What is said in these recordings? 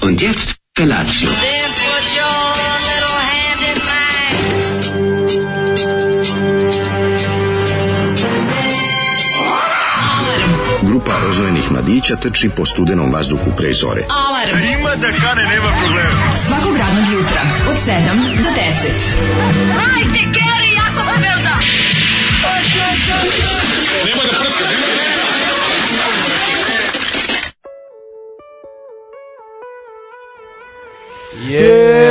Und jetzt Felatio. Then put your little hand in mine. Grupa rozvojenih mladića trči po studenom vazduhu pre zore. Alarm. Ima da kane, nema problema. Svakog radnog jutra, od 7 do 10.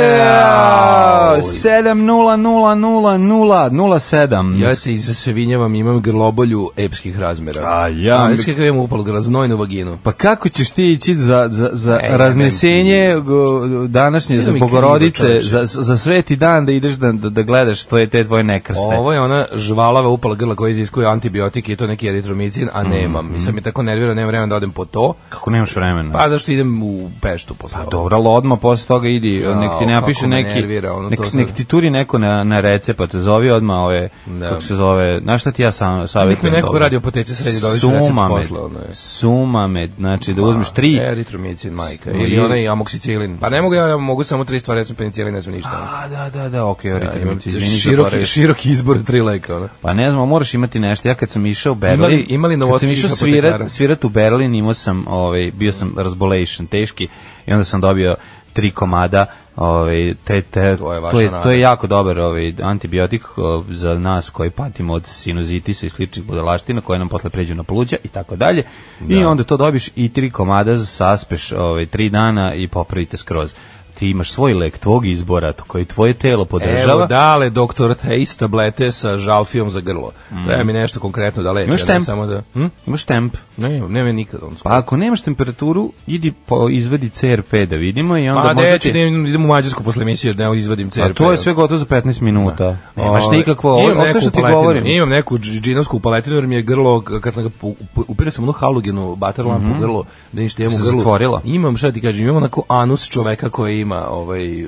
Yeah! 7-0-0-0-0-0-7. Ja se izasevinjavam, imam grlobolju epskih razmera. A ja- A, znaš kakav da imam upalo graznojnu vaginu. Pa kako ćeš ti ići za, za, za E, ja raznesenje go- današnje, Svi za mi krivo, bogorodice, čoveče. za, za sveti dan da ideš da, da, da gledaš tvoje, te tvoje nekrsne? Ovo je ona žvalava upala grla koja iziskuje antibiotike i to neki eritromicin, a nemam. I sad me tako nervira, nemam vremena da odem po to. Kako nemaš vremena? Pa zašto idem u peštu posle ovoga. Dobro, ali odmah posle toga idi, Jao, nek ti napiše kako me neki, nervira, ono, nek, to sad. nek ti turi neko na, na recept, pa te zove odmah ove, Da. kako se zove, znaš šta ti ja sam, savjetujem? Nek mi neko dobro? radi apoteci sredi da odlično recept Sumamed, posle. Ono je. e, sumamed, znači da uzmeš tri, Eritromicin, majka. Ili- Ili onaj amoksicilin. Pa ne mogu ja, ja mogu samo tri stvari, ja sam penicilin, ne znam ništa. a da, da, da, okej, okay, Ja, ja, imam izvini, široki, zaboravio. široki izbor tri leka. Ono. Pa ne znam, moraš imati nešto. Ja kad sam išao u Berlin, Imali- imali kad sam novosadskih išao apotekara? svirat, svirat u Berlin, imao sam, ovaj, bio sam razbolation, teški, i onda sam dobio tri komada ovaj te, te, To je vaša to, je, to nada. je jako dobar ovaj antibiotik o, za nas koji patimo od sinuzitisa i sličnih budalaština koje nam posle pređu na pluća i tako dalje i Da. onda to dobiš i tri komada za saspeš ovaj tri dana i popravite skroz ti imaš svoj lek tvog izbora to koji tvoje telo podržava Evo da. dale doktor Hayes tablete sa žalfijom za grlo. Treba mi nešto konkretno da leče. imaš a ne temp Samo da, hm? imaš temp Ne, ne, ne, nikad. On Pa ako nemaš temperaturu, idi po izvedi CRP da vidimo i onda pa možda ne, ti... ću, ne, idem u Mađarsku posle emisije, ne izvadim CRP. A to je sve gotovo za 15 minuta. Nemaš Ovaj, nikakvo, Da. imam ovo, ovo neku sve što ti paletinu, govorim. Imam neku dž- džinovsku paletinu jer mi je grlo, k- kad sam ga pu- pu- upirio sam onu halogenu bater lampu u grlo, da ništa imam u Mhm. Se grlu. zatvorila? Imam, šta ti kažem, imam onako anus čoveka koji ima ovaj,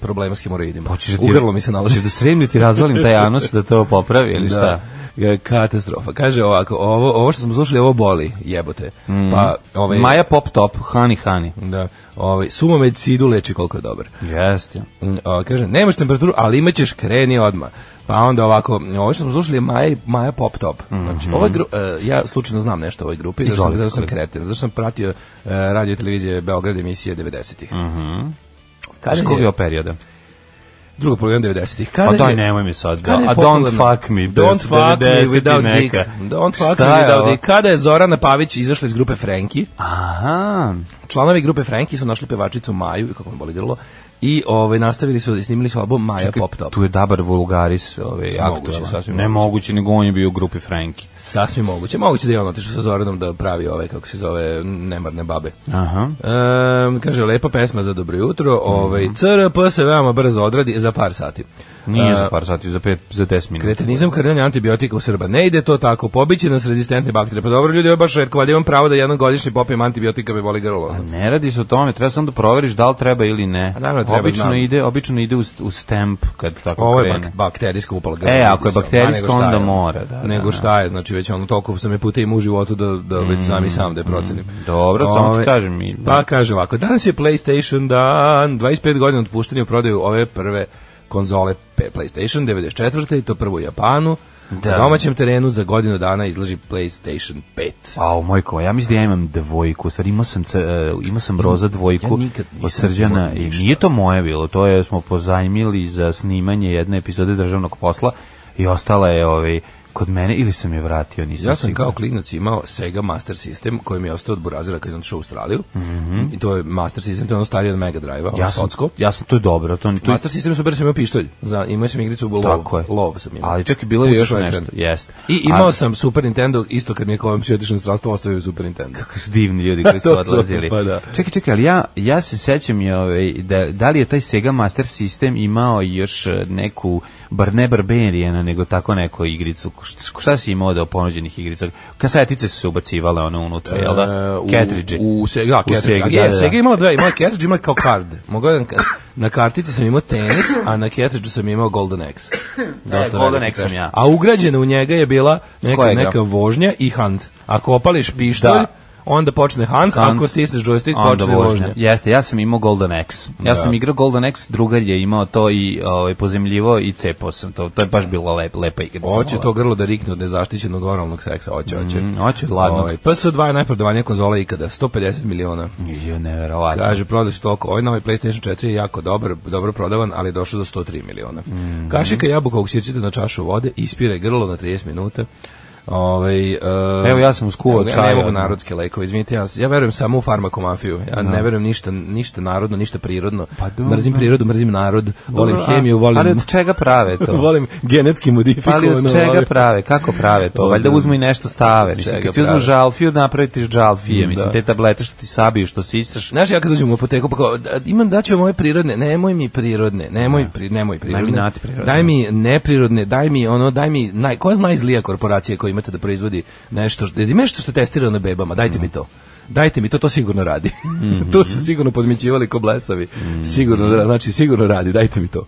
problema s hemoroidima. Hoćeš da ti- u grlo mi se nalazi. Hoćeš da srem ili ti razvalim taj anus da to popravi ili šta? Da. Katastrofa. Kaže ovako, ovo, ovo što smo slušali, ovo boli, jebote. Mm. Pa, ovaj, Maja Pop Top, Hani Hani. Da, ovaj, sumamed sidu leči koliko je dobar. Jeste. Mm, a, kaže, nemaš temperaturu, ali imaćeš kreni odma. Pa onda ovako, ovo što smo slušali je Maja, i- Maja Pop Top. Mhm. Znači, ovaj gru, e, ja slučajno znam nešto o ovoj grupi, zato sam, Izvolite, zato sam kolega. kreten, zato sam pratio e, radio i televizije Beograd emisije 90-ih. Kada Mhm. Znaš kog je je, ovo perioda? druga polovina 90-ih. Kada A Pa daj, je- nemoj mi sad. Da. kada je A don't popularno- fuck me. bez Don't fuck me 90 i without dick. neka. Don't fuck Šta me je without ovo? dick. Kada je Zorana Pavić izašla iz grupe Frenki, Aha. članovi grupe Frenki su našli pevačicu Maju, i kako mi boli grlo, i ovaj, nastavili su, i snimili su album Maja Pop Top. Tu je Dabar Vulgaris, ovaj, Moguće, aktualan. sasvim moguće. Nemoguće, nego on je bio u grupi Franki. Sasvim moguće. Moguće da je on otišao sa Zoranom da pravi ove, kako se zove, nemarne babe. Aha. Ehm, kaže, lepa pesma za dobro jutro. Ovaj, CRP se veoma brzo odradi za par sati. Nije E, za par sati, za 5 za 10 minuta. Kretenizam krljanje antibiotika u Srba. Ne ide to tako. Pobiće nas rezistentne bakterije. Pa dobro, ljudi, ovo je baš redko. Valjda imam pravo da jednom godišnje popijem antibiotika me boli grlo. Ne radi se o tome, treba samo da proveriš da li treba ili ne. A naravno da treba, obično znam. ide, obično ide uz, uz temp kad tako Ovo je Pa, krene. bak bakterijska upala grla. E, vidi ako je se, bakterijska, ma nego šta je. onda mora, da, da, Nego da. Mm. šta je, znači već ono toliko sam je puta imao u životu da, da već sam i sam da je procenim. Dobro, samo ti Ove, kažem i- Pa kaže ovako, danas je PlayStation dan, 25 godina od puštenja u prodaju ove prve konzole pe- PlayStation 94. i to prvo u Japanu. Da. Na domaćem terenu za godinu dana izlaži PlayStation 5. Au, mojko, ja mislim da ja imam dvojku, u stvari imao sam, c, e, imao sam roza dvojku ja nikad nisam od Srđana imao i ništa. nije to moje bilo, to je smo pozajmili za snimanje jedne epizode državnog posla i ostala je ovaj, kod mene ili sam je vratio, nisam Ja sam siguran. kao klinac imao Sega Master System koji mi je ostao od Burazira kad je on otišao u Australiju. I to je Master System, to je ono starije od Mega Drive-a, ono Mhm. ja sam, socko. ja sam, to je dobro, to, to je Master System super sam imao pištolj. Za, imao sam igricu u Love. Tako je. Love sam imao. Ali čak i bilo je Pucaš još u ekran. nešto, jeste. I imao Ali- sam Super Nintendo, isto kad mi je komšija otišao na stranstvo, ostavio je Super Nintendo. Kako su divni ljudi koji su To su, odlazili. pa da. Čekaj, čekaj, ali ja, ja se sećam je, ovaj, da, da li je taj Sega Master System imao još eh, neku, bar ne Barbariana, nego tako neku igricu. Šta, šta si imao da ponuđenih igrica? Kasetice su se ubacivale ono unutra, jel da? E, u- Ketridži. U Sega, da, U Sega, Sega, da, je, da. Sega imala dva, imala je cartridge, imala je kao card. Mogu da na kartici sam imao tenis, a na cartridgeu sam imao Golden Axe. Dosta E, Golden veliki Axe sam cartridge. ja. A ugrađena u njega je bila neka Koja igra? neka vožnja i hand. Ako opališ pištolj, Da. onda počne Hunt, Hunt. ako stisneš joystick, Onda počne vožnja. vožnja. Da. Jeste, ja sam imao Golden X. Ja sam igrao Golden X, drugar je imao to i ovaj, pozemljivo i cepao sam to. To je baš bila lep, lepa igra. Hoće Sam to grlo da rikne od nezaštićenog oralnog seksa, hoće, hoće. Mm, hoće od ladnog. Ovaj, PS2 je najprodavanija konzola ikada, 150 miliona. volao. Jo, neverovatno. Kaže, prodali su toliko. Ovaj novi PlayStation 4 je jako dobar, dobro prodavan, ali je došao do 103 miliona. Mhm. Kašika jabukovog sirćete na čašu vode, ispire grlo na 30 minuta. Ovaj, e, Evo, ja sam uskuvao evo, Ja čaj ne mogu odmah. narodske lekove, izvinite, ja, ja verujem samo u farmakomafiju. Ja ne verujem ništa, ništa narodno, ništa prirodno. Da. Pa dobro. Mrzim prirodu, mrzim narod, volim Dobro, a- hemiju, volim... Ali od čega prave to? Pa volim genetski Ali modifikovano. od čega volim- prave? Kako prave to? Valjda uzmu i nešto stave. Mislim, čega kad ti uzmu prave? žalfiju, napraviti žalfije. Mislim, Da. te tablete što ti sabiju, što sisaš. Znaš, ja kad dođem u apoteku, pa kao, da- imam da ću moje prirodne, nemoj mi prirodne, nemoj, pri, nemoj prirodne. Da. mi natprirodne. Daj mi neprirodne, daj mi ono, daj mi, naj, koja je najzlija korporacija koju imate da proizvodi nešto, što- da ima nešto što je testirano na bebama, dajte Mhm. mi to. Dajte mi to, to sigurno radi. to su sigurno podmićivali ko blesavi. Mhm. Sigurno, da- znači sigurno radi, dajte mi to.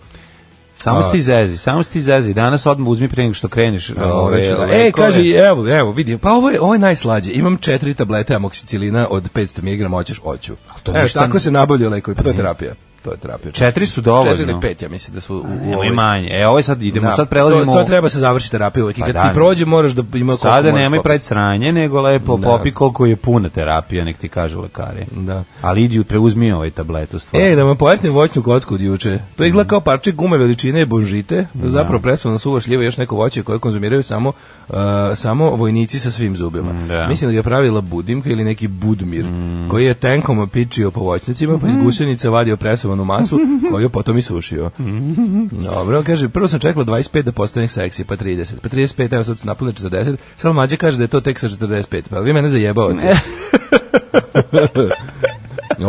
Samo si ti zezi, samo si ti zezi. Danas odmah uzmi prije nego što kreniš. Ove, Pa ove, e, lekove. kaže, evo, evo, vidi, pa ovo je, ovo je najslađe. Imam četiri tablete amoksicilina od 500 mg, hoćeš, hoću. to Evo, ništa- tako se nabavljaju lekovi, pa to je terapija. To je terapija. Četiri su dovoljno. Četiri ili pet, ja mislim da su u, u Nemoj ovoj- manje. E, ovo je sad idemo, Da. sad prelazimo... To- Sad treba se završiti terapija uvijek. I Pa kad da, ti prođe, moraš da ima koliko Sada možeš nemoj popiti. praviti sranje, nego lepo popi koliko je puna terapija, nek ti kažu lekari. Da. Ali idi, preuzmi ovaj tablet u stvari. E, da vam pojasnim voćnu kocku od juče. To izgleda kao parče gume veličine bonžite, zapravo presovana suva šljiva i još neko voće koje konzumiraju samo, uh, samo vojnici sa svim zubima. da. Mislim da ga je pravila budimka ili neki budmir, koji je tenkom pičio po voćnicima, pa iz gusenica vadio presovanu masu, koju je potom i sušio. Dobro, kaže, prvo sam čekala 25 da postane seksi, pa 30, pa 35, evo sad se napunila 40, samo mlađe kaže da je to tek sa 45, pa vi mene zajebavate.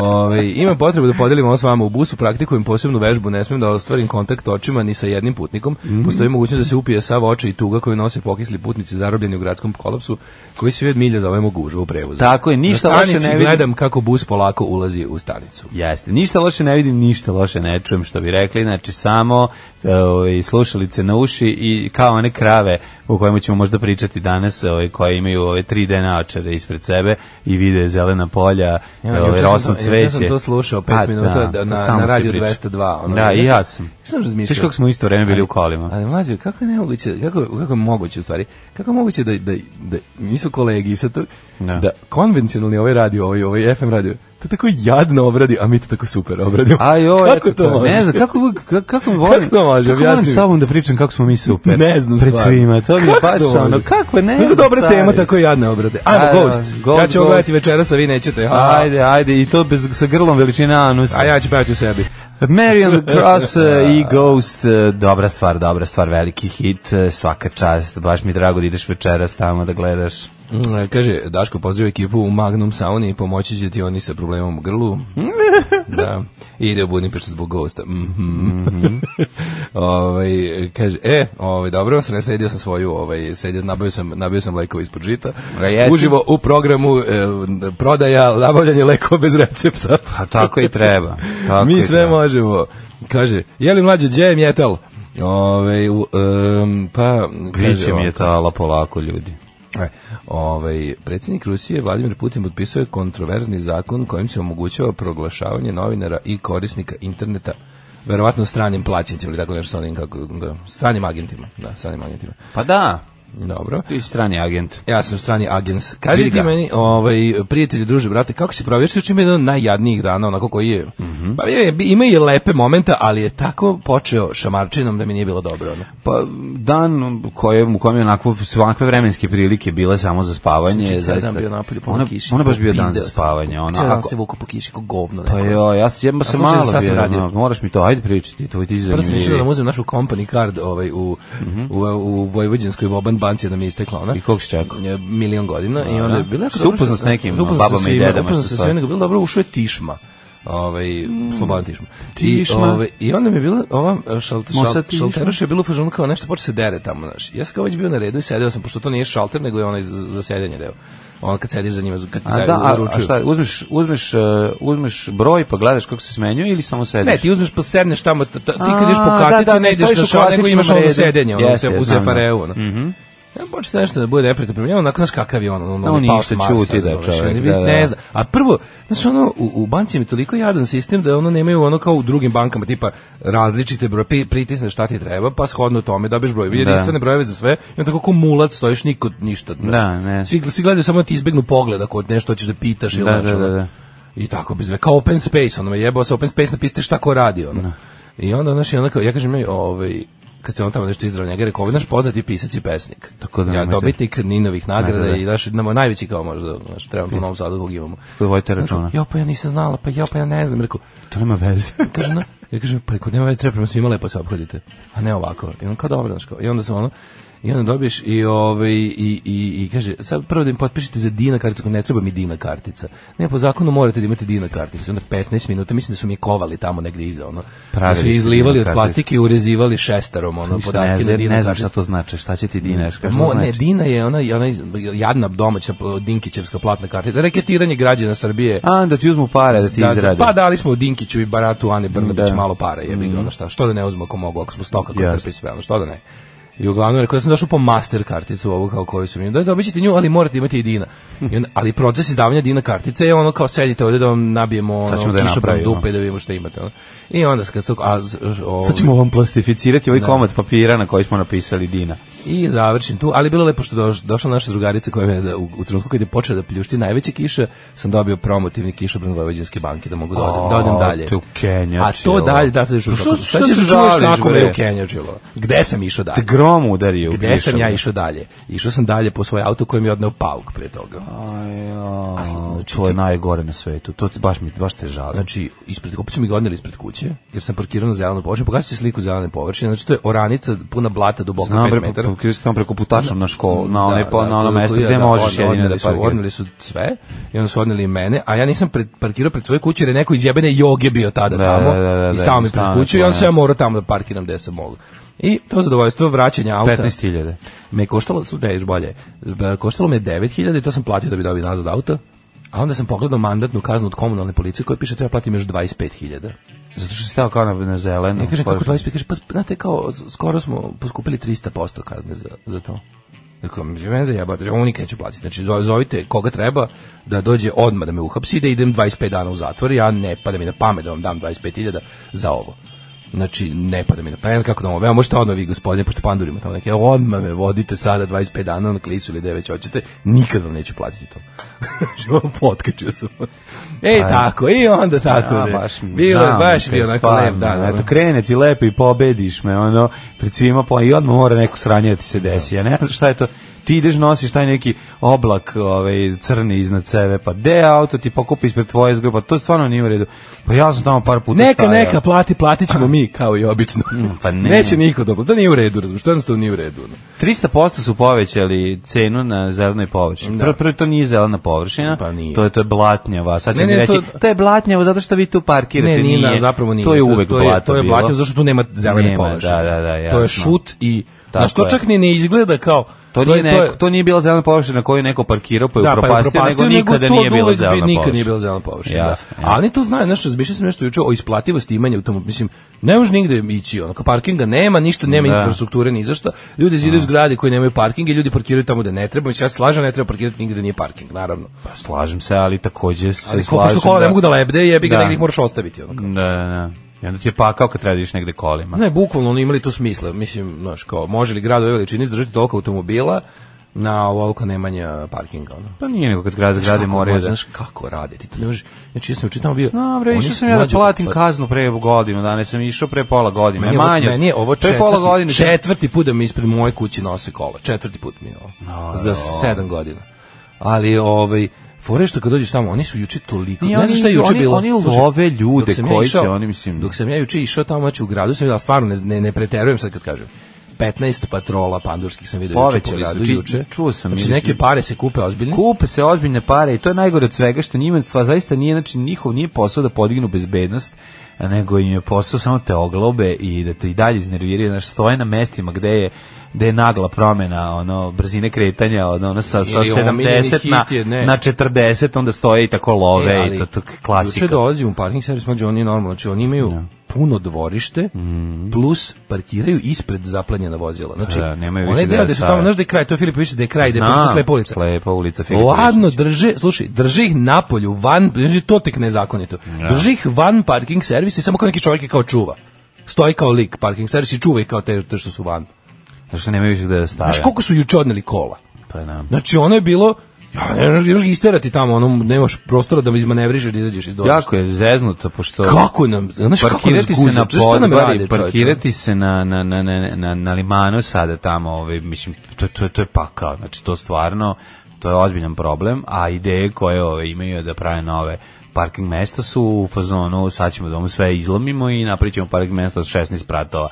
Ove, imam potrebu da podelim ovo s vama u busu, praktikujem posebnu vežbu, ne smem da ostvarim kontakt očima ni sa jednim putnikom. Mhm. Postoji mogućnost da se upije sav oče i tuga koju nose pokisli putnici zarobljeni u gradskom kolapsu, koji svi od milja zovemo gužva u prevozu. Tako je, Da, ništa Na loše stanici ne vidim. gledam kako bus polako ulazi u stanicu. Jeste, ništa loše ne vidim, ništa loše ne čujem što bi rekli, znači samo ovaj, slušalice na uši i kao one krave o kojima ćemo možda pričati danas, ovaj, koje imaju ove 3D naočare ispred sebe i vide zelena polja, Ja, ja, juče ovaj, sam rosno to- cveće. juče sam to slušao pet Pa minuta da- na- stalno se na radiju priča. 202, ono, da, ne- i ja sam. Ja sam razmišljao. Viš kako smo u isto vreme bili u kolima. Ali mlađe, kako je nemoguće, kako, kako je moguće u stvari, kako je moguće da, da, da nisu kolegi i sad to, Da. da konvencionalni ovaj radio, ovaj, ovaj FM radio, to tako jadno obradi, a mi to tako super obradimo. A joj, kako eto to može? Ne znam, kako, uvek- ka- kako volim, Kako to može, kako volim objasni mi. s tobom da pričam kako smo mi super. Ne znam Pred stvarno. svima, to mi je Kako baš ono, može? kako ne Kako znam, dobra cari. tema, tako jadne obrade. Ajmo, A, Ghost. Ghost, ja ću Ghost. gledati večeras, a vi nećete. Ha, ha. Ajde, ajde, i to bez, sa grlom veličine anusa. A ja ću pevati u sebi. Marion Cross eh, i Ghost, eh, dobra stvar, dobra stvar, veliki hit, eh, svaka čast, baš mi je drago da ideš večeras tamo da gledaš. Mm, Kaže, Daško, pozdrav ekipu u Magnum Sauni, pomoći će ti oni sa problemom u grlu. da. I ide u Budimpeštu zbog gosta. Mhm. ovaj, kaže, e, ovaj, dobro, sre- sredio sam svoju, ovaj, sredio, nabavio sam, nabavio sam lekove ispod žita. A jesi? Uživo u programu e, prodaja, nabavljanje lekova bez recepta. Pa tako i treba. Tako da. Mi i sve treba. možemo. Kaže, je li mlađe, gdje je mjetal? Ove, u, em, pa, kaže Biće mi je ovako. tala polako, ljudi. E, Ovaj predsjednik Rusije Vladimir Putin potpisao je kontroverzni zakon kojim se omogućava proglašavanje novinara i korisnika interneta verovatno stranim plaćenicima ili tako nešto stranim kako da, stranim agentima, da, stranim agentima. Pa da, Dobro. ti si strani agent. Ja sam strani agens. Kaži Briga. ti meni, ovaj, prijatelji, druže, brate, kako si pravio? Što čim je jedan od najjadnijih dana, onako koji je. Mhm. Pa je, ima i lepe momenta, ali je tako počeo šamarčinom da mi nije bilo dobro. Ono. Pa dan koje, u kojem je onako svakve vremenske prilike bile samo za spavanje. Znači, cijeli zaista- dan bio napolju, po ona, kiši. ona baš bio dan za popizdeo sam. spavanje. Ona, Cijeli dan ako- se vuku po kiši, ko govno. Pa neko. jo, ja sam, ja sam slušaj, malo šta sam bio, radio? ono, moraš mi to, ajde pričati, to ti Prvo sam zanimljivije. mislio da mu uzmem našu company card ovaj, u, u, u Vojvođanskoj Voban banci da mi je istekla ona. Mhm. I Da, koliko si čekao? Je Milion godina i onda je bilo jako Si dobro upoznat što- s nekim, upoznat sa babama i svima, dedama, Upoznat što sa sad? Mm. svima, nego bilo dobro, ušao je Tišma. Ovaj Slobodan Tišma. Tišma. I, ovaj, I onda mi je bila ova eh, šal, Mosa šal, Tišma. šalteroš je bilo u fazonu kao nešto počne se dere tamo, znaš. Ja sam kao već bio na redu i sedeo sam pošto to nije šalter nego je onaj za, za sedenje deo. Ono kad sediš za njima, kad ti A daju da, a, a uručuju. šta, uzmeš, uzmeš, uh, uzmeš broj pa gledaš kako se smenjuje ili samo sediš? Ne, ti uzmeš pa sedneš tamo, t- t- ti kad A, ideš po kartici, da, da, ne ideš stojiš na u šal, nego klasičnom imaš ono za redu. sedenje, ono Jeste, se u znam, da. sefareu. Ono. Ja počne nešto da bude neprijatno prema njemu, onako znaš kakav je on, on, on, on je pao ništa s Marsa, ćuti da razumeš, čovek, ne, da, da. ne znam. A prvo, znaš ono, u, u banci im je toliko jadan sistem da ono nemaju ono kao u drugim bankama, tipa različite broje, pri- pritisneš šta ti treba, pa shodno tome dobiješ broj, da. jedinstvene brojeve za sve, i onda kako mulac stojiš, niko ništa. znaš. Da, ne. Svi, svi gledaju samo da ti izbegnu pogled ako nešto hoćeš da pitaš ili Da, znaš, da, da, ono. da. I tako bez veze. Kao open space, ono me jebao sa open space, napisite šta ko radi, Da. ono. I onda, znaš, i onda kao, ja kažem, ej, ovaj, kad se on tamo nešto izdrao njega, rekao, ovo je naš poznati pisac i pesnik. Tako da ja, nemojte. dobitnik Ninovih nagrada Da, da, da. i naš, nam, najveći kao možda, znaš, trenutno u Novom Sadu kog imamo. To vojte Znaš, računa. Ja, pa ja nisam znala, pa ja, pa ja ne znam. Rekao, To nema veze. kaže, no, ja kažem, pa rekao, nema veze, treba prema svima lepo se obhodite, a ne ovako. I on kao dobro, znaš, kao, i onda sam ono, i onda dobiješ i, ovaj, i, i, i kaže, sad prvo da im potpišete za Dina karticu, ako ne treba mi Dina kartica. Ne, po zakonu morate da imate Dina karticu. I onda 15 minuta, mislim da su mi kovali tamo negde iza, ono. Pravili da su ste izlivali Dina od karticu. plastike i urezivali šestarom, Ništa ono, ne, podatke znam, na Dina ne znam šta karticu. to znači, šta znači? će ti dinaš, kaže Mo, Mo, ne, Dina je ona, ona jadna domaća Dinkićevska platna kartica. Reketiranje građana Srbije A, da ti uzmu pare da ti izrade. pa dali smo Dinkiću i Baratu Ani Brnabić Da. malo para, jebi ga, ono šta, što da ne uzmu ako mogu, ako smo stoka koji Jasno. trpi sve, ono što da ne. I uglavnom, rekao, ja sam došao po master karticu ovu kao koju sam imao. Da, dobit ćete nju, ali morate imati i Dina. I onda, ali proces izdavanja Dina kartice je ono kao sedite ovde da vam nabijemo Sad ćemo ono, da je kišobran napravimo. dupe da vidimo šta imate. Ono. I onda, kad to, a, z- ovaj- Sad ćemo vam plastificirati ovaj Da. komad papira na koji smo napisali Dina. I završim tu, ali bilo je lepo što doš, došla naša drugarica koja me je da, u, u trenutku kad je počela da pljušti najveće kiše, sam dobio promotivni kišobran Vojvođanske banke da mogu da odem, da odem A, dalje. to je u A Kenjačilo. to dalje, da, sad ćeš Pa u što- kako- što sad ćeš se da čuješ žališ, kako me bre? je u Kenjačilo. Gde sam išao Te dalje? grom udario. u Gde sam kišu. ja išao dalje? Išao sam dalje po svoj auto koji mi je odneo pauk pre toga. Aj, A, znači, to je ti- najgore na svetu. To ti baš mi baš te žali. Znači, ispred, opet su mi ga odneli ispred kuće, jer sam parkirao na zelenu površinu, pokazat ću sliku zelene površine, znači to je oranica puna blata duboka Znam 5 bre, metara. pa tamo preko putačom na školu, na onaj pa na ono to je mesto bilo, gde da, možeš odne- jedino da odneli su- parkiraš. Odneli su sve i onda su odneli i mene, a ja nisam pred, parkirao pred svoje kuće jer je neko iz jebene joge bio tada Da, tamo da, da, da, i stao da, mi pred stao na kuću i tvoje onda sam ja mesto. morao tamo da parkiram gde sam mogao. I to zadovoljstvo vraćanja auta 15.000. me je koštalo, su ne, još bolje, B- koštalo me 9000 i to sam platio da bi dobio nazad auto, a onda sam pogledao mandatnu kaznu od komunalne policije koja piše treba platim još 25.000. Zato što si stao kao na, na zeleno. Ja kažem Pa- kako 25, kaže, pa znate kao, s- skoro smo poskupili 300% kazne za, za to. Rekao, mi je mene zajebate, ovo nikad neću platiti. Znači, zo- zovite koga treba da dođe odmah da me uhapsi, da idem 25 dana u zatvor, ja ne pada mi na pamet da vam dam 25.000 za ovo. Znači, ne pada mi na pamet, ne znam kako da vam ovo, evo možete odmah vi gospodine, pošto pandurima tamo neke, evo, odmah me vodite sada 25 dana na klisu ili gde već hoćete, nikad vam neću platiti to. Znači, ono, potkačio sam. Ej, tako, i onda tako. Pa, A, ne. baš mi bilo, da- je žao mi baš te, bio onako stvarno, lep da, dan. ono. Eto, krene ti lepo i pobediš me, ono, pred svima, po, i odmah mora neko sranje da ti se desi. Ja ne znam šta je to, ti ideš, nosiš taj neki oblak ovaj, crni iznad sebe, pa de auto ti pokupi ispred tvoje zgruba, to stvarno nije u redu. Pa ja sam tamo par puta Neka, stajao. neka, plati, platit ćemo mi, kao i obično. pa ne. Neće niko dobro, to nije u redu, razumiješ, to jednostavno nije u redu. ono. 300% su povećali cenu na zelenoj površini. Prvo, prvo to nije zelena površina, Da. Pa nije. to je to je blatnjava. Sad će Ne, mi ne, reći, to... to- je blatnjava zato što vi tu parkirate. Ne, nije, na- zapravo nije. To je uvek to, je, blato to je bilo. blato, zato što tu nema zelene Nema, površine. da, da, da, To jasno. je šut i, Tako znaš, to je. čak ni ne izgleda kao, To, je- nije je- neko, to nije bila zelena površina na koju je neko parkirao pa je da, pa je upropastio, nego upropastio, nego nikada to nije od bila uvek bi- zelena površina. Nikad nije bila zelena površina. Jasno, da. jasno. A oni to znaju, znaš, razmišljao sam nešto juče o isplativosti imanja automobila. Mislim, ne može nigde ići, ono, kao parkinga nema, ništa nema Da. infrastrukture ni za šta. Ljudi zidaju zgrade koje nemaju parkinge, ljudi parkiraju tamo gde ne treba. Mislim, ja se slažem, ne treba parkirati nigde gde nije parking, naravno. Pa slažem se, ali takođe se Ali ko slažem. pošto kola ne mogu da lebde, jebi ga Da. negdje ih moraš ostaviti. Ono. kao. Da, da, da. I onda ti je pakao kad treba da ideš negde kolima. Ne, bukvalno oni imali to smisla. Mislim, znaš, kao, može li grad ove veličine izdržati toliko automobila na ovoliko nemanja parkinga, ono. Pa nije nego kad grad Znaš zgrade kako moraju može, da... Znaš kako rade, ti to ne možeš... Znači, ja sam učitamo bio... No, bre, oni išao su sam ja da mlađi- platim pa- kaznu pre godinu, danas sam išao pre pola godine. Meni je, manje. ovo, meni je ovo Pre pola godine. četvrti, četvrti put da mi ispred moje kuće nose kola. Četvrti put mi je ovo. za sedam godina. Ali, ovaj, fore što kad dođeš tamo, oni su juče toliko... Nije, ne oni- znam šta je juče oni- bilo. oni Slušaj, love ljude dok sam koji će, oni, mislim- Dok sam ja juče išao tamo, znači u gradu sam vidio, ali stvarno ne, ne, ne preterujem sad kad kažem. 15 patrola pandurskih sam vidio juče po Povećali su, gradu. či- juče. čuo sam, Znači, mislim. neke pare se kupe ozbiljne. Kupe se ozbiljne pare i to je najgore od svega što njima stva zaista nije znači njihov nije posao da podignu bezbednost nego im je posao samo te oglobe i da te i dalje iznerviraju znači stoje na mestima gde je gde je nagla promena ono brzine kretanja ono, ono sa, sa Ili omiljeni 70 na, hit je, ne. na 40 onda stoje i tako love E, i ali to, to Juče klasika dolazim u parking servis, mađo, on je normalno, znači oni imaju puno dvorište, plus parkiraju ispred zaplanjena vozila. Znači, Da, nemaju onaj više deo da gde su stave. tamo, znaš da je kraj, to je Filip Višić, da je kraj, da je pošto slepa ulica. Slepa ulica Filipa Ladno Ristića. drže, slušaj, drže ih na polju, van, znači to tek nezakonito. Drže ih van parking servisa i samo kao neki čovjek je kao čuva. Stoji kao lik parking servis i čuva ih kao te, te što su van. Zato što nemaju više gde da stave. Znaš koliko su juče odneli kola? Pa da. Znači ono je bilo, ja, ne možeš ne možeš ga isterati tamo, ono, nemaš prostora da izmanevrišeš da izađeš iz dvorišta. Jako je zeznuto, pošto... Kako nam, znaš kako nas parkirati se na guza, šta nam rade podvari, čovječe? parkirati se na, na, na, na, na, na limanu sada tamo, ovaj, mislim, to, to, to je pakao, znači to stvarno, to je ozbiljan problem, a ideje koje ove, imaju da prave nove parking mesta su u fazonu, sad ćemo da vam sve izlomimo i napričamo parking mesta od 16 pratova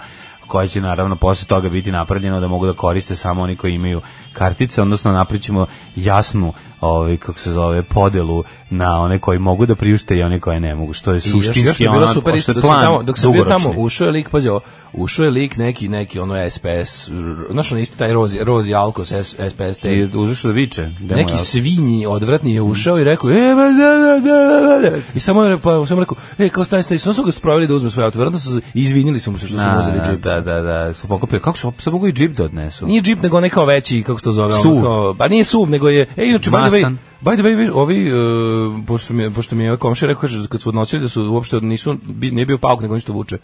koja će naravno posle toga biti napravljeno da mogu da koriste samo oni koji imaju kartice, odnosno napričamo jasnu ovaj kako se zove podelu na one koji mogu da priušte i one koji ne mogu što je I još- još suštinski mi je bilo ono super što isto je dok sam plan tamo, dok sam bio tamo, dugoročni. ušao je lik, pazi ovo, ušao je lik neki, neki ono SPS, r- znaš ono isti taj Rozi, Rozi Alkos, S- SPS, te I uzeš da viče. gde mu je neki auto? svinji odvratni je ušao i rekao e, ba, da, da, da, da, da. i samo je re- pa samo rekao e kao staj staj samo su ga spravili da uzme svoje auto verovatno su i izvinili su mu se što su mu uzeli Da, džip Da, da, da, su pokupili. Kako su, sad mogu i džip da odnesu? nije džip nego onaj kao veći kako se to zove ono Suv. kao pa nije suv nego je ej inače by the way Mastan. by the way viš, ovi uh, pošto mi je pošto mi je ovaj komšija rekao kaže kad su odnosili da su uopšte nisu bi, nije bio pauk nego ništa vuče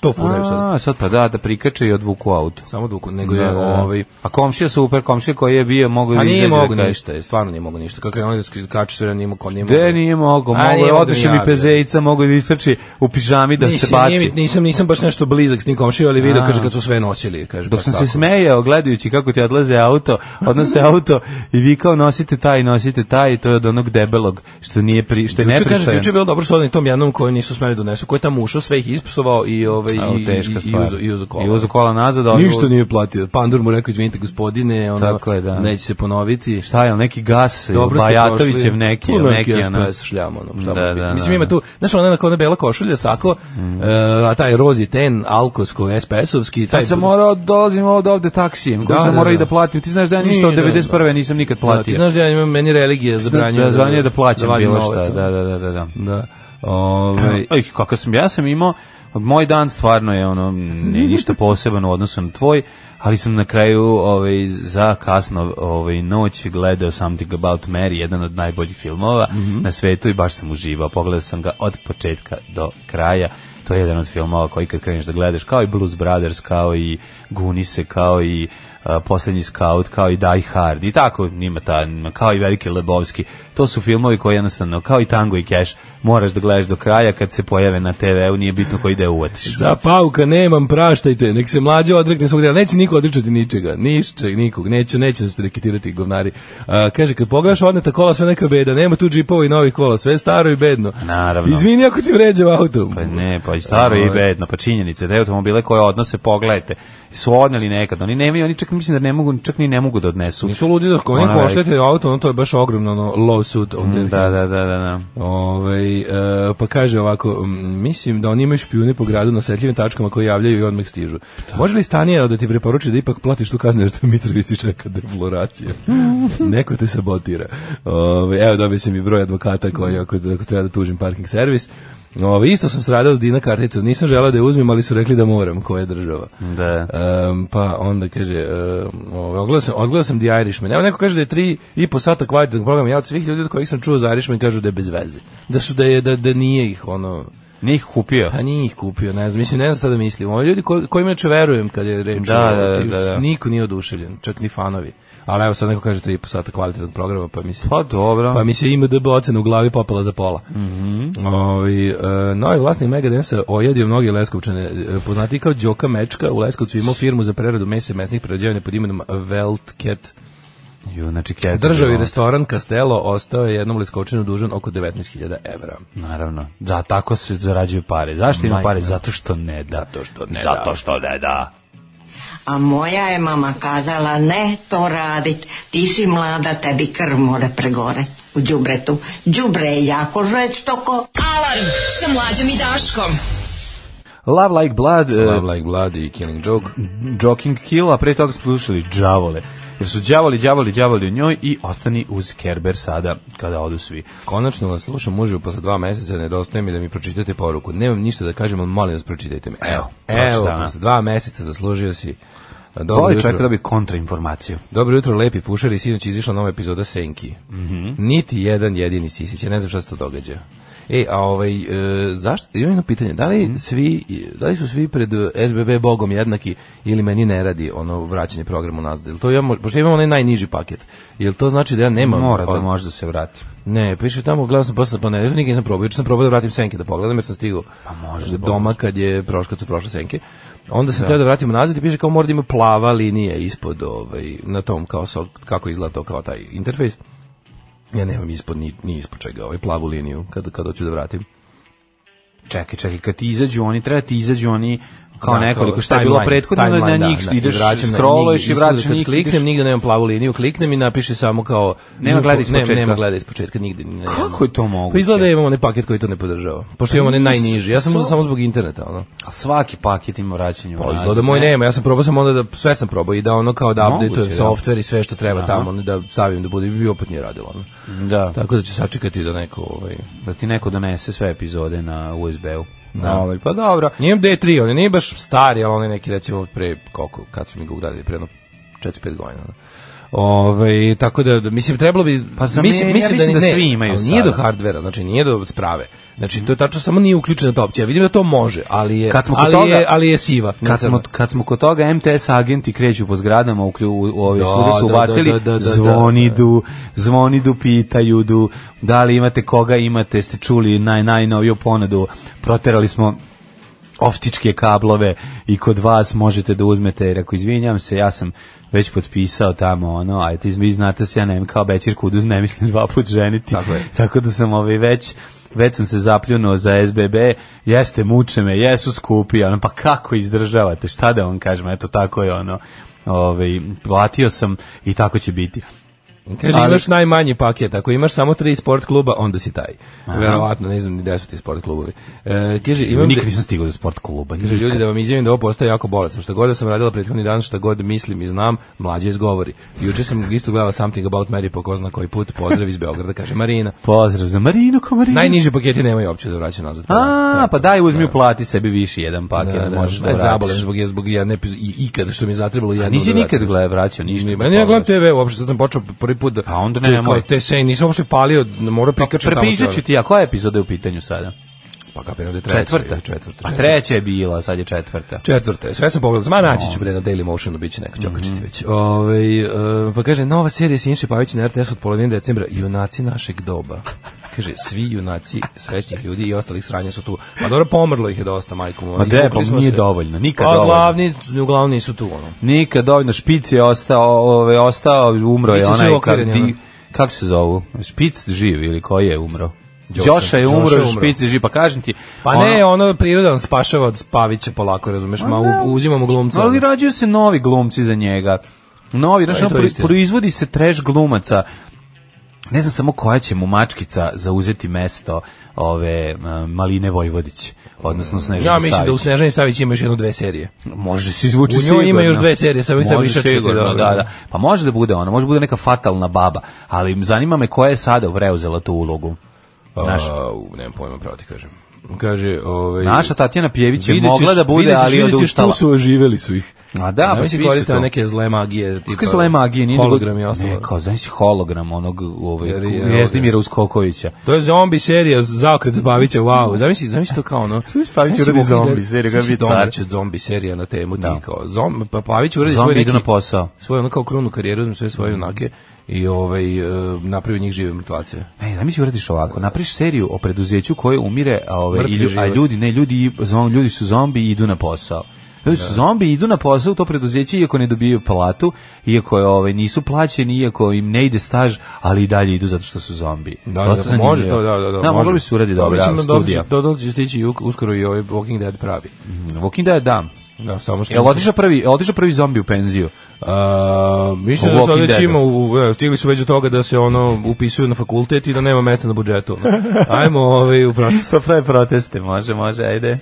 to furaju sad A, Da, sad pa da, da prikače i odvuku auto. samo duku nego je ovaj A komšija super, komšija koji je bio, mogu da A nije izađe da mogu kaže, ništa, je, stvarno nije mogu ništa. Kako je on da sk- kače sve, nije mogu, nije mogu. De, nije mogo, A, mogo nije je, mogu odeše mi ja, da. pezejca, mogo je da istrči u pižami da se Nisam, baci. nije, nisam, nisam baš nešto blizak s nikom komšijom, ali video, A. kaže, kad su sve nosili. Kaže, Dok baš sam se tako. smejao gledajući kako ti odlaze auto, odnose auto i vi kao nosite taj, nosite taj, to je od onog debelog što nije pri, što je Juče, kaže, nepristojan. juče je bilo dobro sa onim tom jednom koji nisu smeli da donesu, koji je tamo ušao, sve ih ispsovao i, ove, i, Evo, i, teška i, stvar. uzo- i uzo kola. I uzo kola nazad. a on- Ništa nije platio. Pandur mu rekao, izvinite gospodine, ono, Tako je, da. neće se ponoviti. Šta je, neki gas, Dobro Dobro ste Bajatovićev prošli. neki, Tu ili neki, ono. SPS šljam, ono, šta Da, da, da, da, Mislim, da, ima da. tu, znaš, ona onako, ona bela košulja, sako, e, a taj rozi ten, alkosko, SPS-ovski, taj... Sad sam morao, da dolazim od ovde taksijem, koji Da, sam da, morao da. i da platim. Ti znaš da ja Nije, ništa od da, da. 91. nisam nikad Da, ti platio. znaš da ja imam, meni religija zabranjuje da, zabranjuje da plaćam vadim bilo novac, šta. Da, ono. da, da, da. da. Da. ovaj, Ove, Oj, kako sam, ja sam imao, moj dan stvarno je ono, nije ništa poseban u odnosu na tvoj, ali sam na kraju ovaj, za kasno ovaj, noć gledao Something About Mary, jedan od najboljih filmova na svetu i baš sam uživao. Pogledao sam ga od početka do kraja. To je jedan od filmova koji kad kreneš da gledaš, kao i Blues Brothers, kao i Gunise, kao i a, Poslednji scout, kao i Die Hard i tako, nima ta, kao i Veliki Lebovski. To su filmovi koji jednostavno, kao i Tango i Cash, moraš da gledaš do kraja kad se pojave na TV-u, nije bitno koji deo uvatiš. Za pauka nemam, praštajte, nek se mlađe odrekne svog dela, neće niko odričati ničega, nišće, nikog, neće, neće da se reketirati govnari. A, kaže, kad pogledaš odneta kola, sve neka beda, nema tu džipova i novih kola, sve je staro i bedno. Naravno. Izvini ako ti vređam auto. Pa ne, pa i staro i bedno, pa činjenice, da je automobile koje odnose, pogledajte, su odneli nekad, oni nemaju, oni čak mislim da ne mogu, čak ni ne mogu da odnesu. Nisu ludi da ko neko Onaj- oštete auto, ono to je baš ogromno ono, lawsuit. of their Da, da, da, da, da. Ovaj, e, pa kaže ovako, "M, mislim da oni imaju špijune po gradu na osjetljivim tačkama koje javljaju i odmah stižu. Može li Stanija da ti preporuči da ipak platiš tu kaznu jer te u Mitrovici čeka defloracija? Neko te sabotira. Ovaj, evo dobio sam i broj advokata koji ako, ako treba da tužim parking servis. Ovaj, isto sam stradao s Dina karticom, nisam želao da je uzmem, ali su rekli da moram, koja je država. Da. Em, pa onda kaže, um, ovaj, ogledao sam, odgledao sam The Irishman. Evo neko kaže da je tri i po sata kvalitetan program. Ja od svih ljudi od kojih sam čuo za Irishman kažu da je bez veze. Da su da je, da, da nije ih ono... Nije ih kupio. Pa nije ih kupio, ne znam, mislim, ne znam sada mislim. Ovi ljudi koji, kojima inače verujem kad je reč, Da, o- da, ti- da, da. niko nije oduševljen, čak ni fanovi. Ali evo sad neko kaže 3,5 sata kvalitetnog programa, pa mislim... Pa dobro. Pa mi se ima DB ocena u glavi popala za pola. Mhm. Ovi, e, novi vlasnik Megadensa ojedio mnoge Leskovčane. E, Poznati kao Đoka Mečka u Leskovcu imao firmu za preradu mesa i mesnih prerađevanja pod imenom Veltket. Da. Ju, znači, keca Držao je bila. restoran Castelo, ostao je jednom Leskovčanu dužan oko 19.000 evra. Naravno. Za tako se zarađuju pare. Zašto ima Majka. pare? Zato što ne da. Zato što ne da. Zato što ne da. A moja je mama kazala ne to radit, ti si mlada, tebi krv more pregore u đubretu. Đubre je jako žveć ko Alarm sa mlađom i Daškom. Love Like Blood, e, E. Love Like Blood i Killing Joke. eh, Joking Kill, a pre toga smo slušali Džavole. jer su đavoli, đavoli, đavoli u njoj i ostani uz Kerber sada kada odu svi. Konačno vas slušam uživo posle dva meseca, nedostaje mi da mi pročitate poruku. Nemam ništa da kažem, ali molim vas pročitajte me. Evo, evo, pročitana. posle dva meseca zaslužio si. e, Dobro Voli jutro. čovjek da dobi kontrainformaciju. Dobro jutro, lepi fušari, sinoć je izašla nova epizoda Senki. Mhm. Niti jedan jedini sisić, ja ne znam šta se to događa. E, a ovaj, e, zašto, imam jedno pitanje, da Mhm. li, svi, da li su svi pred e, SBB Bogom jednaki ili meni ne radi ono vraćanje programa nazad? Jel to ja, mo- pošto imam onaj najniži paket, jel to znači da ja nemam... Mora da od- može da se vrati. Ne, piše tamo, gledao sam posle pa ne, nikad nisam probao, juče sam probao da vratim senke da pogledam jer sam stigao pa može da doma kad je prošlo, kad su prošle senke. Onda sam da. da vratim nazad i piše kao mora da ima plava linija ispod ovaj, na tom kao so, kako izgleda to kao taj interfejs. Ja nemam ispod ni, ni ispod čega ovaj plavu liniju kad, kad hoću da vratim. Čekaj, čekaj, kad ti izađu oni, treba ti izađu oni kao Da, nekoliko, šta je bilo timeline, prethodno, na timeline, njih da, ideš, i vraćam na scrolluješ njih, i isto da vraćaš na kad njih. ideš- Kliknem, nigde nemam plavu liniju, kliknem i napiše samo kao... Nema info- gleda iz ne- početka. Nema gleda iz početka, nigde. ne- Kako je to moguće? Pa izgleda da imamo onaj paket koji to ne podržava. Pošto imamo onaj najniži. Ja sam Sva- uzeo samo zbog interneta, ono. A svaki paket ima vraćanje Pa unazad, izgleda moj nema. Ja sam probao sam onda da sve sam probao i da ono kao da Moguće, updateujem da. software i sve što treba tamo, ono, da stavim da bude i opet nije radilo, ono. Da, Tako da ću sačekati da neko ovaj da ti neko donese sve epizode na USB-u. Da. Ovaj, pa dobro. Nijem D3, on je nije baš stari, ali on je neki recimo od pre, koliko, kad su mi ga ugradili, pre jedno 4-5 godina. ono. Ove, tako da, da, mislim, trebalo bi... Pa za mene- ja mislim ni- da ne, svi imaju ali Nije sada. do Mhm. hardvera, znači nije do sprave. Znači, to je tačno, samo nije uključena ta opcija. Vidim da to može, ali je, Kad smo kod ali toga- je, ali je siva. ne Kad smo, crna. kad smo kod toga, MTS agenti kreću po zgradama, u, klju- u, u ove Da, studije su da, da, ubacili, da, da, da, zvonidu, zvonidu, pitaju, du, da li imate koga imate, ste čuli naj, najnoviju ponadu, proterali smo oftičke kablove i kod vas možete da uzmete, jer ako izvinjam se, ja sam već potpisao tamo ono, a ti vi znate da se, ja nemam kao Bećir Kuduz, ne mislim dva put ženiti, Tako je. tako da sam ovaj već već sam se zapljunuo za SBB, jeste muče me, jesu skupi, ono, pa kako izdržavate, šta da vam kažem, eto tako je ono, ovaj, platio sam i tako će biti. Kaže, Ali- imaš najmanji paket, ako imaš samo tri sport kluba, onda si taj. Verovatno, ne znam ni gde su ti sport klubovi. E, kaže, imam... Nikad nisam stigao do sport kluba. Kaže, ljudi, da vam izjavim da ovo postaje jako bolesno. Šta god da sam radila prethodni dan, šta god mislim i znam, mlađe izgovori. Juče sam isto gledala Something About Mary po ko zna koji put. Pozdrav iz Beograda, kaže Marina. Pozdrav za Marinu, ko Marinu. Najniži paketi nemaju uopće da vraćaju nazad. A, pa daj uzmi uplati sebi više jedan paket, da, da, možeš da, da, zabolim vratiš. zbog, je- zbog jedne epizo- i, ikada što mi je zatrebalo jedno. Nisi da vratim. nikad gleda vraćao ništa. Pa, Meni ja gledam TV, uopšte sad sam počeo prvi put da... A Pa onda tu ne, kao mora- Te se, nisam uopšte palio, morao prikačati tamo. Prepišat ću sve. ti, a koja epizoda je u pitanju sada? Pa kapiram da je treća. Četvrta. je, Četvrta. A treća je bila, sad je četvrta. Četvrte, sve sam pogledao. Ma naći ću bre na Daily Motionu, bit će Mhm. neko ćokačiti već. Ovaj, e, pa kaže, nova serija Sinše Pavić na RTS od polovine decembra, junaci našeg doba. Kaže, svi junaci srećnih ljudi i ostalih sranja su tu. Ma dobro, pomrlo ih je dosta, majko. moja. Ma de, pa Izvukli smo nije se. dovoljno, nikad pa, dovoljno. Glavni, uglavnom nisu tu, ono. Nikad dovoljno špic je ostao, ovaj ostao, umro je Biće svi onaj kad okvireni, di- ono. kako se zovu? Špic živ ili koji je umro? Đoša. Đoša je umro, Đoša je umro. špic je živ, pa kažem ti. Pa ne, ono, priroda nam spašava od Pavića polako, razumeš? Ma, u- uzimamo glumca. ali ono. rađaju se novi glumci za njega. Novi, znaš, To je ono, Da, to pro- istina. proizvodi se trash glumaca. Ne znam samo koja će mu mačkica zauzeti mesto ove eh, Maline Vojvodić, odnosno Snežane Ja mislim da u Savić. Snežani Savić ima još jedno dve serije. Može da se izvući U njoj sigurno. ima još dve serije, samo ih sad Može više četvrti, sigurno, da, dobro. da. Pa može da bude ona, može da bude neka fatalna baba, ali zanima me koja je sada vreuzela tu ulogu. Naš, A, u, nemam pojma, pravo ti kažem. Kaže, ovaj... naša Tatjana Pjević je Vidjet ćeš- mogla da bude, vidjet ćeš, ali je vidjet ćeš, odustala. Tu su oživeli su ih. A da, pa Znaš, svi si su koristila to. neke zle magije. Tipa, Kako je zle magije? Nije Hologram i nego- ostalo. Ne, kao, znaš si hologram onog ovaj, Jer je- Jezdimira Uskokovića. To je zombi serija zaokret Bavića, wow. Zamisli, zamisli to kao ono. Zamisli Pavić Zamisli uradi mogu da- zombi seriju, kako bi zamisli car. domaća zombi serija na temu Da. ti kao. Zom, pa Pavić uradi svoj Zombi neki idu na posao. svoju ono kao krunu karijeru, uzme sve svoje junake i ovaj e, napravi njih žive mrtvace. Ne, E, zamisli uradiš ovako, napriš seriju o preduzeću koje umire, a, ove, Mrtvi i lju- a život. ljudi, ne, ljudi, i- zom- ljudi su zombi i idu na posao. Ljudi Da. su zombi i idu na posao u to preduzeće iako ne dobijaju platu, iako je, ove, nisu plaćeni, iako im ne ide staž, ali i dalje idu zato što su zombi. Da, Dosta da, zanimljivo. može, da, da, da, da. Da, može. moglo bi se uradi Pa dobra mislim da studija. Do, do, će stići i u- uskoro i ovaj Walking Dead pravi. Walking Dead, da. Da, samo što... Jel otišao prvi, jel otišao prvi zombi u penziju? A, mislim U da sad Walking već Deadu. ima, u, u- evo, stigli su već do toga da se ono upisuju na fakultet i da nema mesta na budžetu. ono. Ajmo ovaj, u prošlost. Pa pravi proteste, može, može, ajde.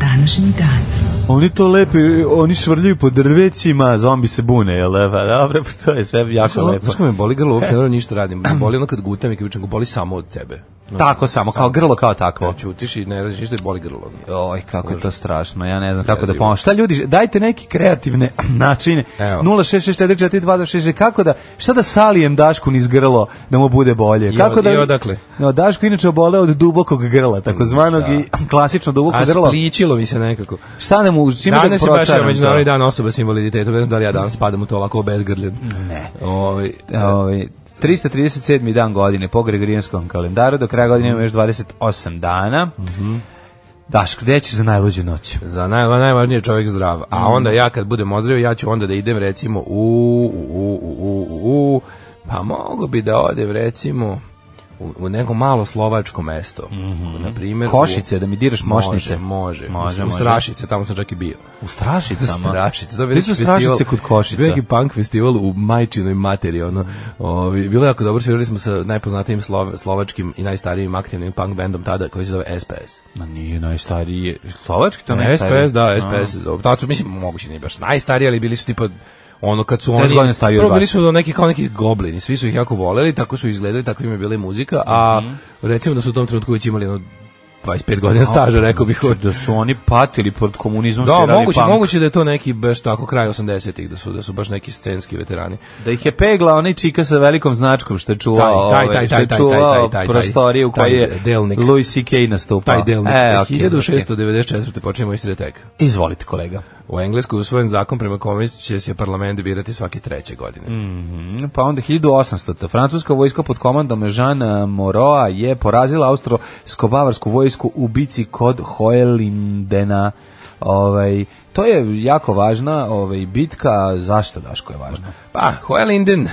današnji dan. Oni to lepi, oni švrljaju po drvećima, zombi se bune, jel? da? Pa dobro, pa to je sve jako Znaš lepo. kako me boli grlo, uopšte ne moram ništa da radim. Me boli ono kad gutam i kad pričam, boli samo od sebe. Pa Tako samo, kao grlo kao takvo. Ćutiš i ne radiš ništa i boli grlo. Oj, kako je to strašno, ja ne znam kako da pomoći. Šta ljudi, dajte neke kreativne načine. Evo. 066442266, kako da, šta da salijem Dašku niz grlo da mu bude bolje? I Kako od- da, i odakle? No, Daško inače obole od dubokog grla, takozvanog Da. i klasično duboko A grlo. spličilo mi se nekako. Šta da mu, čime da Danas je baš pročaram međunarodni to? dan osoba s invaliditetom, ne znam da li ja danas spadam u to ovako obezgrljen. Ne. Ovaj, Ovaj, 337. dan godine po Gregorijanskom kalendaru, do kraja godine ima još 28 dana. Mhm. Daško, gde ćeš za najluđu noć? za naj, najvažnije je čovjek zdrav. A Mm. onda ja kad budem ozdravio, ja ću onda da idem recimo u, u, u, u, u, u, u pa mogu bi da odem recimo u, u neko malo slovačko mesto. Na primjer, Mhm. Košice, da mi diraš mošnice. Može, može. Može, u, može. Strašice, tamo sam čak i bio. U Strašicama? Strašice, to je bio Gde su neki festival- Strašice kod Košica? bio je neki punk festival u majčinoj materiji, ono. Ovi, bilo je jako dobro, svirali smo sa najpoznatijim slova- slovačkim i najstarijim aktivnim punk bandom tada, koji se zove SPS. Ma nije najstariji. Slovački to Ne, najstariji? SPS, da, SPS. se zove. Tad su, mislim, moguće nije baš najstariji, ali bili su tipa ono kad su 10 godina oni stariji od prvo bili vas. su do neki kao neki goblini svi su ih jako voleli tako su izgledali tako im je bila i muzika a Mhm. recimo da su u tom trenutku već imali ono 25 godina staža rekao bih Znači Da su oni patili pod komunizmom, da svirali moguće punk. moguće da je to neki baš tako kraj 80-ih da su da su baš neki scenski veterani Da ih je pegla onaj čika sa velikom značkom što je čuvao, Taj, taj, ovaj, taj, što je taj, taj, čuvao taj, taj, taj, prostorije u taj kojoj je delnik. Louis C.K. nastupao. taj delnik E, okej, 1694. počinjemo iz Treteka. okej. Izvolite, kolega. U Engleskoj je usvojen zakon prema kome će se parlament birati svake treće godine. Mhm, Pa onda 1800. Francuska vojska pod komandom Jeana Moroa je porazila austro-skobavarsku vojsku u bici kod Hoelindena. Ovaj, to je jako važna ovaj, bitka. Zašto, Daško, je važna? Pa, Hoelinden,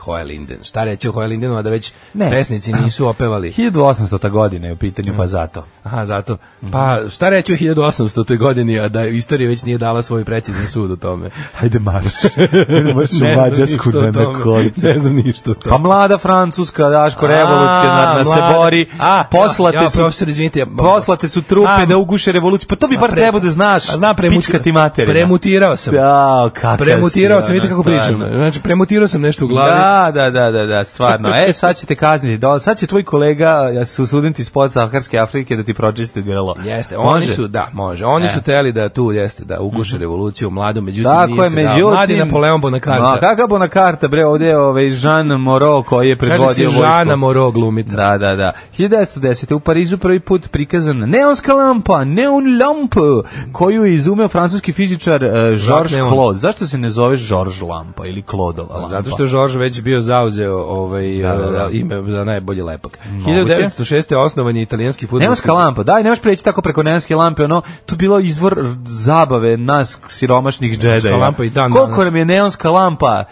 Hoelinden, šta reći o Hoelindenu, a da već Ne. pesnici nisu opevali. 1800. godine je u pitanju, pa zato. Aha, zato. Pa, šta reći o 1800. godini, a da istorija već nije dala svoj precizni sud o tome. Hajde marš. Hajde marš u Ne znam Mađarsku ništa o na tome. nekolicinu. Ne znam ništa o Pa tome. mlada Francuska, Daško, revolucionarna A, se mlada- bori, A, poslate ja, ja, su... profesor, izvinite, ja- Poslate su trupe A, da uguše revoluciju. Pa to bi bar pre- trebao da znaš. A znam, premuti- pička ti materina. premutirao sam. Da, kakav Premutirao si, sam, ono, vidite kako pričam. stvarno. Znači, premutirao sam nešto u glavi. Da, da, da, da, da, stvarno. E, sad će te kazniti. Do, sad će tvoj kolega, ja su studenti iz podsaharske Afrike, da ti pročiste grlo. Jeste, oni Može? su, da, može. Oni E. Mhm. su teli da tu jeste, da uguše revoluciju mladu, međutim Tako nije je, se dao. međutim... da, Mladi Napoleon da. Bonaparte. Ma, kakav Bonakarta, bre, ovdje je ovaj Jean Moreau koji je predvodio Kaže se vojsku. Žana Moro glumica. Da, da, da. 1910. u Parizu prvi put prikazan neonska lampa, neon lamp, koju je izumeo francuski fizičar uh, Georges Neon. Pa Claude. Zašto se ne zove Georges lampa ili Claudeova lampa? Zato što je Žorž već bio zauzeo ovaj, da, da. e, ime za najbolji lepak. Moguće. 1906. osnovan je italijanski futbolski... Neonska lampa, daj, nemaš preći tako preko neonske lampe, ono, to je bilo izvor zabave nas siromašnih džedaja. lampa i dan Koliko danas. nam je neonska lampa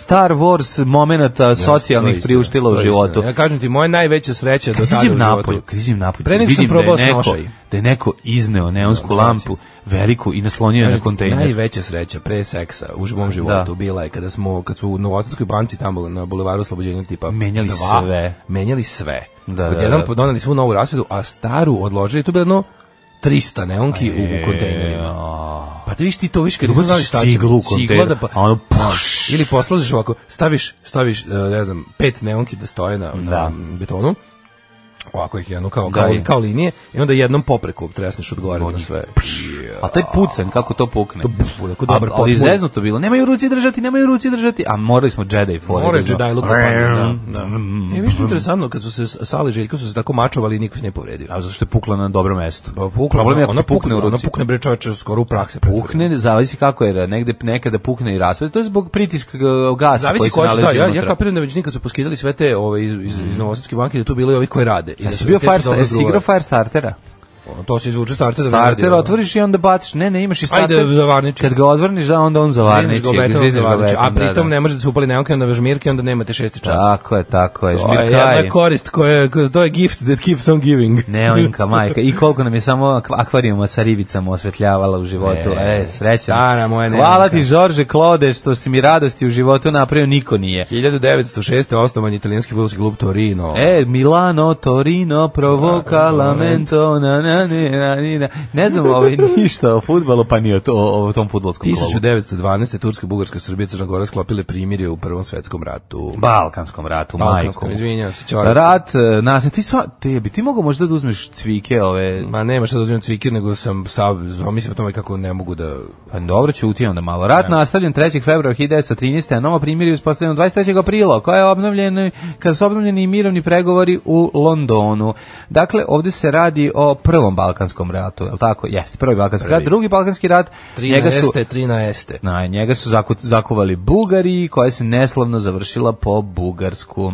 Star Wars momenata socijalnih To je istina, priuštila u to je životu. istina. Ja kažem ti, moja najveća sreća do Kad tada u izim životu. napolje, kad izim napolje, Pre nego što sam vidim da je probao neko- snošaj. Da, Da je neko izneo neonsku lampu, veliku, i naslonio je na kontejner. Da Najveća sreća pre seksa u mom životu bila je kada smo kad su u Novosadskoj banci tamo na bulevaru Oslobođenja tipa Menjali dva, sve. Menjali sve. Da, Da, Od da, jedan da. doneli svu novu rasvetu, a staru odložili, to je bilo jedno 300 neonki u, u kontejnerima. Pa ti viš ti to viš kad nisam Ubaciš znali šta će. ciglu u kontejner, da pa, a ono puš. Ili poslaziš ovako, staviš, staviš, e, ne znam, pet neonki da stoje na, na Da. betonu, ovako ih jedno kao, Da, kao, je. kao linije, i onda jednom popreku tresneš od gore Znači, na sve. A taj pucanj, kako to pukne. To buf, onako dobar A- ali potpun. zezno to bilo. Nemaju ruci držati, nemaju ruci držati. A morali smo Jedi for. Moraju Jedi look da padne, da, Mm. E, viš što je interesantno, kad su se Sali i Željko su se tako mačovali i niko se ne povredio. A zašto je pukla na dobro mesto? Pa pukla, Problem je ako ona ti pukne u ruci. Ona pukne bre čoveče skoro u prakse. Pukne, ne zavisi kako je, negde nekada pukne i rasvede. To je zbog pritiska e, gasa koji Zavisi se ko nalazi što, da, ja, ja unutra. kapiram da već nikad su poskidali sve te ove, iz, iz, iz Novosadske banke, da tu bilo i ovi koji rade. I da Jesi su- bio te su Firestar, dobro jesi igrao odgovarali. Firestartera? Ono, To se izvuče starter. da ne radi, Starter ono. otvoriš i onda baciš. Ne, ne, imaš i starter. Ajde, zavarniči. Kad ga odvrniš, da, onda on zavarniči. Zrineš ga obetom, Zrineš ga zavarniče. A obetom, da, pritom da. ne može da se upali neonka na vežmirke, onda nemate šesti čas. Tako je, tako je. To je jedna Žmirkaj. korist, koja, koja- to je gift that keeps on giving. Neonka majka. I koliko nam je samo ak- akvarijuma sa ribicama osvetljavala u životu. E, E, srećan. stara moja neonka. Hvala ti, Žorže Klode, što si mi radosti u životu napravio, niko nije. 1906. osnovan je italijanski futbolski klub Torino. E, Milano, Torino, provoca, lamento, na, na, na, ne, na, ni, na. Ne znam ovaj, ništa o futbalu, pa ni o, to, o tom futbolskom klubu. 1912. Turska, Bugarska, Srbija, Crna Gora sklopile primirje u Prvom svetskom ratu. Balkanskom ratu, Balkanskom, majkom. izvinjavam se, ćorav sam. Rat, e, nas, ti, sva, te, bi ti mogao možda da uzmeš cvike ove... Ma nema šta da uzimam cvikir, nego sam sav, mislim o tome kako ne mogu da... Pa dobro, ćuti onda malo. Rat nastavljen 3. februara 1913. a novo primjer je uspostavljeno 23. aprila, koja je obnovljena, kada su obnovljeni i mirovni pregovori u Londonu. Dakle, ovde se radi o prvom Balkanskom ratu, je li tako? Jeste, prvi Balkanski rat. Drugi Balkanski rat, 13. njega su... este, 13. Na, njega su zaku, zakovali Bugari, koja se neslavno završila po Bugarsku.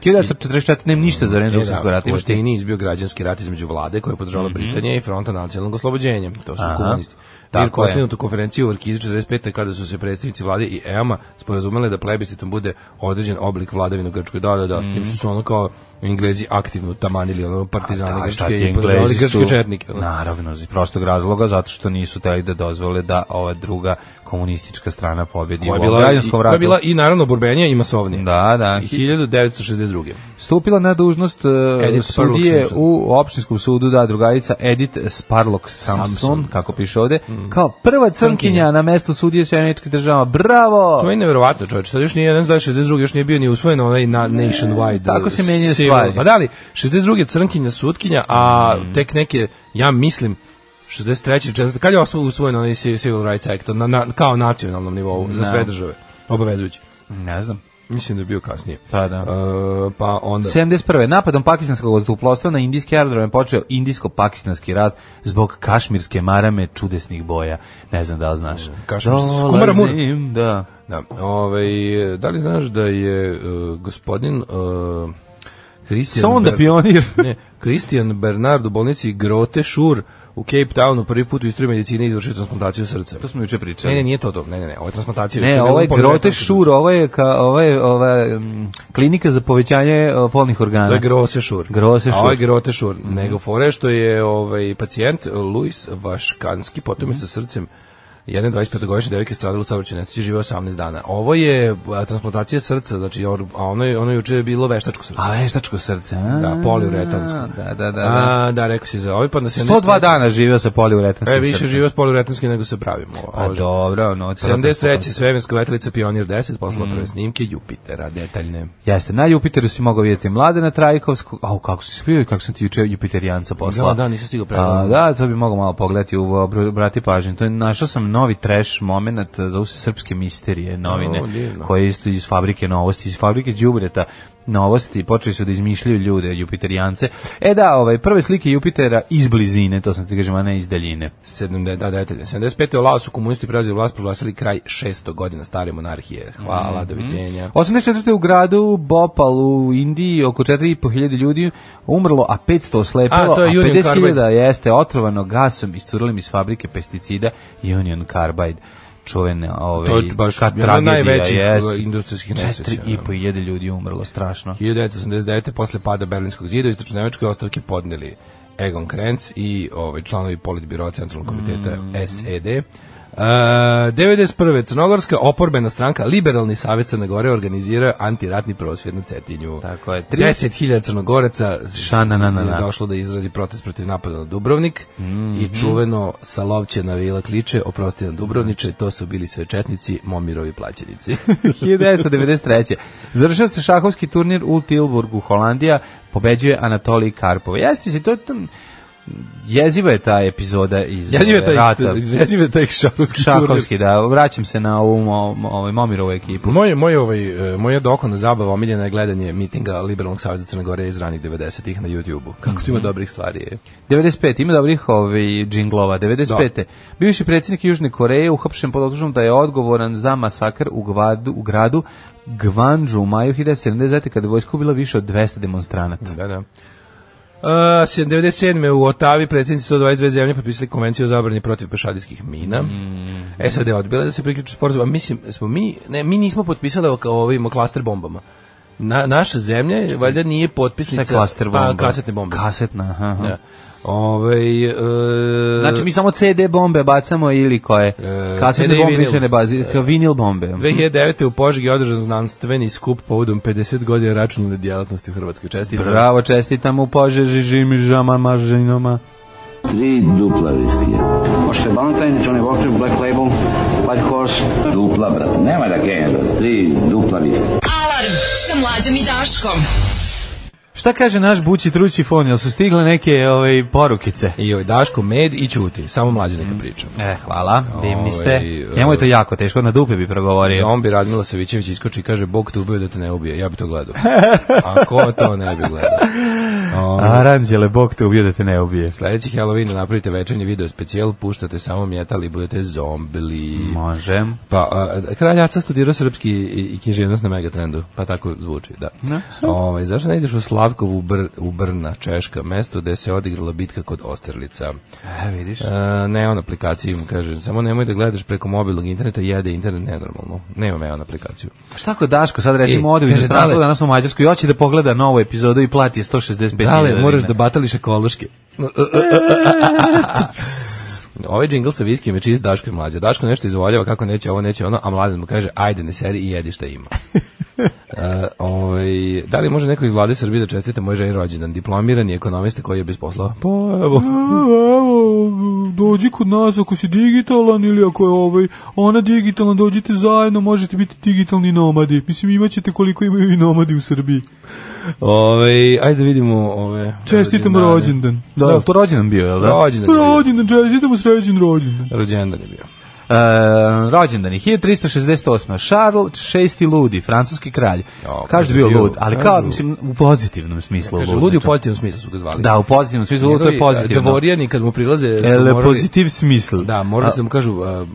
1944. nema ništa za vreme da, drugog svjetskog rata. u imaš ti? Mhm. Atini izbio građanski rat između vlade koja je podržala Britanija i fronta nacionalnog oslobođenja. To su Aha. komunisti. Tako Mir je. postignutu konferenciju u Arkizu 45. kada su se predstavnici vlade i EAMA sporazumele da plebiscitom bude određen oblik vladavine u Grčkoj. Da, da, da, s tim Mhm. što su ono kao Englezi aktivno tamanili ono partizane Da, šta Grčke ti i podržavali Englezi Grčke su... četnike. da. ono. Naravno, iz prostog razloga, zato što nisu teli da dozvole da ova druga komunistička strana pobedi u Koja je ovom bila, i, građanskom koja je ratu. bila i naravno borbenija i masovnija. Da, da. I 1962. Stupila na dužnost e, Edith sudije Sparlok Sampson. u opštinskom sudu, da, drugarica Edith Sparlok Samson, Sampson. kako piše ovde, Mm. kao prva crnkinja na mesto sudije Sjeničke država. Bravo! To je neverovatno, čoveče. Sad još nije, ja ne znam da je 62. još nije bio ni usvojen onaj na, nationwide. tako se menjaju civil. stvari. Mm. Ma da li, 62. crnkinja sutkinja, a tek neke, ja mislim, 63. 4. Kad je osvo- usvojen onaj ci- Civil Rights Act, na, na, kao nacionalnom nivou, Da. za sve države, obavezujući. Ne znam. Mislim da je bio kasnije. Pa da. E, pa onda... 71. Da. Napadom pakistanskog vazduhoplovstva na indijski aerodrom je počeo indijsko-pakistanski rat zbog kašmirske marame čudesnih boja. Ne znam da li znaš. kašmirski- s Kumara Mura. Dolazim, Da. Da, ovaj, da li znaš da je e, gospodin uh, Christian Sonda Ber- da pionir. da- ne, Christian Bernard u bolnici Grote Šur u Cape Townu prvi put u istoriji medicine izvršio transplantaciju srca. To smo juče pričali. Ne, ne, nije to to. Ne, ne, ne, ovo je transplantacija. Ne, Juče je ovo je bilo pored- Grote Šur, ovo je, ka, ovo je ova, mm, klinika za povećanje e, polnih organa. To je Grose Šur. Grose A ovo Šur. je Mhm. Grote Šur. Nego fore što je ovaj, pacijent Luis Vaškanski, potom Mhm. je sa srcem jedne 25-godišnje devojke stradalo u saobraćaju nesreći, živeo 18 dana. Ovo je a, transplantacija srca, znači, or- a ono, je- ono juče je bilo veštačko srce. A veštačko srce. A, Da, poliuretansko. Da, da, da. da. A, da, rekao si za ovaj, pa da se... ne 102 srećem. dana živio sa poliuretanskim E, više srcem. živio s poliuretanskim nego se pravimo. A Pa dobro, no. to- 73. svemirska letelica Pionir 10 poslala prve snimke Jupitera, detaljne. Jeste, na Jupiteru si mogao vidjeti Mladena Trajkovskog, au, kako si skrivio i kako sam ti juče Jupiterijanca poslao. Da, da, nisam stigao A, pregledati. da, to bi mogao malo pogledati, u, obr- obrati pažnju. To je, našao sam novi trash moment, zove se Srpske misterije novine, O, divno. koje je isto iz fabrike novosti, iz fabrike Đubreta novosti, počeli su da izmišljaju ljude, Jupiteriance. E da, ovaj, prve slike Jupitera iz blizine, to sam ti kažem, a ne iz daljine. 70, da, detaljne. 75. u Laosu komunisti preuzeli vlast, proglasili kraj 600 godina stare monarhije. Hvala, doviđenja. 84. u gradu Bopal u Indiji oko 4.500 ljudi umrlo, a 500 oslepilo, A, a, to je Union 50.000 Carbide. jeste otrovano gasom, iscurlim iz fabrike pesticida Union Carbide čuvene ove To je baš ka jedna od tragedija najvećih, jest. uh, industrijskih nesreća, Četiri i po hiljade ljudi umrlo strašno 1989. posle pada Berlinskog zida u istočno Nemačkoj ostavke podneli Egon Krenz i ovaj, članovi Politbiro Centralnog komiteta Mm. SED. E, 91. Crnogorska oporbena stranka Liberalni savjet Crne Gore organizira antiratni prosvjed na Cetinju. Tako je. 10.000 Crnogoraca Šananana. je došlo da izrazi protest protiv napada na Dubrovnik i Mhm. čuveno Salovćena vila kliče oprosti nam Dubrovniče, to su bili sve četnici, momirovi plaćenici. 1993. Završio se šahovski turnir u Tilburgu, Holandija, pobeđuje Anatolij Karpov. Jeste se to tam jeziva je ta epizoda iz Ja njime ove, taj, rata. ja njime taj šarovski turnir. Šahovski, da, vraćam se na ovu mo- mo- ovaj Momirovu ekipu. Moj, moj, ovaj, e, moja dokonna zabava omiljena je gledanje mitinga Liberalnog saveza Crne Gore iz ranih 90-ih na YouTube-u. Kako tu Mhm. ima dobrih stvari e? je. 95. ima dobrih ovaj džinglova. 95. Da. Bivši predsjednik Južne Koreje uhapšen pod optužbom da je odgovoran za masakr u, gvadu, u gradu Gvanđu u maju 1970. kada je vojska ubila više od 200 demonstranata. Da, da. Uh, 97. u Otavi predsjednici 122 zemlje potpisali konvenciju o zabrani protiv pešadijskih mina. Mhm. SAD je odbila da se priključi sporazum, a mislim, smo mi, ne, mi nismo potpisali o, o ovim o klaster bombama. Na, naša zemlja, je, valjda, nije Ne, potpisnica klaster bomba. pa, kasetne bombe. Kasetna, aha, aha. Da. Ovaj, e, Znači mi samo CD bombe bacamo ili koje? CD Kasetne E, i bombe vinil. E. više ne bazi, ka- vinil bombe. 2009. u Požegi je održan znanstveni skup povodom 50 godina računalne djelatnosti u Hrvatskoj česti. Bravo, čestitam u Požeži, Žimi, Žama, Mažinoma. Tri dupla viskija. Možete Valentine, Johnny Walker, Black Label, White Horse. Dupla, brate, nema da kenja, brate. Tri dupla viskija. Alarm sa mlađom i Daškom. Šta kaže naš bući trući fon, jel su stigle neke ove, porukice? I joj, Daško, med i ćuti. Samo mlađe neka priča. E, hvala, divni ste. Ovaj, Njemu je to jako teško, na dupe bi progovorio. Zombi E, Radmila Savićević iskoči i kaže Bog te ubio da te ne ubije. Ja bi to gledao. A ko to ne bi gledao? Ovaj, Aranđele, Bog te ubije da te ne ubije. Sledeći Halloween napravite večernji video specijal, puštate samo metal i budete zombili. Može. Pa, a, kralj Aca studirao srpski i, i književnost na Megatrendu, pa tako zvuči, da. Ovaj, zašto ne ideš u Slavkovu u, Br, u Brna, Češka, mesto gde se odigrala bitka kod Osterlica? E, vidiš. E, ne on aplikaciju, mu kažem, samo nemoj da gledaš preko mobilnog interneta, jede internet nenormalno. Nemam ja on aplikaciju. Šta ako Daško sad recimo E, ode u kaže, inostranstvo dale. danas u Mađarsku i hoće da pogleda novu epizodu i plati je 165 Dale, dinara. moraš da batališ ekološke. Ovaj džingl sa viskijem je čist Daško i mlađa. Daško nešto izvoljava kako neće ovo, neće ono, a mladen mu kaže ajde ne seri i jedi šta ima. E, ovaj, da li može neko iz vlade Srbije da čestite moj ženi rođendan, diplomirani ekonomista koji je bez posla? Pa evo. Evo, dođi kod nas ako si digitalan ili ako je ovaj, ona digitalan, dođite zajedno, možete biti digitalni nomadi. Mislim, imaćete koliko imaju i nomadi u Srbiji. Ovaj, ajde da vidimo ove. Čestitam rođendane. rođendan. Da, da, to rođendan bio, jel da? Rođendan. je bio. Rođendan, čestitam sređen rođendan. Rođendan je bio. E, rođendan je 1368. Charles VI ludi, francuski kralj. O, Kaže da je bio lud, ali kao kažu- mislim u pozitivnom smislu. Kaže, lud, ludi u znači- pozitivnom smislu su ga zvali. e, da Da, u pozitivnom smislu, lud, to je pozitivno. E, Devorijani kad mu prilaze... Da su El morali- pozitiv smisl. Da, morali su da mu kažu uh,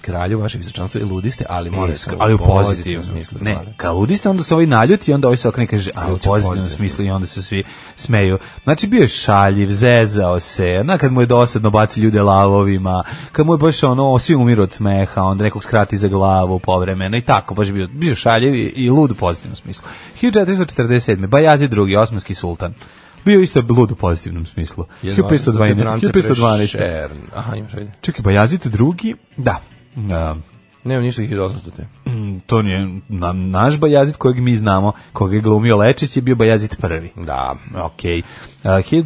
kralju vaše visočanstvo i ludi ste, ali morali Iskra- ste e, ali u pozitivnom smislu. da. smislu. da. Ne, zvali. kao ludista, onda se ovaj naljuti i onda ovaj se okne i kaže, ali u će u pozitivnom pozitivnom smislu i onda se svi smeju. Znači, bio je šaljiv, zezao se, na kad mu je dosadno baci ljude lavovima, kad mu je baš ono, svi umiru od smeha, onda nekog skrati za glavu povremeno i tako, baš je bio, bio šaljiv i, i lud u pozitivnom smislu. 1447. Bajazi II, osmanski sultan. Bio isto lud u pozitivnom smislu. 1512. 1512. Šern. Aha, imaš ajde. Čekaj, Bajazit drugi? Da. Um, Nemam ništa 1800 te. Mm, to nije na, naš Bajazit kojeg mi znamo, koga je glumio Lečić je bio Bajazit prvi. Da. Ok.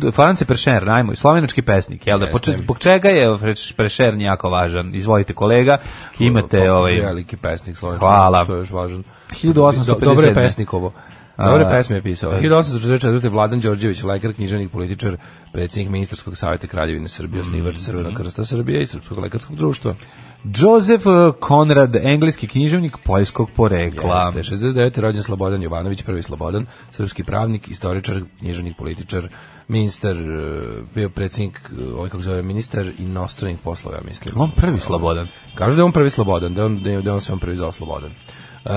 Uh, France Prešer, najmo, slovenački pesnik, jel da? Jeste. Poče- Zbog čega je Fre- Prešern jako važan? Izvolite kolega, imate Pop- ovaj... Veliki pesnik slovenski. Hvala. To je još važno. 1857. Do- Dobro je pesnik ovo. Dobre A, pesme je pisao. 1844. Vladan Đorđević, lekar, književnik, političar, predsjednik ministarskog savjeta Kraljevine Srbije, osnivač Mhm. Crvenog krsta Srbije i Srpskog lekarskog društva. Joseph uh, Konrad, engleski književnik poljskog porekla. Jeste, 69. rođen Slobodan Jovanović, prvi Slobodan, srpski pravnik, istoričar, književnik, političar, ministar, e, bio predsjednik, e, ovaj kako zove, ministar inostranih poslova, ja mislim. On prvi Slobodan. Kažu da je on prvi Slobodan, da je on, da je da je on se on prvi zvao Slobodan. Uh,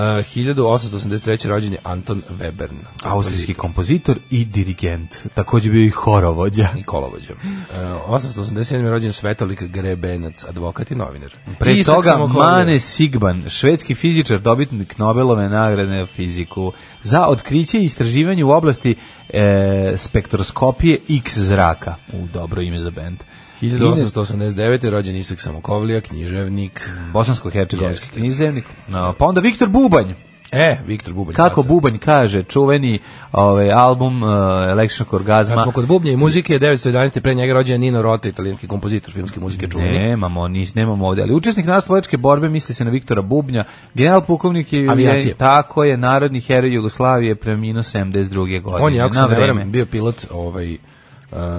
1883. rođen je Anton Webern. Austrijski kompozitor i dirigent. Takođe bio i horovođa. i kolovođa. E, 887. je rođen Svetolik Grebenac, advokat i novinar. Pre Isak toga Samokovljev. Mane Sigban, švedski fizičar, dobitnik Nobelove nagrade na fiziku za otkriće i istraživanje u oblasti e, spektroskopije X zraka. U dobro ime za bend. 1889. je rođen Isak Samokovlija, književnik. Bosansko-hercegovski Jeste. književnik. No, pa onda Viktor Bubanj. E, Viktor Bubanj. Kako Sad sam- Bubanj kaže, čuveni ovaj album e, Electric Kad smo Orgasma. kod bubnja i muzike, 911. pre njega rođen Nino Rota, italijanski kompozitor filmske muzike čuveni. Nemamo, nis, nemamo ovde, ali učesnik narodnooslobodilačke borbe misli se na Viktora Bubnja, general pukovnik je Avijacije. je- tako je narodni heroj Jugoslavije preminuo 72. godine. On je, ako se na ne vreme. varam, bio pilot, ovaj, uh,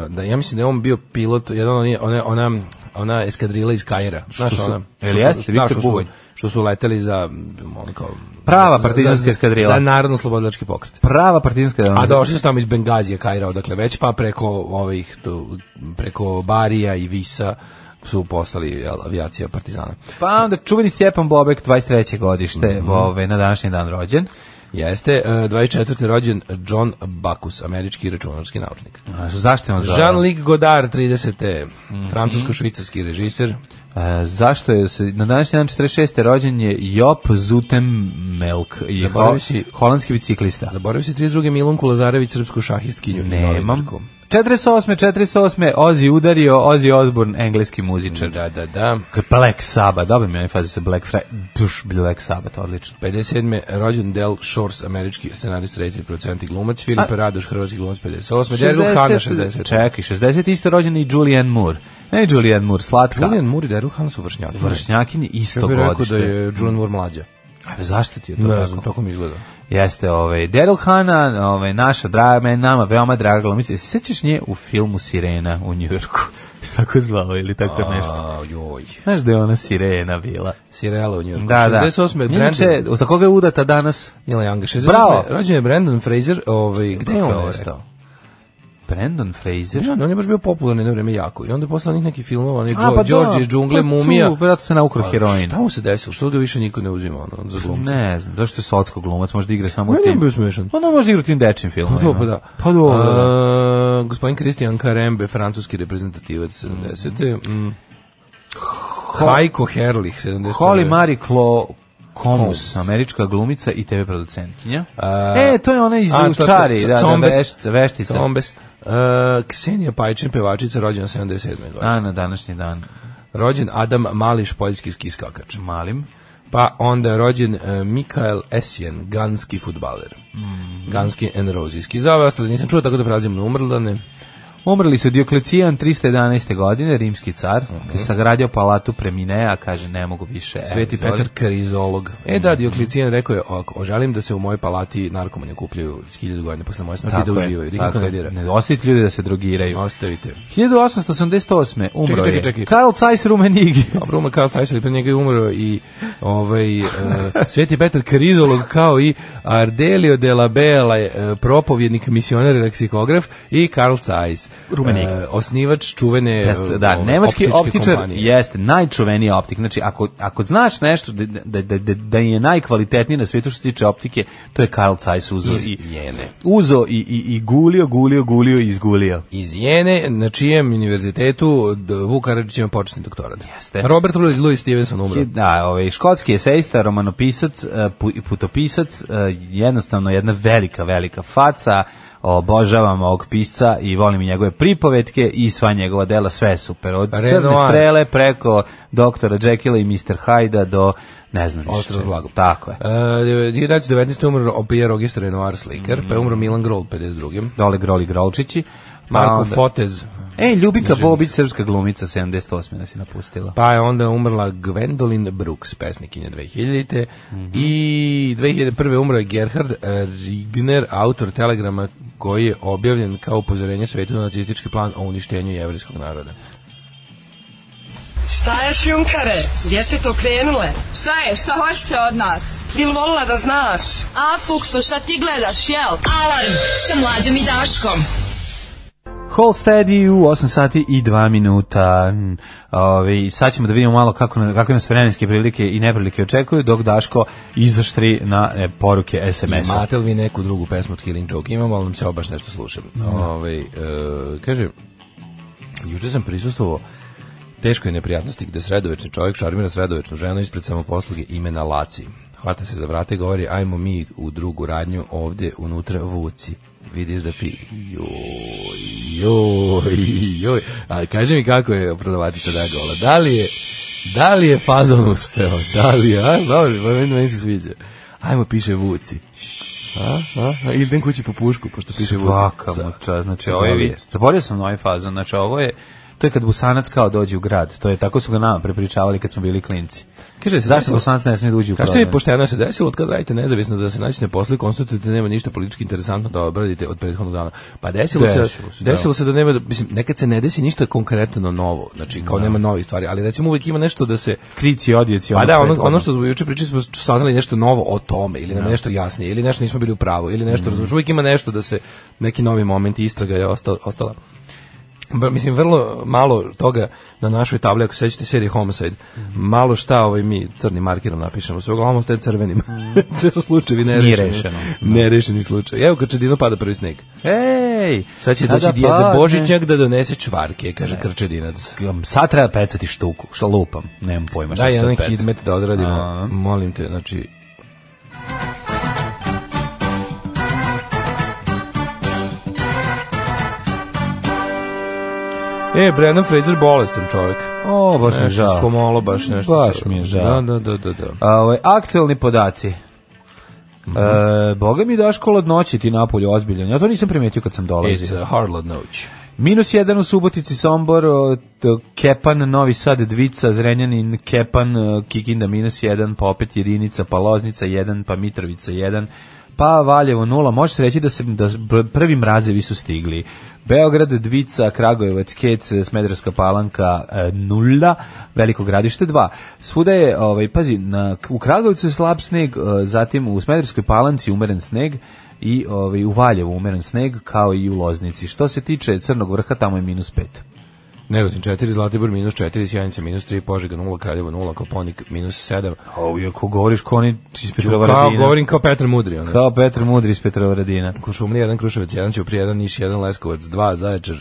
da, ja mislim da je on bio pilot, jedan on je, ona, ona, ona eskadrila iz Kaira. Znaš, su- ona, jel jeste, da, Viktor što su- Bubanj? Što su leteli za, mm, ono kao... Prava za- za- partizanska za- eskadrila. Za narodno slobodilački pokret. Prava partizanska A došli su tamo iz Bengazija, Kaira, odakle već, pa preko ovih, tu, preko Barija i Visa su postali jel, avijacija partizana. Pa onda čuveni Stjepan Bobek, 23. godište, Mhm. ove, na današnji dan rođen. Jeste, e, 24. rođen John Backus, američki računarski naučnik. A, zašto je on zvao? Jean-Luc Godard, 30. Mhm. Francusko-švicarski režiser. E, zašto je se, na današnji dan 46. rođen je Jop Zutemelk, i Zaboravio ho- si- holandski biciklista. Zaboravio se 32. Milunku Lazarević, srpsku šahistkinju. i Nemam. novinarku. 48. 48. Ozzy udario, Ozzy Osbourne, engleski muzičar. Da, da, da. Black Sabbath, dobro mi je fazi se Black Friday, Pš, Black Sabbath, odlično. 57. rođen Del Shores, američki scenarist, reditelj, producent i glumac, Filip Radoš, hrvatski glumac, 58. Daryl Hana, 60. Čekaj, 60. isto rođena i Julianne Moore. Ne Julianne Moore, slatka. Julian Moore i Daryl Hana su vršnjaci. Vršnjakinje isto Ja bih rekao godište. da je Julian Moore mlađa. A pa zašto ti je to Ne tako? znam, tako mi izgleda. Jeste, ovaj, Daryl Hana, ovaj, naša draga, meni nama veoma draga glumica. Se Sećaš nje u filmu Sirena u Njujorku? Se tako zvao ili tako nešto? A, joj. Znaš da je ona Sirena bila? Sirela u Njurku. Da, da. 68. Brandon. Inače, za koga je udata danas? Neil Young. 68. Bravo. Rođen je Brandon Fraser. Ovaj, gde je on nestao? Brandon Fraser? Ja, on je baš bio popularan jedno vreme jako. I onda je posle onih nekih filmova, onaj A, Đo- Đorđe iz džungle, da. Pa, mumija. Tu, vjerojatno se naukro Pa, heroin. Šta mu se desilo? Što ga više niko ne uzima ono, za glumca? Ne znam, došto je socko glumac, možda igra samo u Meni je tim. Pa bio smešan. Ona može igrati u tim dečim filmima. Pa to pa da. Pa dobro, da. Mm. A, Gospodin Kristijan Karembe, francuski reprezentativac 70. Mm. Hajko Herlih, 71. Holly Marie Klo Komus, američka glumica i TV producentkinja. A, e, to je ona iz A, to- Čari, to- da, da, Combes. veštica. veštica. Combes. Uh, Ksenija Pajčin, pevačica, rođena 77. A, godine. na današnji dan. Rođen Adam Mališ, poljski skiskakač. Malim. Pa onda je rođen e, Mikael Essien, ganski futbaler. Mm. Ganski enrozijski. Za ove ostale nisam čuo, tako da prelazim na umrlane. Umrli su Dioklecijan 311. godine, rimski car, koji je sagradio palatu Preminea, kaže ne mogu više. evo, E, Sveti izvoli. Mm. Petar Karizolog. E da, Dioklicijan rekao je, "Ako ožalim da se u mojoj palati narkomani kupljaju hiljadu godina posle moje smrti i da Tako je, uživaju, da ih tako niko ne je. dira. Ne ostavite ljudi da se drogiraju. Ostavite. 1888. umro Čekaj, je čekaj, čekaj. Karl Zeiss Rumenigi. Dobro, umro Pa, Karl Zeiss, ali pre njega je umro i ovaj, e, Sveti Petar Karizolog kao i Ardelio de la Bella, e, propovjednik, misionar i leksikograf i Karl Zeiss. Rumenik. E, osnivač čuvene Jeste, e, da, ove, nemački optičke optičar kompanije. jeste najčuvenija optik. Znači, ako, ako znaš nešto da, da, da, da- da je najkvalitetniji na svijetu što se tiče optike, to je Karl Zeiss uzo Iz i, Jene. uzo i, i, i gulio, gulio, gulio i izgulio. iz Jene, na čijem univerzitetu d- Vuk Karadžić ima početni doktorat. Jeste. Robert Louis, Louis Stevenson umro. Da, ovaj, škotski esejista, romanopisac, e, pu- putopisac, e, jednostavno jedna velika, velika faca, obožavam ovog pisca i volim i njegove pripovetke i sva njegova dela, sve je super. Od Crne Renoir. strele preko doktora Jekylla i Mr. Hyda do, ne znam više. Ostrvo blago. Tako je. E, 1919. umro Pierre Auguste Renoir slikar, Mhm. pa je umro Milan Grol 52. Dole Groli Grolčići. pa Marko onda- Fotez, Ej, Ljubika Bobić, srpska glumica, 78. nas je napustila. pa je onda umrla Gwendolyn Brooks, pesnikinja 2000. I 2001. umro je Gerhard e, Rigner, autor telegrama koji je objavljen kao upozorenje svetu na nacistički plan o uništenju jevrijskog naroda. Šta je šljunkare? Gdje ste to krenule? Šta je, šta hoćete od nas? Bil volila da znaš? A, Fukso, šta ti gledaš, jel? Alarm sa mlađom i Daškom. Holstedi u 8 sati i 2 minuta. Mm, Ove, sad ćemo da vidimo malo kako, na- kakve nas vremenske prilike i neprilike očekuju, dok Daško izaštri na e, poruke SMS-a. Imate li vi neku drugu pesmu od Killing Joke? Imam, ali nam se ovo baš nešto slušam. Ovaj, e, kaže, juče sam prisustvovao teškoj neprijatnosti gde sredovečni čovjek šarmira sredovečnu ženu ispred samoposluge imena Laci. Hvata se za vrate i govori, ajmo mi u drugu radnju ovdje unutra vuci. Vidiš da pi... Joj, joj, joj. A kaže mi kako je prodavačica da gola. Da li je, da li je fazon uspeo? Da li je, a? Dobro, meni, meni se sviđa. Ajmo piše vuci. A, a, a, ili idem kući po pušku, pošto piše vuci. Svaka Sa- mu čast, znači sa ovo je Golije. vijest. Zaborio sam na ovaj fazon, znači ovo je, to je kad Busanac kao dođe u grad, to je tako su ga nama prepričavali kad smo bili klinci. Kaže, se Zašto desilo- Busanac ne smije da uđe u Kažete prodaju? mi pošteno se desilo od kad radite nezavisno da se naći na poslu i konstatujete da nema ništa politički interesantno da obradite od prethodnog dana. Pa desilo, Desilo se, se, da. desilo se da nema, da- mislim, nekad se ne desi ništa konkretno novo, znači Da. kao nema novih stvari, ali recimo uvijek ima nešto da se Krici, odjeci. Pa da, ono, prethodno. ono što smo juče pričali smo saznali nešto novo o tome ili nam je nešto jasnije ili nešto nismo bili u pravu ili nešto, razumiješ, uvijek ima nešto da se neki novi moment istraga je ostala, ostala. Br- mislim, vrlo malo toga na našoj tabli, ako se sećate serije Homicide, malo šta ovaj mi crnim markerom napišemo, sve uglavnom ostaje crvenim. Sve su slučajevi nerešeni. rešeno. Nerešeni slučaj. Evo Krčedino pada prvi sneg. Ej! Sad će Kada doći djeda padne- Božićnjak da donese čvarke, kaže Krčedinac. sad treba pecati štuku, šta lupam, nemam pojma šta Daj se sad jedan peca. hidmet da odradimo. A. Molim te, znači... E, Brandon Fraser bolestan čovjek. O, baš mi je Nešto žao. skomolo, baš nešto. Baš se- mi je žao. Da, da, da, da. da. A, ovaj, aktualni podaci. E, boga mi Daško ladnoći ti napolju ozbiljan. Ja to nisam primetio kad sam It's dolazio. a hard noć. Minus jedan u Subotici, Sombor, o, t- Kepan, Novi Sad, Dvica, Zrenjanin, Kepan, e, Kikinda minus jedan, pa opet jedinica, pa Loznica jedan, pa Mitrovica jedan, pa Valjevo nula. Može se reći da se da s- br- prvi mrazevi su stigli. Beograd, Dvica, Kragujevac, Kec, Smederska palanka e, nula, Veliko gradište dva. Svuda je, ovaj, pazi, na, u Kragujevcu je slab sneg, e, zatim u Smederskoj palanci umeren sneg, i ovaj, u Valjevu umeren sneg kao i u Loznici. Što se tiče Crnog vrha, tamo je minus 5. Negotin 4, Zlatibor minus 4, Sjanica minus 3, Požega 0, Kraljevo 0, Koponik minus 7. O, ako govoriš ko oni iz Kao, govorim kao Petar Mudri. Ono. Kao Petar Mudri iz Petrovaradina. Kušumlija 1, Kruševac 1, Ćuprija 1, Niš 1, Leskovac 2, Zaječar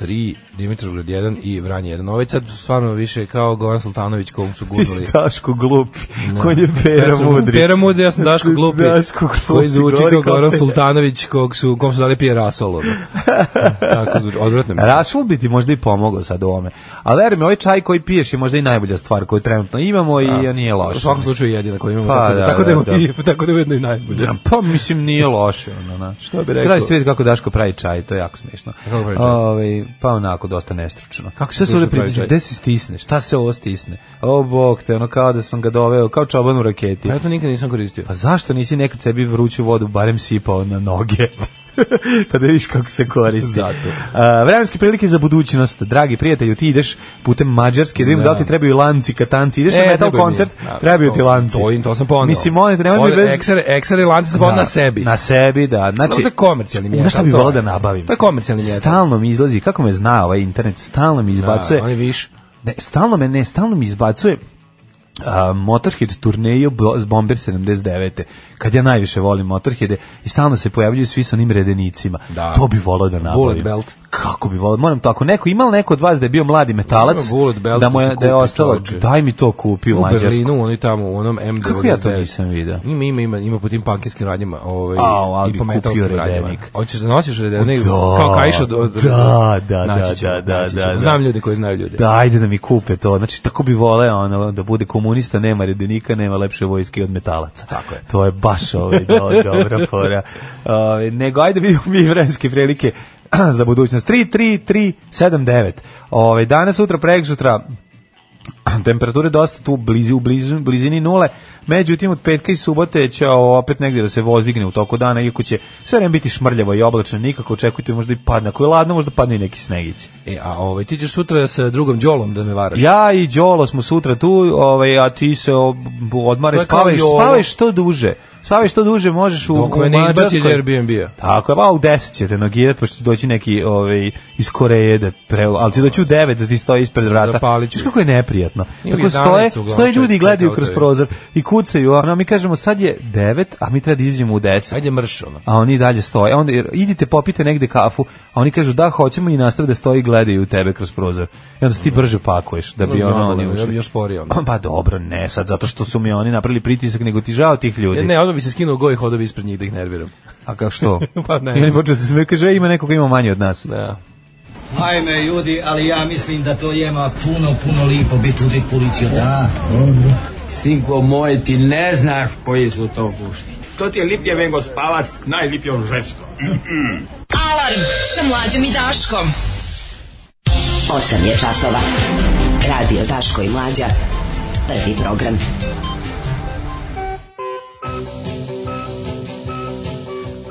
3, Dimitrovgrad 1 i Vranje 1. Ovaj sad stvarno više kao Goran Sultanović kog su Ti gurnuli. si Daško glupi, on je Pera Petar- Da. Mudri. Pera Mudri, ja sam Daško Glupi, Daško glupi, koji zvuči govori kao kao Goran Petar. Sultanović, kog su, kom su dali pije rasolo. Da. Tako zvuči, odvratno mi. je. Rasul bi ti možda i pomogao sad u ovome. Ali veruj mi, ovaj čaj koji piješ je možda i najbolja stvar koju trenutno imamo i on nije loš. U svakom slučaju jedina koju imamo. Pa, tako da, da, tako da, da, imamo da. i- tako da je ujedno i najbolje. Pa mislim nije loše ono, na. Što bi rekao? Gledaj svijet kako Daško pravi čaj, to je jako smiješno. Kako pravi čaj? Ovaj pa onako dosta nestručno. Kako se stručno sve pravi pritisne? čaj? Gde se stisne? Šta se ovo stisne? O bog te, ono kao da sam ga doveo, kao čoban u raketi. Ja to nikad nisam koristio. Pa zašto nisi nekad sebi vruću vodu barem sipao na noge? pa da vidiš kako se koristi. Zato. A, vremenske prilike za budućnost. Dragi prijatelju, ti ideš putem Mađarske, da vidim Da. da li ti trebaju lanci, katanci. Ideš na metal trebaju mi. koncert, Da, trebaju to- ti lanci. To, im, to sam ponao. Mislim, molim te, nemoj mi bez... Da. Eksere, eksere lanci sam ponao Pa na sebi. Na sebi, da. Znači, Znači, to je komercijalni Znaš mjetal. šta bi to je. volao da nabavim? To je komercijalni mjetal. Stalno mi izlazi, kako me zna ovaj internet, stalno mi izbacuje. Da, on je viš. Ne, stalno me ne, stalno mi izbacuje a, Motorhead turneju bo- s Bomber 79. Kad ja najviše volim Motorheade i stalno se pojavljuju svi sa onim redenicima. Da. To bi volao da nabavim. Bullet belt. Kako bi volao? Moram to, ako neko, ima li neko od vas da je bio mladi metalac, Ima bullet belt da, mu da je, se da je kupi, ostalo, čoveče. daj mi to kupi u U Mađarsku. Berlinu, oni tamo, u onom M99. Kako ja to nisam vidio? Ima, ima, ima, ima po tim punkinskim radnjama ovaj, Au, ali i bi po metalskim kupio radnjama. redenik. Hoćeš da nosiš redenik? Da, kao kaiš od... od da, da, da, naći ćemo, da, da, naći ćemo. da, da. Znam ljude koji znaju ljude. Da, ajde da mi kupe to. Znači, tako bi vole ono, da bude komunista, nema redenika, nema lepše vojske od metalaca. Tako je. To je baš ovaj, do, dobra fora. Ovaj, nego, ajde vidimo mi vremenske prilike za budućnost. 3, 3, 3, 7, 9. Ovaj, danas, sutra, prek sutra, temperature dosta tu blizu, u blizu, blizini nule, međutim od petka i subote će opet negdje da se vozdigne u toku dana, iako će sve vreme biti šmrljavo i oblačno, nikako očekujte možda i padne, ako je ladno možda padne i neki snegić. E, a ovaj, ti ćeš sutra sa drugom đolom da me varaš. Ja i Đolo smo sutra tu, ovaj, a ti se ob- odmaraj, To je kao spavaš, Đolo. spavaš što duže. Spavaš što duže, možeš u, Dok u me ne izbaci iz Mađarskoj. Airbnb-a. Tako je, pa u 10 ćete nogirat, pošto će doći neki ovaj, iz Koreje, da pre, ali će doći u 9 da ti stoji ispred vrata. Zapalit ću. Znaš kako je neprijatno. Ili Kako 11 stoje, uglavnom, stoje ljudi i čekaj, gledaju čekaj, kroz otavi. prozor i kucaju, ono, a mi kažemo sad je 9, a mi treba da izađemo u 10 Ajde mrš, ono. a oni dalje stoje. Onda jer, idite popite negde kafu, a oni kažu da hoćemo i nastave da stoji i gledaju tebe kroz prozor. I onda se ti brže pakuješ da bi No, ono zabavno, oni ja bi ušli. još sporije onda. Pa dobro, ne sad zato što su mi oni napravili pritisak, nego ti žao tih ljudi. E, Ne, odmah bi se skinuo go i hodao bi ispred njih da ih nerviram. A kako što? Pa ne. Ili počeo se smije, kaže, e, ima neko ko ima manje od nas. Da. Ajme ljudi, ali ja mislim da to jema puno, puno lipo biti udrik policiju, da? Sinko moj, ti ne znaš koji su to gušti. To ti je lipje vengo spavac, najlipje on žensko. Alarm sa mlađom i Daškom. 8 je časova. Radio Daško i Mlađa. Prvi program.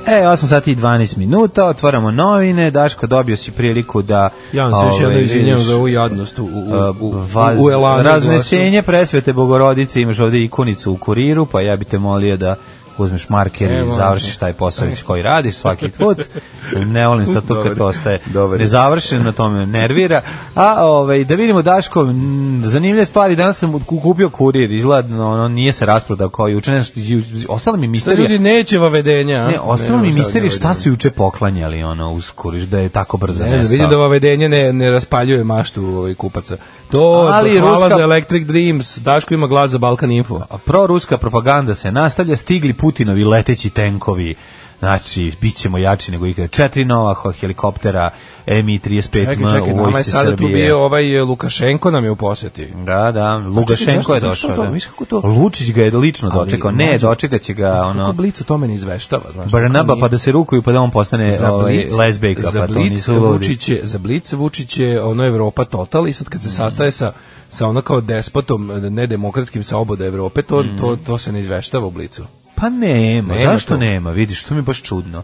E, 8 sati i 12 minuta, otvaramo novine, Daško, dobio si priliku da... Ja vam se još ovaj, jedno izvinjam vidiš, za ovu jadnost u, u, a, u, u, Uh, vaz- u elanu. raznesenje presvete bogorodice, imaš ovdje ikonicu u kuriru, pa ja bi te molio da uzmeš marker Evo, i završiš taj posao već koji radiš svaki put. Ne volim sad to kad Dobar, to ostaje dobar. nezavršeno, to me nervira. A ovaj, da vidimo Daško, mm, zanimljive stvari, danas sam ku- kupio kurir, izgleda, ono, nije se rasprodao kao juče, nešto, ju- ostala mi Da misterija. ljudi neće vavedenja. a? Ne, ostalo Ne, mi ne, misterije šta vavedenja. su juče poklanjali ono uz kuriš da je tako brzo Ne znam, nestao. vidim da vavedenje ne, ne raspaljuje maštu ovaj, kupaca. To, Ali Ali, hvala ruska- za Electric Dreams, Daško ima glas za Balkan Info. A proruska propaganda se nastavlja, stigli Putinovi leteći tenkovi Znači, bit ćemo jači nego ikada. Četiri nova ho- helikoptera Mi-35M Čekaj, čekaj, u nama je vojsci sada tu Srbije. bio ovaj e, Lukašenko nam je u posjeti. Da, da, Lugašenko je došao. da. Lučić ga je lično Ali, dočekao. Ne, mlađe, dočekat će ga, Kako ono... Blic o tome ne izveštava, znaš. Barnaba kako pa da se rukuju pa da on postane Za ovaj, Blic- lesbijka. za pa to Blic nisu ludi. Vučić je, za Blic Vučić je ono Evropa total i sad kad se sastaje sa sa ono kao despotom e, nedemokratskim sa oboda Evrope, to, to, to se ne izveštava u Blicu. Pa nema, Nema zašto to. nema? Vidiš, to mi je baš čudno.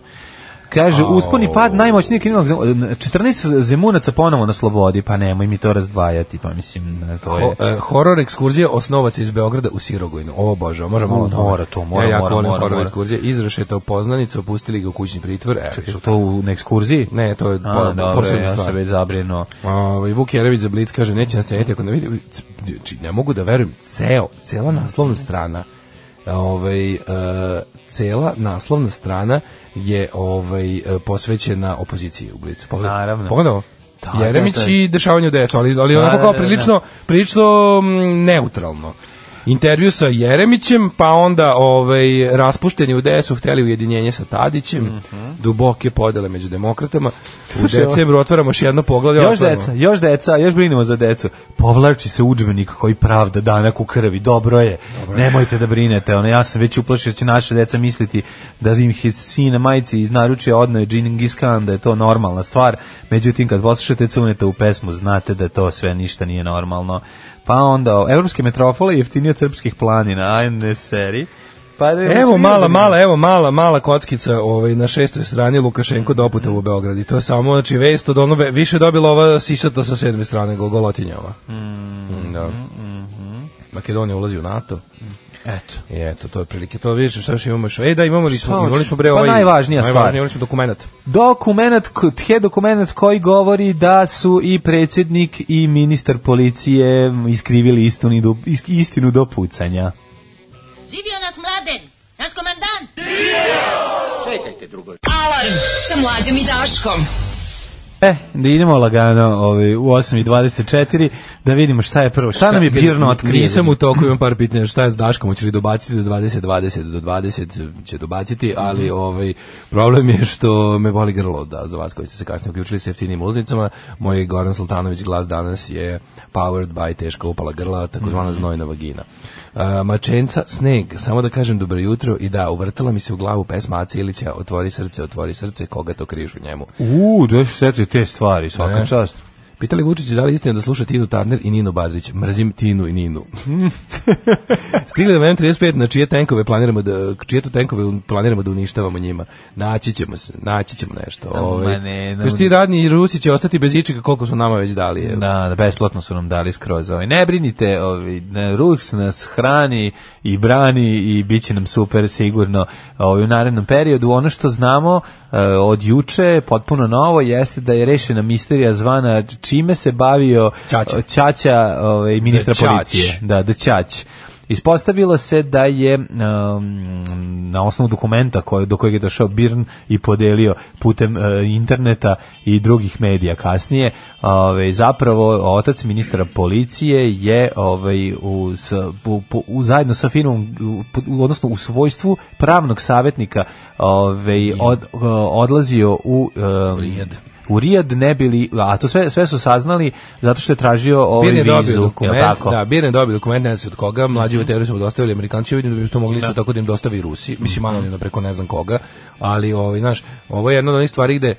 Kaže, uspon i pad najmoćniji kriminal. 14 zemunaca ponovo na slobodi, pa nemoj mi to razdvajati, pa mislim, to je... Ho, e, horor ekskurzija osnovaca iz Beograda u Sirogojnu. O bože, možemo malo o tome. Mora to, mora, ja jako mora, volim mora, horor mora. ekskurzije. Izrašetao poznanicu, opustili ga u kućni pritvor. E, Čekaj, je li to u na ekskurziji? Ne, to je po- A, dobro, posebna ja stvar. sam već zabrinuo. Ovaj Vuk Jerević za Blic kaže neće nas ceniti ako ne vidi c- znači ne mogu da verujem ceo cela naslovna strana ovaj e, cela naslovna strana je ovaj e, posvećena opoziciji u Blicu. Pogledaj. Naravno. Pogledaj ovo. da, Jeremić da. i dešavanje u DS-u, ali, ali onako da, kao da, da. prilično, prilično mm, neutralno. Intervju sa Jeremićem, pa onda ovaj, raspušteni u DS-u hteli ujedinjenje sa Tadićem, duboke podele među demokratama. U Mhm. Slušaj, ovo- decembru otvaramo još jedno poglavlje. Još otvaramo. deca, još deca, još brinimo za decu. Povlači se udžbenik koji pravda danak u krvi. Dobro je. Nemojte da brinete. Ono ja sam već uplašio da će naše deca misliti da im je sina majici iz naručja odno je Džingis Khan, da je to normalna stvar. Međutim kad poslušate cuneta u pesmu znate da to sve ništa nije normalno. Pa onda evropske metropole jeftinije od srpskih planina, ajne seri. Pa da- Evo mislim, mala, ja- mala, evo mala, mala kockica ovaj, na šestoj strani Lukašenko doputa u Beograd i to je samo, znači, vest od ono, ve- više je dobila ova sisata sa sedme strane, Golgotinja ova. Mm-hmm. Mm, da. Makedonija ulazi u NATO. Eto. I eto, to je prilike, to vidiš, šta još imamo još? E, da, imamo li smo, hoćeš? imali smo bre Pa ovaj... najvažnija stvar. Najvažnija, imali smo dokumentat. Dokumentat, ko- tje dokumentat koji govori da su i predsjednik i ministar policije iskrivili istinu do, is- istinu do pucanja. Živio nas mladen, naš komandant. Alarm sa mlađom i Daškom. E, da idemo lagano ovaj, u 8.24 da vidimo šta je prvo. Šta, nam je Pirno otkrio? Nisam u toku, imam par pitanja, šta je s Daškom, hoće li dobaciti do 20, 20, do 20 će dobaciti, ali ovaj, problem je što me boli grlo, da, za vas koji ste se kasnije uključili sa jeftinim uznicama, moj Goran Sultanović glas danas je powered by teška upala grla, takozvana znojna vagina. E, mačenca, sneg, samo da kažem dobro jutro i da, uvrtala mi se u glavu pesma Aca Ilića, otvori srce, otvori srce, koga to križu njemu. U, da se setio te stvari, svaka Ne. čast. Pitali Vučić da li je istina da sluša Tinu Tarner i Ninu Badrić. Mrzim Tinu i Ninu. Stigli do M35 na čije tenkove planiramo da čije to tenkove planiramo da uništavamo njima. Naći ćemo se, naći ćemo nešto. Ma Ovaj. ne, ne, Kažu ti radni Rusi će ostati bez ičega koliko su nama već dali. je. Da, da, besplatno su nam dali skroz. Ovaj. Ne brinite, ovaj, ne, Rus nas hrani i brani i bit će nam super sigurno ovaj, u narednom periodu. Ono što znamo eh, od juče, potpuno novo, jeste da je rešena misterija zvana čime se bavio Ćaća. eh, Ćaća ovaj, ministra Da, Ćać. policije. Da, da Ćać. Ispostavilo se da je um, na osnovu dokumenta koje, do kojeg je došao Birn i podelio putem e, interneta i drugih medija kasnije, ovaj, zapravo otac ministra policije je ovaj, u, s, po- po- u- zajedno sa firmom, u- po- u- odnosno u svojstvu pravnog savjetnika ovaj, od- odlazio u... em, Rijad. u Rijad ne bili, a to sve, sve su saznali zato što je tražio ovaj Birn je dobio vizu, dokument, jel tako? da, Birn je dobio dokument, ne znam se od koga, mlađi veterani su mu dostavili Amerikanci, vidim da bi to mogli isto tako da im dostavi i Mhm. Rusi, mislim anonimno da preko ne znam koga, ali ovaj, znaš, ovo je jedna od onih stvari gde,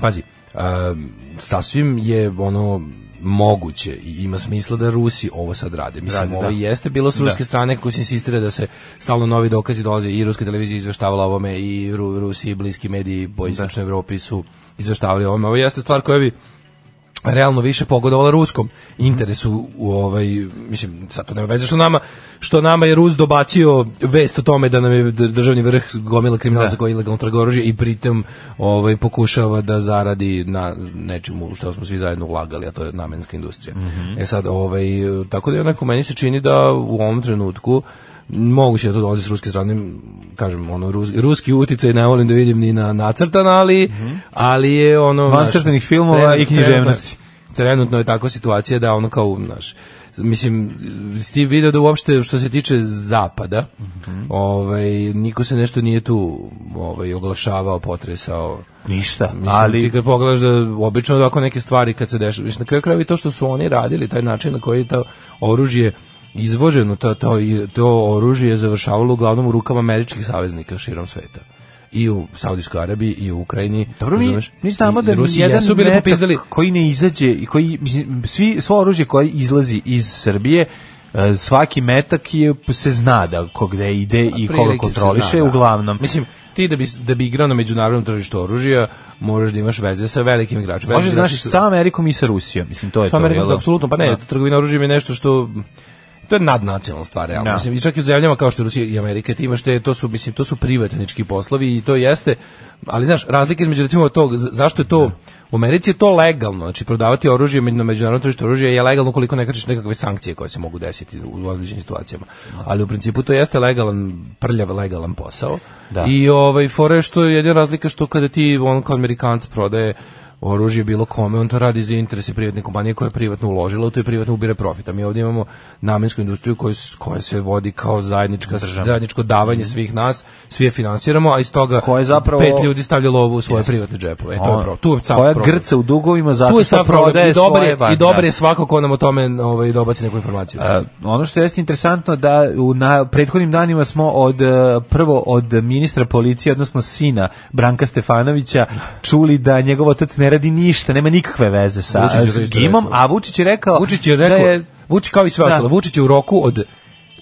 pazi, um, sasvim je ono moguće i ima smisla da Rusi ovo sad rade. Mislim, Rade, ovo da. i jeste bilo s ruske strane kako se insistira da se stalno novi dokazi dolaze i ruska televizija izveštavala o ovome i Ru- Rusi i bliski mediji Da. po istočnoj Evropi su izveštavali o ovome. Ovo jeste stvar koja bi realno više pogodovala ruskom interesu u ovaj mislim sad to nema veze što nama što nama je Rus dobacio vest o tome da nam je d- državni vrh gomila kriminalaca koji ilegalno trguje oružje i pritom ovaj pokušava da zaradi na nečemu u što smo svi zajedno ulagali a to je namenska industrija. E sad ovaj tako da je onako meni se čini da u ovom trenutku moguće da to dolazi s ruske strane, kažem, ono, rus- ruski uticaj ne volim da vidim ni na nacrtan, ali, ali je ono... Van znaš, crtanih filmova i trenutno- književnosti. Trenutno je tako situacija da ono kao, znaš, mislim, s tim video da uopšte što se tiče zapada, Mhm. ovaj, niko se nešto nije tu ovaj, oglašavao, potresao. Ništa, Mislim, ali- Ti kad pogledaš da obično ovako neke stvari kad se dešava, mislim, na kraju krajeva i to što su oni radili, taj način na koji je to oružje izvoženo, to, to, to oružje je završavalo uglavnom u rukama američkih saveznika širom sveta i u Saudijskoj Arabiji i u Ukrajini. Dobro, mi, razumeš? mi znamo da I Rusi jedan jesu bili metak popizdali. koji ne izađe i koji, mislim, svi, svo oružje koje izlazi iz Srbije, e, svaki metak je, se zna da ko gde ide i koga Otprilike se kontroliše, zna, da. uglavnom. Mislim, ti da bi, da bi igrao na međunarodnom tržištu oružja, moraš da imaš veze sa velikim igračima. Može Veliki znaš igrači su- sa Amerikom i sa Rusijom, mislim, to je to. Sa Amerikom, jel? apsolutno, pa ne, Da. trgovina oružjem je nešto što to je nadnacionalna stvar, realno. Da. Mislim, i čak i u zemljama kao što je Rusija i Amerika, ti imaš te, to su, mislim, to su privatnički poslovi i to jeste, ali znaš, razlika između recimo tog, z- zašto je to, Da. u Americi je to legalno, znači prodavati oružje među- na međunarodnom tržištu oružja je legalno koliko ne kršiš nekakve sankcije koje se mogu desiti u, u određenim situacijama. Ali u principu to jeste legalan, prljav legalan posao. Da. I ovaj fore što je jedina razlika što kada ti on kao Amerikanac prodaje oružje bilo kome, on to radi za interese privatne kompanije koja je privatno uložila, u to je privatno ubire profit. A mi ovdje imamo namensku industriju koja, s- koja se vodi kao zajednička, zajedničko davanje svih nas, svi je finansiramo, a iz toga Koja Mhm. je zapravo- pet ljudi stavlja lovu u svoje privatne džepove. E, to je pro, tu je sav koja problem. grca u dugovima Tu zato je što sav problem. prodaje I dobar svoje je, banke. i dobar je svako ko nam o tome ovaj, dobaci neku informaciju. E, ono što jeste interesantno da u na prethodnim danima smo od e, prvo od ministra policije odnosno sina Branka Stefanovića čuli da njegov otac ne radi ništa, nema nikakve veze sa Vučić je to isto Dimom, rekao. a Vučić je rekao Vučić Pa, je rekao, da je Vučić kao i sve Da. ostalo, Vučić je u roku od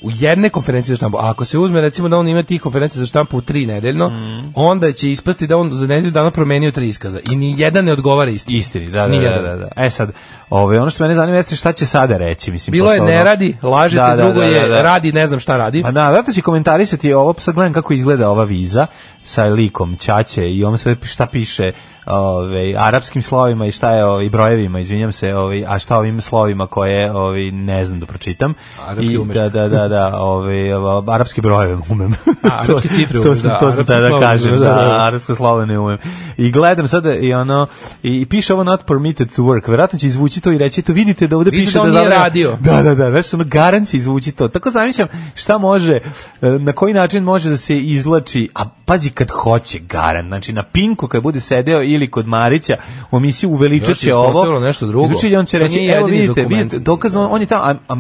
u jedne konferencije za štampu, a ako se uzme recimo da on ima tih konferencija za štampu u tri nedeljno, Mm. onda će ispasti da on za nedelju dana promenio tri iskaza i ni jedan ne odgovara istini. istini, da, da, Ni da, jedan. da, da. E sad, ovaj ono što mene zanima jeste šta će sada reći, mislim Bilo je pošto ono- ne radi, lažete, Da, da, drugo da, da, je da. radi, ne znam šta radi. Pa da, vjerojatno će komentarisati ovo, sad gledam kako izgleda ova viza sa likom Ćaće i on sve pi- šta piše ove, arapskim slovima i šta je ovaj, brojevima, izvinjam se, ovaj, a šta ovim slovima koje ovaj, ne znam da pročitam. Arapski I, umeš. Da, da, da, da ovaj, o- arapske brojeve umem. A, arapske cifre to, to umeš, sam, da, to sam arapske tada slova kažem, umeš, da, da, da. arapske slove ne umem. I gledam sada i ono, i, i piše ovo not permitted to work, vjerojatno će izvući to i reći, to vidite da ovde Vidite piše da on nije zapravo- radio. da, da, da, znaš, ono, garan će izvući to. Tako zamišljam šta može, e, na koji način može da se izlači, a pazi kad hoće garan, znači na Pinku kad bude sedeo ili kod Marića u emisiji uveličat Još je će ovo. ispostavilo nešto drugo. Izvuči i on će To reći, nije evo jedini vidite, dokument. Da. vidite, dokazno, on je tamo, a, a,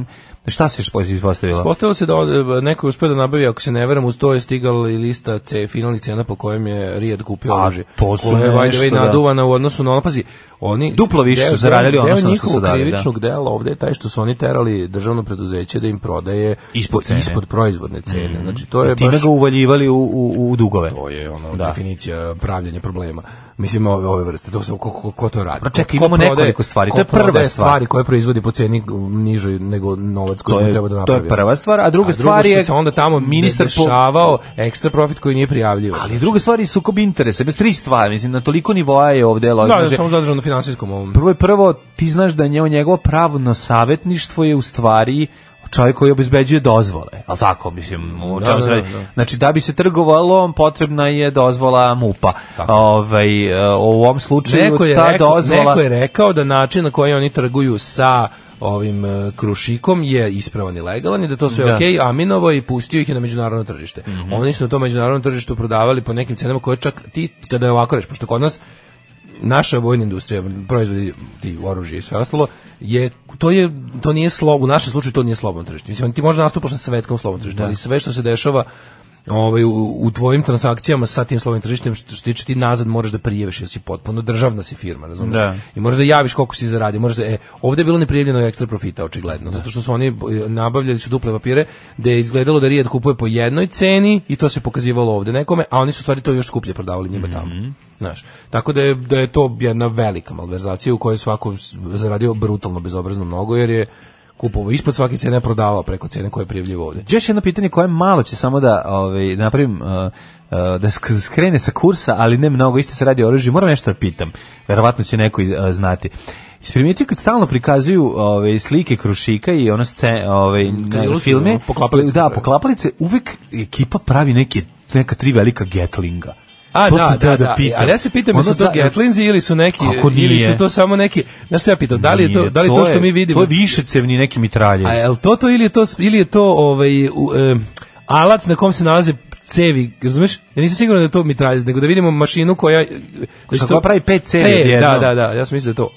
šta se još ispostavilo? Postavilo se da od- neko je uspio da nabavi, ako se ne veram, uz to je stigala i lista C, finalnih cena po kojem je Rijad kupio A, oružje. to su Koja je, by the nešto, way, da. naduvana u odnosu na ono, pazi, oni... Duplo više deo- su zaradili deo u odnosu na što su njihovog dali, da. krivičnog dela ovde je taj što su oni terali državno preduzeće da im prodaje Ispod cene. ispod proizvodne cene. Znači, to je I time baš... ga uvaljivali u, u, u dugove. To je ono Da. definicija pravljenja problema. Mislim ove ove vrste, to se ko, ko, ko to radi. Pa čekaj, Ko- ko imamo prodaje- nekoliko stvari, ko to je prva prodaje stvar. stvari koje proizvodi po ceni nižoj nego novac To koji je- treba da to je napravi. prva stvar, a druga drugo stvar što je se onda tamo ministar ministar po- dešavao ekstra profit koji nije prijavljivan. Ali druga stvar je sukob interesa, bez tri stvari, mislim, na toliko nivoa je ovde da, logično. da, samo zadržano na finansijskom ovom. Prvo je prvo, ti znaš da nje, njegovo pravno savjetništvo je u stvari čovjek koji obezbeđuje dozvole, ali tako, mislim, o Da, čemu da, se da, radi? da. Znači, da bi se trgovalo, potrebna je dozvola MUPA. Tako. Ovaj, e, u ovom slučaju Neko je, ta rekao, dozvola... neko je rekao da način na koji oni trguju sa ovim e, krušikom je ispravan i legalan i da to sve Da. Mhm. ok, Aminovo i pustio ih je na međunarodno tržište. Oni su na tom međunarodnom tržištu prodavali po nekim cenama koje čak ti, kada je ovako reći, pošto kod nas naša vojna industrija, proizvodi ti oružje i sve ostalo, je, to, je, to nije slobo, u našem slučaju to nije slobodno tržište. Mislim, ti možda nastupaš na svetskom slobodnom tržištu, ali sve što se dešava ovaj, u, u tvojim transakcijama sa tim slobodnim tržištem, što se tiče ti nazad moraš da prijaviš, jer si potpuno državna si firma, razumiješ? Da. I moraš da javiš koliko si zaradio. Moraš da, e, ovde je bilo neprijavljenog ekstra profita, očigledno, zato što su oni e, nabavljali su duple papire, da je izgledalo da Rijad kupuje po jednoj ceni i to se pokazivalo ovde nekome, a oni su u stvari to još skuplje prodavali njima tamo. Mhm. Znaš, tako da je, da je to jedna velika malverzacija u kojoj je svako s- zaradio brutalno bezobrazno mnogo, jer je kupovao ispod svake cene, a prodavao preko cene koje je prijavljivo ovde. Još jedno pitanje koje malo će samo da ovaj, napravim uh, uh, da sk- skrene sa kursa, ali ne mnogo, isto se radi o oružju. Moram nešto da pitam, verovatno će neko iz- uh, znati. Isprimetio kad stalno prikazuju ove slike Krušika i ono sce, ove Mm, kad ilustruju, filme, ono, poklapalice da, naprave. poklapalice, uvek ekipa pravi neke neka tri velika Gatlinga. A, to da, sam teo da, da, da, pitam. ali ja se pitam Ono jesu to da- Gatlinzi ili su neki Kako ili nije? su to samo neki znaš se ja pitam da li je to Nije, da li to, što je- mi vidimo To je višecevni neki A mitraljez. jel to to ili je to ili je to ovaj u, e, alat na kom se nalaze cevi, razumeš? Ja nisam siguran da je to mitraljez, nego da vidimo mašinu koja e, koja Šta se to- koja pravi pet cevi Cev, Da, odjednom. da, da, ja sam mislio da je to.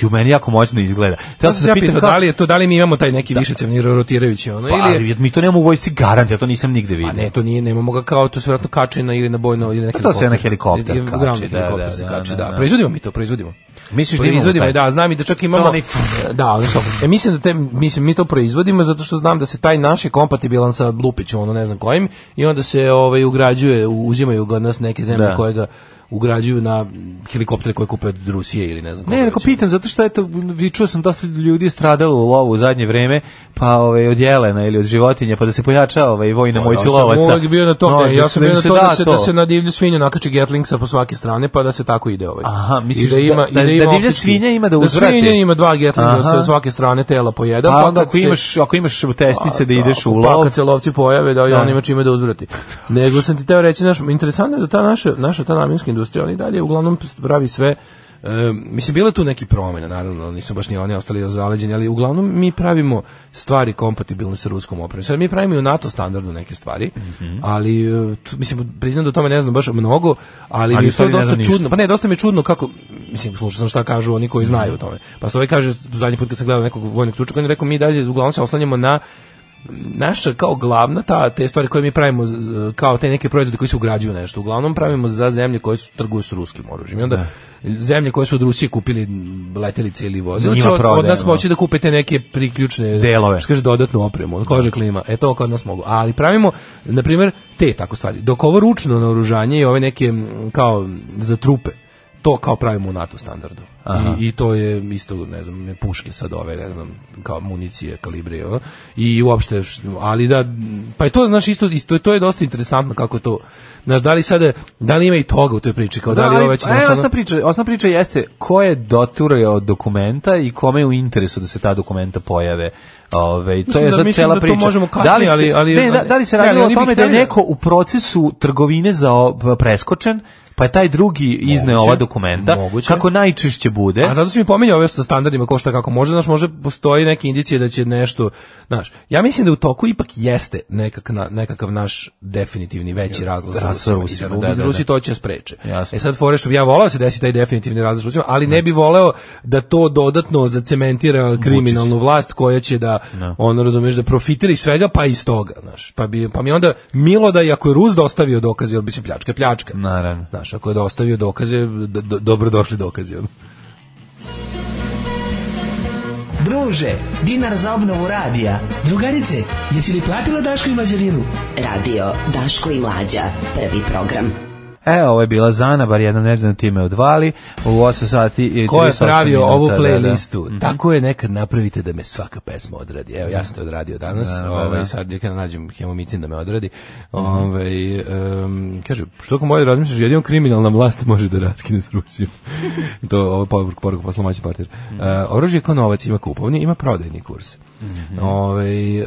Ju, meni jako moćno izgleda. Ja Teo sam se ja pitao da li je to, da li mi imamo taj neki višecevni rotirajući ono Pa, ili je- ali mi to nemamo u vojsci garant, ja to nisam nigde vidio. A ne, to nije, nemamo ga kao, to se vjerojatno kače na ili na bojno ili na Pa to se na helikopter Ili- kači, uglavnom na da, helikopter da, se da, kači, da, da. da. Proizvodimo mi to, proizvodimo. Misliš da imamo proizvodimo, taj? da, znam i da čak imamo To onaj- da, ono što- ja mislim da te mislim mi to proizvodimo zato što znam da se taj naš je kompatibilan sa Lupićem, ono ne znam kojim i onda se ovaj ugrađuje, u- uzimaju ga od nas neke zemlje Da. koje ga ugrađuju na helikoptere koje kupe od Rusije ili ne znam. koga Ne, neko već. pitam, zato što eto, vi čuo sam dosta ljudi je stradalo u lovu u zadnje vreme, pa ove, od jelena ili od životinja, pa da se pojača ovaj, vojna Pa, ja moć sam lovaca. uvek bio na to, No, ne, ja sam da bio im na to da se, da to. se na divlju svinju nakači Gatling sa po svake strane, pa da se tako ide ovaj. Aha, I misliš da, ima, da- i da ima divlja optički- svinja ima da uzvrati? Da svinja ima dva Gatlinga Aha. sa svake strane tela po jedan, Pa pa, onda kad ako se- imaš, ako imaš testice da Pa, ideš ako- u Pa lov, kad se lovci pojave, da, i Da. on ima čime da uzvrati. Nego sam ti teo reći, naš, interesantno je da ta naša, naša ta namjenska industrija, oni dalje uglavnom pravi sve E, mislim, bilo je tu neki promjena, naravno, nisu baš ni oni ostali zaleđeni, ali uglavnom mi pravimo stvari kompatibilne sa ruskom opremom. Sad mi pravimo i u NATO standardu neke stvari, Mhm. ali, e, tu- mislim, priznam da o tome ne znam baš mnogo, Ali ali, mi u je to stvari ne dosta znam ništa. čudno. Pa ne, dosta mi je čudno kako, mislim, slušao sam šta kažu oni koji znaju o tome. Pa se ovaj kaže, zadnji put kad sam gledao nekog vojnog stručnjaka, on je rekao, mi dalje uglavnom se oslanjamo na naša kao glavna ta te stvari koje mi pravimo z- z- kao te neke proizvode koji se ugrađuju u nešto uglavnom pravimo za zemlje koje su trguju s ruskim oružjem i onda zemlje koje su od Rusije kupili m, letelice ili vozila Da. Njima će od, od nas prodajemo. moći da kupite neke priključne Delove. što kaže dodatnu opremu ono, kože klima e to kod nas mogu ali pravimo na primjer te tako stvari dok ovo ručno naoružanje i ove neke m, kao za trupe to kao pravimo u NATO standardu. I, I to je isto, ne znam, puške sad ove, ne znam, kao municije, kalibre, i ono. i uopšte, š- ali da, pa je to, znaš, isto, isto, to je dosta interesantno kako je to, znaš, da li sada, da li ima i toga u toj priči, kao da, li ali, ovo već... e, znaš, ono- osnovna, priča, osnovna priča jeste ko je doturao dokumenta i kome je u interesu da se ta dokumenta pojave. Ove, to Mislim je da- sad mislim cela da to priča. možemo kasnije, da li se, ali- ali- ne, da, da li se ne, ali radilo oni o bi tome da je hteli da- neko u procesu trgovine za preskočen, pa je taj drugi izneo Moguće, ova dokumenta, moguće. kako najčešće bude. A zato si mi pominjao ove sa standardima ko šta kako može, znaš, može postoji neke indicije da će nešto, znaš, ja mislim da u toku ipak jeste nekak na- nekakav naš definitivni veći razlaz Razlaz sa Rusima, i da, da, da, da. Rusi to će spreče. Jasno. E sad fore što bi ja voleo da se desi taj definitivni razlaz sa Rusima, ali ne bi voleo da to dodatno zacementira kriminalnu vlast koja će da ono razumeš da profitira iz svega pa iz toga, znaš. Pa bi pa mi je onda milo da i ako je Rus dostavio dokaze, jer bi se pljačka je pljačka. Naravno. Znaš, ako je dostavio dokaze, d- d- dobro došli dokazi. ono. Druže, dinar za obnovu radija. Drugarice, jesi li platila Daško i Mlađarinu? Radio Daško i Mlađa. Prvi program. E, ovo je bila Zana, bar jednom nedeljno time da odvali, u 8 sati i Ko je 38 pravio minuta, ovu da, da. playlistu? Mhm. Tako je nekad napravite da me svaka pesma odradi. Evo, ja sam to odradio danas. Da, da, ovaj, da. Mhm. Sad ja kada nađem hemomicin da me odradi. Ovaj, em, kaže, što ako moje razmišljaš, jedino kriminalna vlast može da raskine s Rusijom. to je ovo poruka, poruka posla maći partir. Mhm. E, oružje kao novac ima kupovni, ima prodajni kurs. Ovaj, e,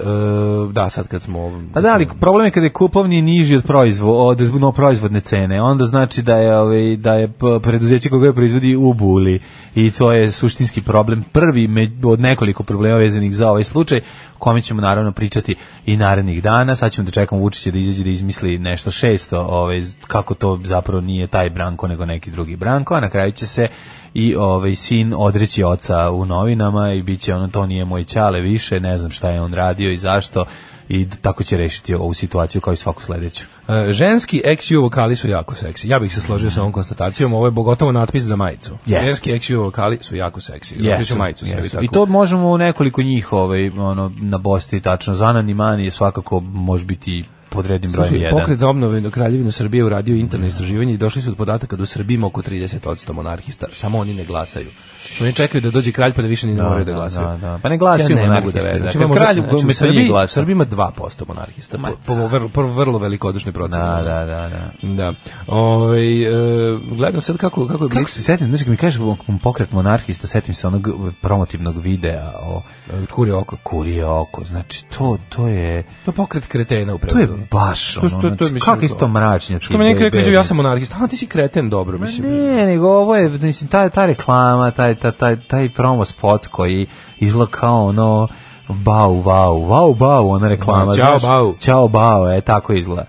da, sad kad smo... Mhm. Pa da, ali problem je kada je kupovni niži od, proizvo, od no, proizvodne cene. Onda znači da je, ovaj, da je p- preduzeće koga je proizvodi u buli. I to je suštinski problem. Prvi me- od nekoliko problema vezanih za ovaj slučaj, o kome ćemo naravno pričati i narednih dana. Sad ćemo da čekamo Vučića da izađe da izmisli nešto šesto, ovaj, z- kako to zapravo nije taj Branko nego neki drugi Branko, a na kraju će se i ovaj sin odreći oca u novinama i biće ono to nije moj ćale više, ne znam šta je on radio i zašto i tako će rešiti ovu situaciju kao i svaku sledeću. E, ženski XU vokali su jako seksi. Ja bih se složio sa ovom konstatacijom, ovo je bogotovo natpis za majicu. Yes. Ženski XU vokali su jako seksi. Yes. majicu sebi jesu. tako. I to možemo u nekoliko njih ovaj, ono, na Bosti tačno. Zanan i Mani je svakako može biti pod rednim brojem Slušaj, jedan. pokret za obnovu Kraljevinu Srbije uradio interno istraživanje i došli su do podataka da u Srbiji ima oko 30% monarhista, samo oni ne glasaju. Što oni čekaju da dođe kralj pa da više ni ne Da, moraju da da, glasaju. da, da. Pa ne glasaju ja ne mogu monarhiste, da verujem. da. Znači, Kad možda- kralj u znači, u Srbiji Srbiji, glasa. Srbiji ima 2% monarhista, po, po, vrlo, po vrlo velikodušnoj proceni. Da, da, da, da. Da. Ovaj, e, gledam sad kako, kako je Kako se setim, znači kad mi kažeš pokret monarhista, setim se onog promotivnog videa o Kurje oko. Kurje oko, znači to, to je... To je pokret kretena u To je prevodu. baš ono, To- to- to znači, mislim, kakvi isto mračnjaci. Što mi neki rekao, bednici. ja sam monarhista, a ti si kreten, dobro, mislim. Ne, nego ovo je, mislim, ta, ta reklama, taj, ta, taj, taj promo spot koji izgleda kao ono, bau, bau, bau, bau, ona reklama. Ma, ćao, znaš? bau. Ćao, bau, e, tako izgleda.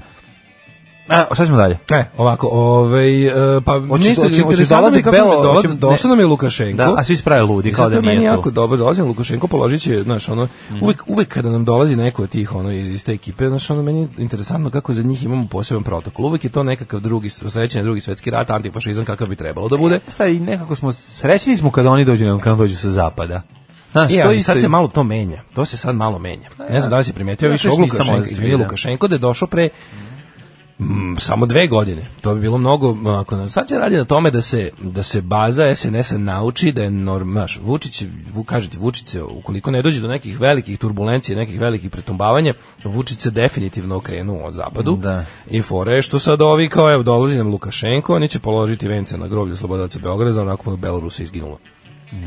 A, šta ćemo dalje? Ne, ovako, ovaj e, pa Hoće- niste hoće- hoće interesantno mi dolazak je kako mi je Belo- dola- hoće- ne. došao nam je Lukašenko. Da, a svi sprave ludi, I kao da zato je meni meni jako tu. Mhm. dobro dolazi nam Lukašenko, položit će, znaš, ono, uvek, uvek kada nam dolazi neko od tih, ono, iz te ekipe, znaš, ono, meni je interesantno kako za njih imamo poseban protokol. Uvek je to nekakav drugi, srećen drugi svetski rat, antifašizam, kakav bi trebalo da bude. Šta, i nekako smo, srećni smo kada oni dođu, nego kada dođu sa zapada. Znaš, E, to ali isto sad je- se malo to menja. To se sad malo menja. Ne znam da li si primetio Ja više još ovog nisam Lukašenka. ozbiljno. Izvini, Lukašenko da je došao pre mm, samo dve godine. To bi bilo mnogo... Ako, sad se radi na tome da se, da se baza SNS-a nauči da je norm, znaš, Vučić, vu, kaže ti, Vučić se, ukoliko ne dođe do nekih velikih turbulencija, nekih velikih pretumbavanja, Vučić se definitivno okrenuo od zapadu. Da. I fore je što sad ovi kao, evo, dolazi nam Lukašenko, oni će položiti vence na groblju Slobodaca Beograda, onako mu Belarus izginulo.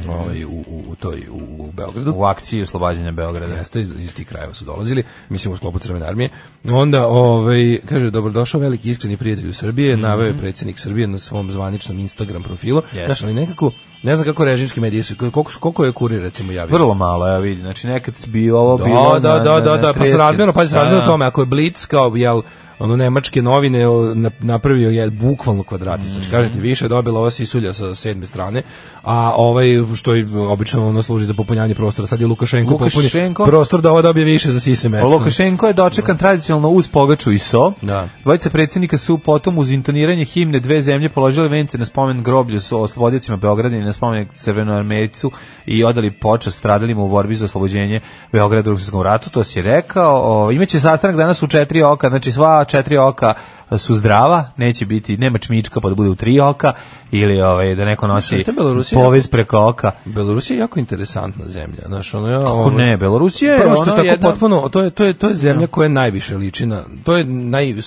Ovaj, u, u, u toj, u, u Beogradu. u da. akciji oslobađanja Beograda. Jeste, iz, iz tih krajeva su dolazili, mislim u sklopu Crvene armije. Onda, ovaj, kaže, dobrodošao veliki iskreni prijatelj u Srbije, Mhm. naveo je predsjednik Srbije na svom zvaničnom Instagram profilu. Jeste. Znaš, ali nekako, ne znam kako režimski mediji su, koliko, su- koliko je kurir, recimo, javio? Vrlo malo, ja vidim. Znači, nekad bi ovo bilo... Da, da, na- da, na- da, na da, pa 30. srazmjerno, pa Da, srazmjerno da. tome, ako je Blitz kao, jel, ono nemačke novine o, na- napravio je bukvalno kvadratić. Znači Mm. kažete više je dobila ova sisulja sa sedme strane, a ovaj što je obično ono služi za popunjanje prostora. Sad je Lukašenko, Lukašenko- popunio prostor da ova dobije više za sise mesto. Lukašenko je Da. dočekan tradicionalno uz pogaču i so. Da. Dvojica predsjednika su potom uz intoniranje himne dve zemlje položili vence na spomen groblju s oslobodicima Beograda i na spomen Crvenu armejcu i odali počast stradalima u borbi za oslobođenje Beograda u Drugom svjetskom ratu, to si rekao. O, imaće sastanak danas u četiri oka, znači sva četiri oka su zdrava, neće biti, nema čmička pa da bude u tri oka ili ovaj, da neko nosi Mislim, to je Belorusija. povez preko oka. Belorusija je jako interesantna zemlja. Znaš, ono, ja, Kako ono- ne, Belorusija je Prvo Ovaj. Pa, što ono tako jedna- Da. potpuno, to je, to, je, to je zemlja koja najviše liči na... To je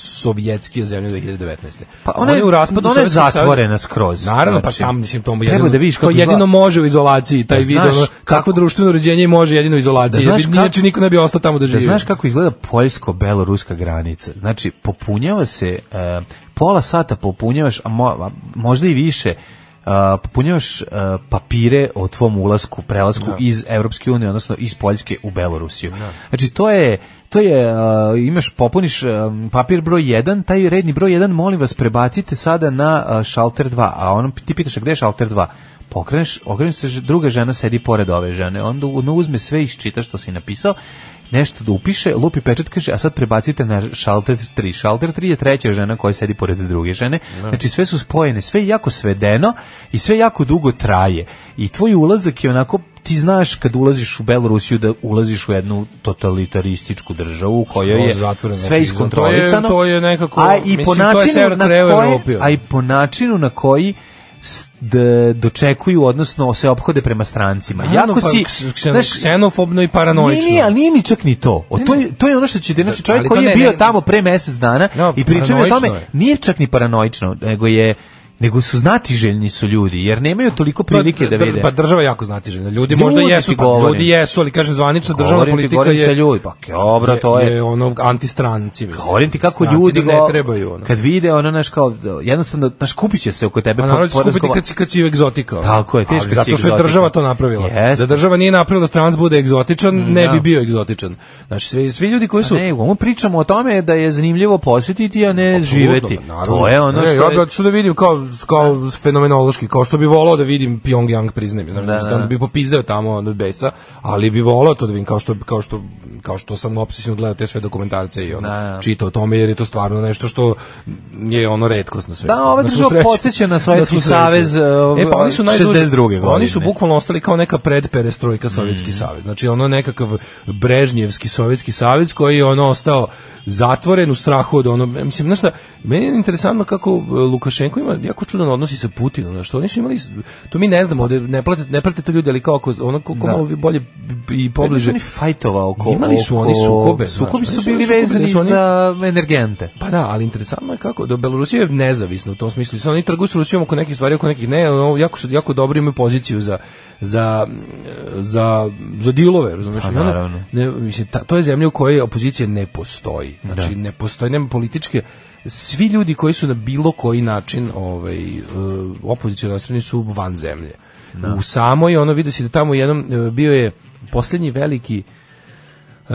najsovjetskija zemlja 2019. Pa ona je- u ona raspadu je Sovjetskog saveza. zatvorena skroz. Naravno, pa Znači, sam, mislim, to mu treba jedino, da vidiš to kako izgleda. jedino može u izolaciji, taj Da vid, znaš ono, kako društveno uređenje može jedino u izolaciji, Da jer znaš bi- inače kako- niko ne bi ostao tamo da živi. Da znaš kako izgleda poljsko-beloruska granica? Znači, popunjava se, e, pola sata popunjavaš, a mo- a možda i više, e, popunjavaš e, papire o tvom ulasku, prelasku Da. iz Evropske unije, odnosno iz Poljske u Belorusiju. Znači, to je to je e, imaš popuniš e, papir broj 1 taj redni broj 1 molim vas prebacite sada na e, šalter 2 a on ti pitaš "A gde je šalter 2 pokreneš okreneš se ž- druga žena sedi pored ove žene onda ona uzme sve i isčita što si napisao nešto da upiše, lupi pečat, kaže, a sad prebacite na šalter 3. Šalter 3 je treća žena koja sedi pored druge žene. Da. Znači, sve su spojene, sve je jako svedeno i sve jako dugo traje. I tvoj ulazak je onako, ti znaš kad ulaziš u Belorusiju da ulaziš u jednu totalitarističku državu u kojoj je Skroz zatvoreno, sve znači, iskontrolisano. to je- to je nekako, a i po mislim, to je načinu Severna na Koreja u koji, Evropi, ono. a i E, po načinu na koji s- d- dočekuju, odnosno se ophode prema strancima. jako Naravno, pa si, ksen- znaš, ksenofobno i paranoično. nije, nije, ali nije ni čak ni to. O, to, je, to je ono što će, znači čovjek ali koji to je ne, bio ne- tamo pre mjesec dana No, i pričao je o tome, paranoično je. nije čak ni paranoično, nego je nego su znatiželjni su ljudi, jer nemaju toliko prilike da dr- vide. Pa država je jako znatiželjna. Ljudi, možda Ljudi jesu, ti pa, govorim. ljudi jesu, ali kaže zvanična državna Govorim ti, politika govorim je sa ljudi, pa dobro, to je- ono antistranci, mislim. Govorim ti kako Stranci ljudi da go- ne trebaju ono. kad vide ono naš kao jednostavno naš kupit će se oko tebe A po- Pa naravno će skupiti porazgova- kad si, kad si egzotika. ono. Tako je, teško Ali si Zato što je egzotika. država to napravila. Jeste. Da država nije napravila da stranac bude egzotičan, ne da. Pa bi bio egzotičan. Znači, svi, svi ljudi koji su... Ne, uglavnom pričamo o tome da je zanimljivo posjetiti, a Pa, ne živeti. Apsolutno, naravno. To je ono Ne, što ja bi je- otišao da vidim kao, kao fenomenološki, kao što bi volao da vidim Pyongyang priznajem, znam, Da, da, da. bi popizdeo tamo od besa, ali bi volao to da vidim kao što, kao što, kao što sam obsesivno gledao te sve dokumentarce i ono, Da, da. čitao o tome, jer je to stvarno nešto što je ono redkost na svetu. Da, ova Na svu država sreću. podsjeća na svu Sovjetski sreću. savez, E, pa oni su najduže- 62. Oni su godine. bukvalno ostali kao neka predperestrojka Sovjetski Mhm. savez. Znači ono nekakav Brežnjevski Sovjetski savez koji je ono ostao zatvoren u strahu od ono mislim znaš šta, meni je interesantno kako e, Lukašenko ima jako jako čudan odnosi sa Putinom, znači oni su imali to mi ne znamo, ovde ne plate ne prate to ljudi, ali kao ako- ono kako Da. malo bolje i pobliže. Pa nisu oni fajtova oko- Imali su oni oko- sukobe, znaš, sukobi oni znači, su znači, imali bili sukobe, vezani da su oni- za energente. Pa da, ali interesantno je kako da Belorusija je nezavisna u tom smislu. Sad oni trguju sa Rusijom oko nekih stvari, oko nekih ne, ono, jako su jako dobro imaju poziciju za za za za dilove, razumeš? Pa I onda- naravno. ne, mislim, ta, to je zemlja u kojoj opozicija ne postoji. Znači, Da. ne postoji, nema političke... Svi ljudi koji su na bilo koji način ovaj, opozicijno nastrojeni su van zemlje. Da. U samoj, ono, vidi se da tamo jednom e, bio je posljednji veliki Uh,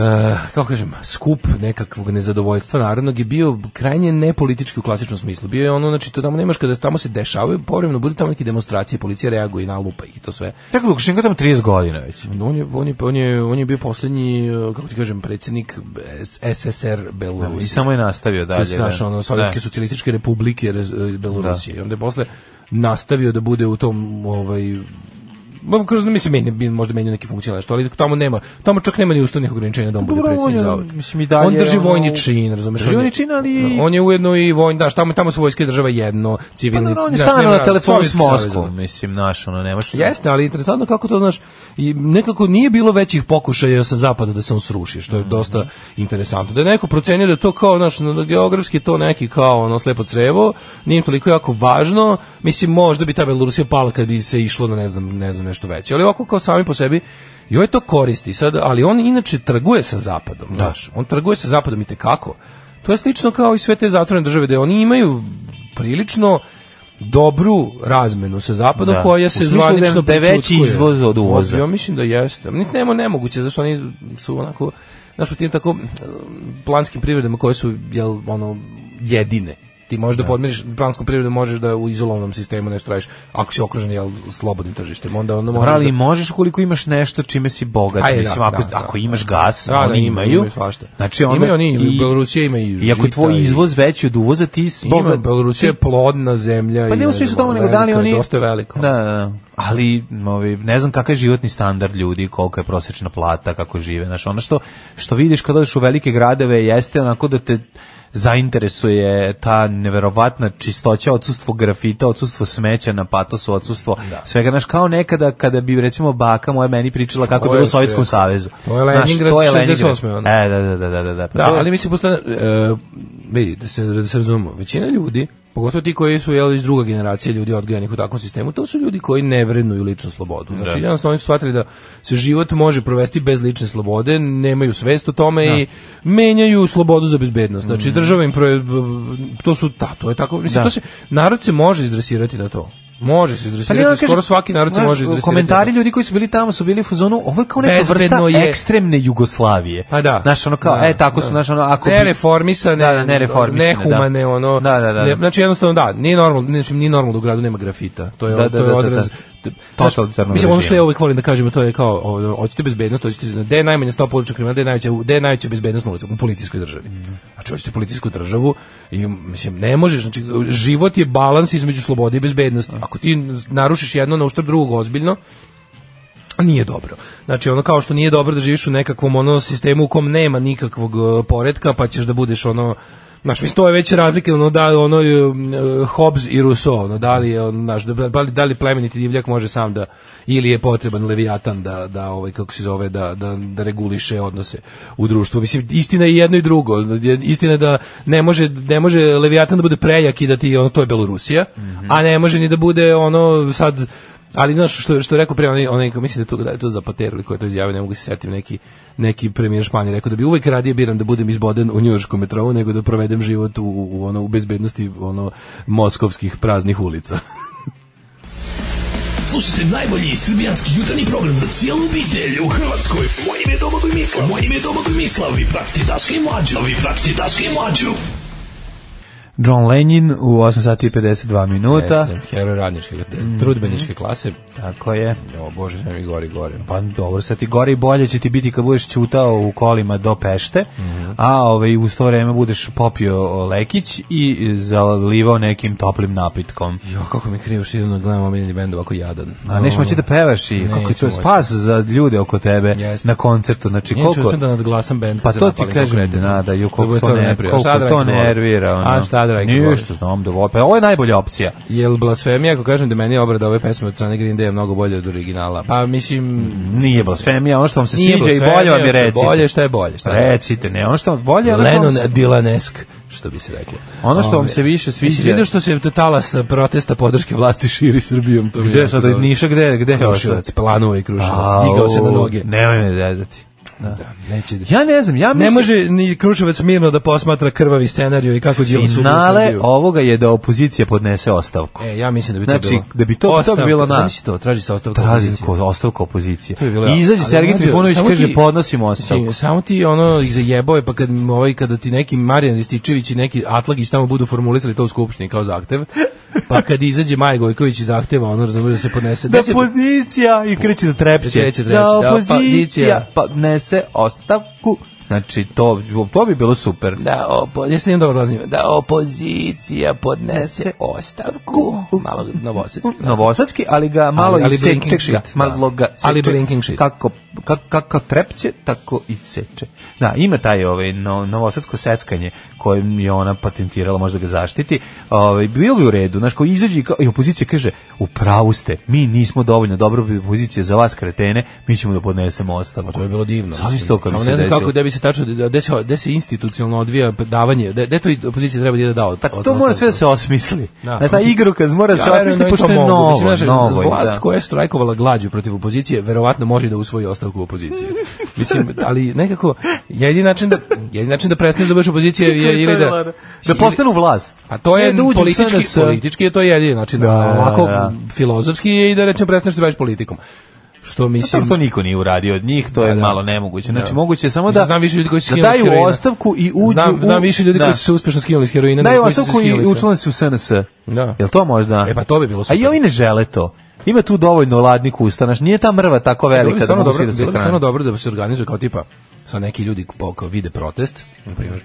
kako kažem, skup nekakvog nezadovoljstva narodnog je bio krajnje nepolitički u klasičnom smislu. Bio je ono, znači, to tamo nemaš kada tamo se dešavaju, povremeno budu tamo neke demonstracije, policija reaguje i nalupa ih i to sve. Čekaj, Lukašenko tamo 30 godina već. On je, on je, on je, on je bio posljednji, eh, kako ti kažem, predsjednik S- SSR Belorusije. I samo je nastavio dalje, Sad, Znaš, da. ono, Sovjetske Da. socijalističke republike Rez- eh, Belorusije. I onda je posle nastavio da bude u tom, ovaj, Ma, kroz, mislim, meni, bi možda menio neke funkcije, ili nešto, ali tamo nema, tamo čak nema ni ustavnih ograničenja da on bude Dobro, on predsjednik je, zauvek. mislim, i dalje on drži ono- vojni čin, razumeš? Drži on je- vojni čin, ali- On je ujedno i vojni, da, tamo, tamo su vojske i država jedno, civilni... Dobro, Pa on je znaš, stvarno nema- na telefonu s Sovjetski savez, ono. Moskvom, mislim, naš, ono, nemaš... Jeste, ali interesantno kako to znaš i nekako nije bilo većih pokušaja sa zapada da se on sruši, što je dosta interesantno. Da je neko procenio da je to kao naš no, da geografski je to neki kao ono slepo crevo, nije im toliko jako važno. Mislim možda bi ta Belorusija pala kad bi se išlo na ne znam, ne znam nešto veće. Ali ovako kao sami po sebi i ovaj to koristi sad, ali on inače trguje sa zapadom, znaš. On trguje sa zapadom i kako. To je slično kao i sve te zatvorene države da oni imaju prilično dobru razmenu sa zapadom Da. koja U Pa se smislu da je- zvanično da je veći prećutkuje. izvoz od uvoza. Ja mislim da jeste. Niti nema nemoguće, zašto oni su onako, znaš, u tim tako mm, planskim privredama koje su, jel, ono, jedine. Ti možeš da, podmiriš plansku privredu, možeš da u izolovanom sistemu nešto radiš, ako si okružen, jel, slobodnim tržištem, onda ono možeš Dobro, ali da- možeš koliko imaš nešto čime si bogat, Ajde, da, mislim, ako, da, da. ako imaš gas, Da, da, oni ima- imaju, imaju svašta. znači onda, Imaju oni, i- Belorusija ima i I ako je žita tvoj i- izvoz veći od uvoza, ti si Ima, bogat. Belorusija je plodna zemlja. Pa i, ne u ne smislu znam, tamo, nego da li velika je, oni... Dosta je veliko. Da, da, da. Ali, ovi, ne znam kakav je životni standard ljudi, kolika je prosječna plata, kako žive. Znaš, ono što, što vidiš kad odeš u velike gradove jeste onako da te zainteresuje ta neverovatna čistoća, odsustvo grafita, odsustvo smeća na patosu, odsustvo Da. svega. Znaš, kao nekada kada bi, recimo, baka moja meni pričala kako je To bilo u je Sovjetskom sve. savezu. To je Znaš, Leningrad to je Leningrad. 68. ono. E, da, da, da, da, da, da. Pa Da, to je- ali mislim postane e, vidi da se da se razumemo, većina ljudi, pogotovo ti koji su jel iz druga generacija ljudi odgojenih u takvom sistemu, to su ljudi koji ne vrednuju ličnu slobodu. Znači Da. jednostavno oni su shvatili da se život može provesti bez lične slobode, nemaju svest o tome Da. i menjaju slobodu za bezbednost. Znači država im pro- to su ta, to je tako, mislim Mm. Da. to se narod se može izdresirati na to. Može se Pa ne, ono izdresirati, kažem, skoro svaki narod se znaš, može izdresirati. Komentari ljudi koji su bili tamo su bili u fazonu, ovo je kao neka Bezbedno vrsta je. ekstremne Jugoslavije. Pa da. Znaš, ono kao, Da, e, tako su, da. znaš, ono, ako bi- nereformisane, Da, da, nereformisane, nehumane, da. ono. Da, da, da. ne- znači jednostavno da, nije normalno, znači nije normalno da u gradu nema grafita. To je Da, da, da, to je da, odraz da. Znaš, Totalitarnog Mislim ono što režima. ja uvijek volim da kažem, to je kao ovo, hoćete bezbednost, hoćete da je najmanje stopa uličnog kriminala, da je najveća da je najveća bezbednost na ulici u policijskoj državi. Mm. Znači hoćete policijsku državu i mislim ne možeš, znači život je balans između slobode i bezbednosti. Da. Ako ti narušiš jedno na uštrb drugog ozbiljno, nije dobro. Znači ono kao što nije dobro da živiš u nekakvom ono sistemu u kom nema nikakvog e, poretka, pa ćeš da budeš ono Znaš, mislim, to je već razlika, ono, da, ono, e, Hobbes i Rousseau, ono, da li je, ono, znaš, da, da li, da li plemeniti divljak može sam da, ili je potreban Leviatan da, da ovaj, kako se zove, da, da, da reguliše odnose u društvu. Mislim, istina je jedno i drugo. Istina je da ne može, ne može Leviatan da bude prejak i da ti, ono, to je Belorusija, a ne može ni da bude, ono, sad, ali znaš što što je rekao pre onaj onaj ko mislim da je to da je to Zapatero ili ko je to izjavio, ne mogu se setim neki neki premijer Španije rekao da bi uvek radije biram da budem izboden u njujorškom metrou nego da provedem život u, u ono u bezbednosti ono moskovskih praznih ulica. Slušajte najbolji srbijanski jutarnji program za cijelu obitelj u Hrvatskoj. Moje ime je Domagoj Mislav. Moje ime je Domagoj Mislav. Vi pratite Daška i Mlađu. Vi pratite Daška i Mlađu. John Lenin u 8 sati i 52 minuta. Jeste, heroj radničke, trudbeničke klase. Tako je. O bože, sve mi gori gori. Pa dobro, sad ti gore i bolje će ti biti kad budeš ćutao u kolima do Pešte, Mhm. a ovaj, u to vreme budeš popio lekić i zalivao nekim toplim napitkom. Jo, kako mi je krivo što idem da gledam omiljeni bend ovako jadan. A nećeš moći da pevaš i kako je Neću to moći. spas za ljude oko tebe Jeste. na koncertu. Znači, Neću koliko... uspem da nadglasam bend. Pa kad se to ti napalim ko kažem, kreten. da, da, ju, bude koliko to, stvarno ne, neprijatno. koliko Sad da to radim ovo. nervira. Ono. A šta Rade Rajko Ništa, govori. znam da volim. Pa ovo je najbolja opcija. Jel blasfemija, ako kažem da meni je obrada ove pesme od strane Green Day je mnogo bolje od originala? Pa mislim... Nije blasfemija, ono što vam se Nije sviđa Mm. i blasfemija, bolje vam je što je recite. bolje, šta je bolje, šta je- Recite, ne, ono što vam bolje, ono što vam Lennon se- Dylanesk, što bi se reklo. Ono što vam Ove, se više sviđa- Jesi vidio što se totala sa protesta podrške vlasti širi Srbijom? To mi je Gde jako sad, od dobro. Niša, gde- gde je Kruševac, otišao? planuo je Kruševac, Au, digao se na noge. Nemoj me zezati. Da. Neće da- Ja ne znam, ja Ne mislim... može ni Kruševac mirno da posmatra krvavi scenariju i kako Đilas ubio Finale Srbiju. ovoga je da opozicija podnese ostavku. E, ja mislim da bi to Znači, bilo. da bi to- to bi Ostavka, bilo na- zamisli to, traži se ostavka Traži opozicije. Da ko- ostavka opozicije. To bi bilo I jako. izađe Ali, Sergej mlađo, Trifunović samo kaže ti- podnosimo ostavku. Ti- Samo ti ono ih zajebao je pa kad m- ovaj kada ti neki Marijan Rističević i neki Atlagić tamo budu formulisali to u skupštini kao zahtev. Pa kad izađe Maja Gojković i zahteva ono razumeš da se podnese Da se- opozicija i kreće da trepće. Kreće da trepće, da da, opozicija opozicija. podnese ostavku. Znači, to, to bi bilo super. Da, opo, jesam imam dobro razumio, da opozicija Da podnese ostavku, malo novosadski. Novosadski, ali ga malo Ali- ali i seče blinking ga, shit, malo da. ga seče. Ali blinking shit. Kako, kako, kako trepće, tako i seče. Da, ima taj ovaj, no, novosadsko seckanje kojim je ona patentirala, možda ga zaštiti. Ovaj, bilo bi u redu, znaš, ko izađe i, kao- i opozicija kaže, u pravu ste, mi nismo dovoljno dobro opozicija za vas kretene, mi ćemo da podnesemo ostavku. Pa To je bilo divno. Sam mislim. isto kad mi Samo se ne znam desilo. kako da bi se tačno da da se da se institucionalno odvija davanje, da to i opozicija treba da ide da od. Pa to mora sve da se osmisli. Da. Znaš, ta igru kad mora se verujem osmisli, da oni pošto to je mogu. novo, Mislim, znaš, novo je, vlast da. koja je štrajkovala glađu protiv opozicije, verovatno može da usvoji ostavku opozicije. Mislim, ali nekako, jedini način da, jedini način da prestaneš da budeš opozicija je ili da... Da postanu vlast. A to je Ne, da uđu u politički, SNS. politički je to jedini način. Da, Da, ovako, da. filozofski je i da rečem prestaneš da se baviš politikom. Što mislim... Mislim, Pa to niko nije uradio od njih, to je da. malo nemoguće. Znači, Da. moguće je samo Mislim, da, znam više ljudi koji su da skinuli s daju heroina. ostavku i uđu znam, u... znam više ljudi da. koji su se uspešno skinuli s heroina. Daju nego koji su se ostavku skinuli i sa- učlane se u SNS. Da. Jel to možda? E pa to bi bilo A super. i ovi ne žele to. Ima tu dovoljno ladnih usta, znaš, nije ta mrva tako Bilo bi velika da stvarno mogu svi dobro, da se bilo bi stvarno hrane. dobro da se organizuje kao tipa sa neki ljudi kao, kao vide protest, na Mhm. primjer,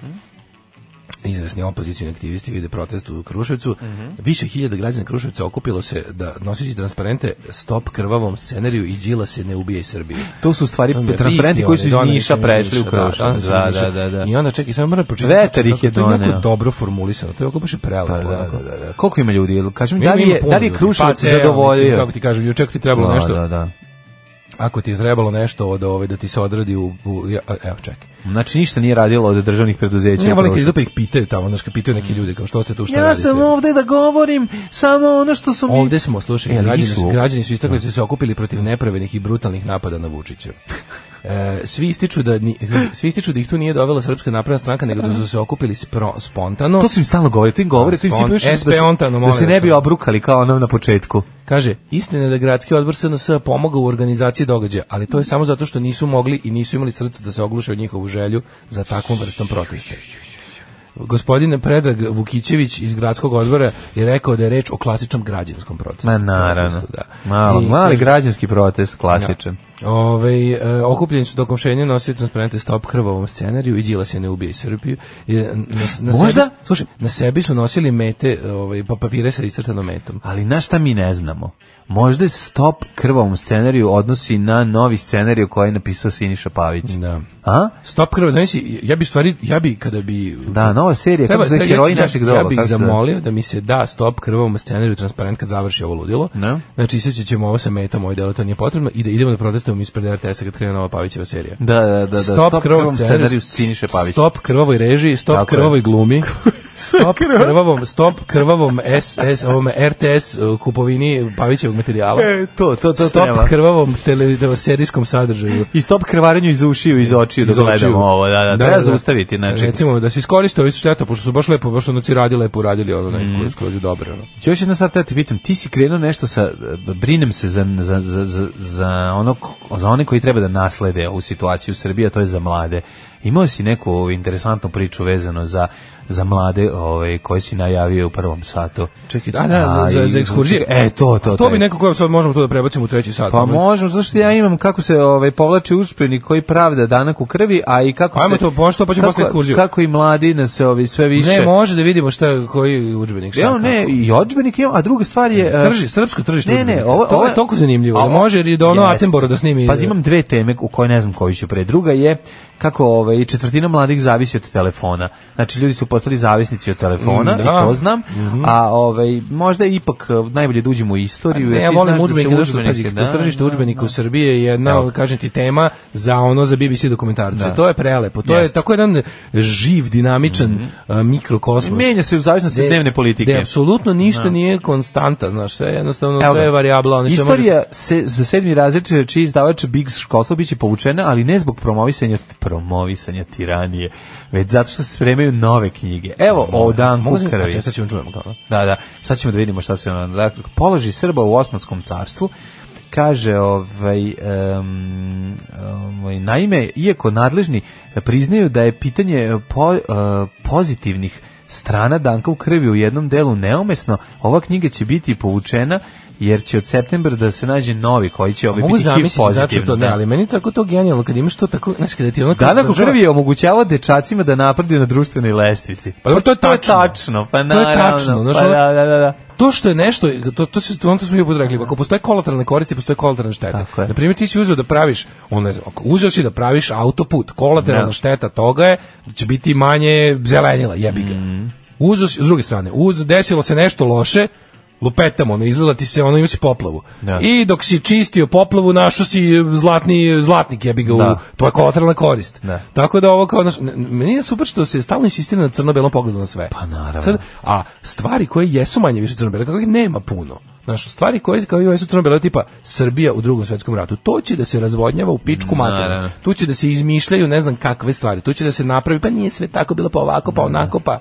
izvesni opozicijni aktivisti vide protest u Kruševcu, Mhm. više hiljada građana Kruševca okupilo se da noseći transparente stop krvavom scenariju i Đila se ne ubije iz Srbije. To su u stvari To mi je- transparenti isti koji su oni, iz doneli Niša iz prešli u Niša, doneli Kruševac. su iz Da, da, Niša. da, da. I onda čekaj, samo moram pročitati. Vetar ih je To je doneo. jako dobro formulisano, to je jako baš i prelepo. Pa da, da, onako. da, da. Koliko ima ljudi? Jel, Kažem, Ima- da li ima je, puno da li je ljudi. Kruševac Pa, evo, mislim, zadovoljio? Kako ti kažem, juče ako ti trebalo Da, nešto, Da, da. ako ti je trebalo nešto od ove da ti se odradi u, u ja, evo čekaj. Znači, ništa nije radilo od državnih preduzeća. Ja u volim kad Kruševcu. idu pa ih pitaju tamo, znači pitaju neki ljude kao što ste tu šta Mm. Ja radite. sam ovde da govorim samo ono što su mi... Ovde smo slušali, E, ali građani nisu su, ovo. građani su istakli da su se okupili protiv nepravednih i brutalnih napada na Vučića. E, svi ističu da ni, svi ističu da ih tu nije dovela srpska napredna stranka nego da su se okupili spro, spontano. To su im stalno govori, to im govori, to im Spon- sipaju što da, se- SP Ontano, da molim se ne vas. bi obrukali kao ono na početku. Kaže, istina je da gradski odbor SNS pomogao u organizaciji događaja, ali to je samo zato što nisu mogli i nisu imali srca da se ogluše o njihovu želju za takvom vrstom protesta. Gospodin Predrag Vukićević iz gradskog odbora je rekao da je reč o klasičnom građanskom protestu. Ma naravno, Protestu, da. Malo, I mali kaže- građanski protest, klasičan. Ove, e, okupljeni su tokom šenja nosili transparente stop krvavom scenariju i Đilas je ne ubije iz Srbiju. I, e, na, na Možda? Sebi, slušaj, na sebi su nosili mete, ovaj, pa papire sa iscrtanom metom. Ali na šta mi ne znamo? Možda je stop krvavom scenariju odnosi na novi scenariju koji je napisao Siniša Pavić. Da. A? Stop krv, znači, ja bi stvari, ja bi kada bi... Da, nova serija, kako se zove, ja ću- da, heroji ja- našeg doba. Ja bih kako se zove? zamolio da mi se da stop krvom scenariju transparent kad završi ovo ludilo. Ne? Znači, isjećat ćemo ovo sa metom, ovo delo to nije potrebno i da idemo da protestujemo ispred RTS-a kad krene nova Pavićeva serija. Da, da, da, da, Stop, krvavom scenariju Siniše Pavić. Stop krvavoj režiji, stop Tako je. krvavoj glumi. Stop krvavom, stop krvavom SS, ovom RTS uh, kupovini Pavićevog materijala. E, to, to, to stop treba. krvavom teleserijskom sadržaju. I stop krvarenju iz ušiju, iz očiju, da Iz očiju. gledamo ovo. Da, da, treba zaustaviti, znači. Recimo, da se iskoriste ovi šteta, pošto su baš lepo, baš ono radi lepo uradili, ono Mhm. neko skroz je dobro. Ono. Još jedna stvar, da te pitam, ti si krenuo nešto sa, brinem se za, za, za, za, za, onog, za one koji treba da naslede ovu situaciju u Srbiji, a to je za mlade. Imao si neku interesantnu priču vezano za, za mlade ovaj, koji si najavio u prvom satu. Čekaj, da, da, za, za, A, za i- ekskurzije. E, to, to, A to bi taj. neko koje sad možemo to da prebacimo u treći sat. Pa Ono. možemo, zašto ja imam kako se ovaj povlači uspjeni koji pravda danak u krvi, a i kako Ajmo se to, pošto, pa ćemo posle kako, ekskurziju. kako i mladi nas se ovi sve više. Ne, može da vidimo šta, koji udžbenik. šta, Evo, ne, kako. i odžbenik imam, a druga stvar je... e, Trži, srpsko tržište. Ne, ne, udžbenika. ovo, to ovo- je toliko zanimljivo. da ovo- može i da ono Jeste. Attenborough da snimi. Pazi, imam dve teme u koje ne znam koju ću pre. Druga je kako ovaj četvrtina mladih zavisi od telefona. Znači ljudi su postali zavisnici od telefona Mm, da. i to znam. Mhm. A ovaj možda je ipak eh, najbolje da uđemo u istoriju. Pa, Ne, jer ja ti volim znaš da se udžbenike, zato što udžbenike- pazi, da, to tržište da, udžbenika da. u Srbiji je jedna, od, kažem ti, tema za ono, za BBC dokumentarce. Da. To je prelepo. To je Jeste. Mhm. tako jedan živ, dinamičan a, mikrokosmos. Menja se u zavisnosti od Gde- dnevne politike. gde apsolutno ništa Da. nije konstanta, znaš, sve jednostavno, Evo sve ga. je varijabla. Ono Istorija se za sedmi razred čiji izdavač Big Škoslov biće povučena, ali ne zbog promovisanja promovisanja tiranije, već zato što se spremaju nove knjige. Evo o Dan Mogu sam- Kukarovi. a čekaj, sad ćemo čujemo kao. Da, da. Sad ćemo da vidimo šta se ono... Dakle, položi Srba u Osmanskom carstvu kaže ovaj, em, ovaj, naime iako nadležni priznaju da je pitanje po- eh, pozitivnih strana Danka u krvi u jednom delu neumesno ova knjiga će biti povučena jer će od septembra da se nađe novi koji će ovaj Mogu biti HIV zamisliti znači pozitivno da. to, ne, ali meni je tako to genijalno, kad imaš to tako, znaš, kada ti ono... kao Danak u država- krvi je omogućavao dečacima da napreduju na društvenoj lestvici. Pa dobro, to je tačno. pa To je naravno, tačno, znaš, pa ono- da, da, da, da. To što je nešto, to, to, se, ono to smo mi put rekli, ako postoje kolateralne koristi, postoje kolateralna šteta. Na primjer, ti si uzeo da praviš, on ne znam, ako uzeo si da praviš autoput, kolateralna Da. šteta toga je da će biti manje zelenila, jebi ga. Mhm. Uzeo si, s druge strane, uz, desilo se nešto loše, lupetamo, ono, izlila ti se, ono, ima si poplavu. Da. I dok si čistio poplavu, našao si zlatni, zlatnik, jebi ga, Da. u, to je kolateralna korist. Da. Tako da ovo kao, znaš, n- n- meni je super što se stalno insistira na crno-belom pogledu na sve. Pa naravno. Sad, a stvari koje jesu manje više crno-bele, kako ih nema puno. Znaš, stvari koje kao jesu crno-bele, tipa Srbija u drugom svetskom ratu, to će da se razvodnjava u pičku materinu. Naravno. Tu će da se izmišljaju ne znam kakve stvari, tu će da se napravi, pa nije sve tako bilo, pa ovako, pa onako, pa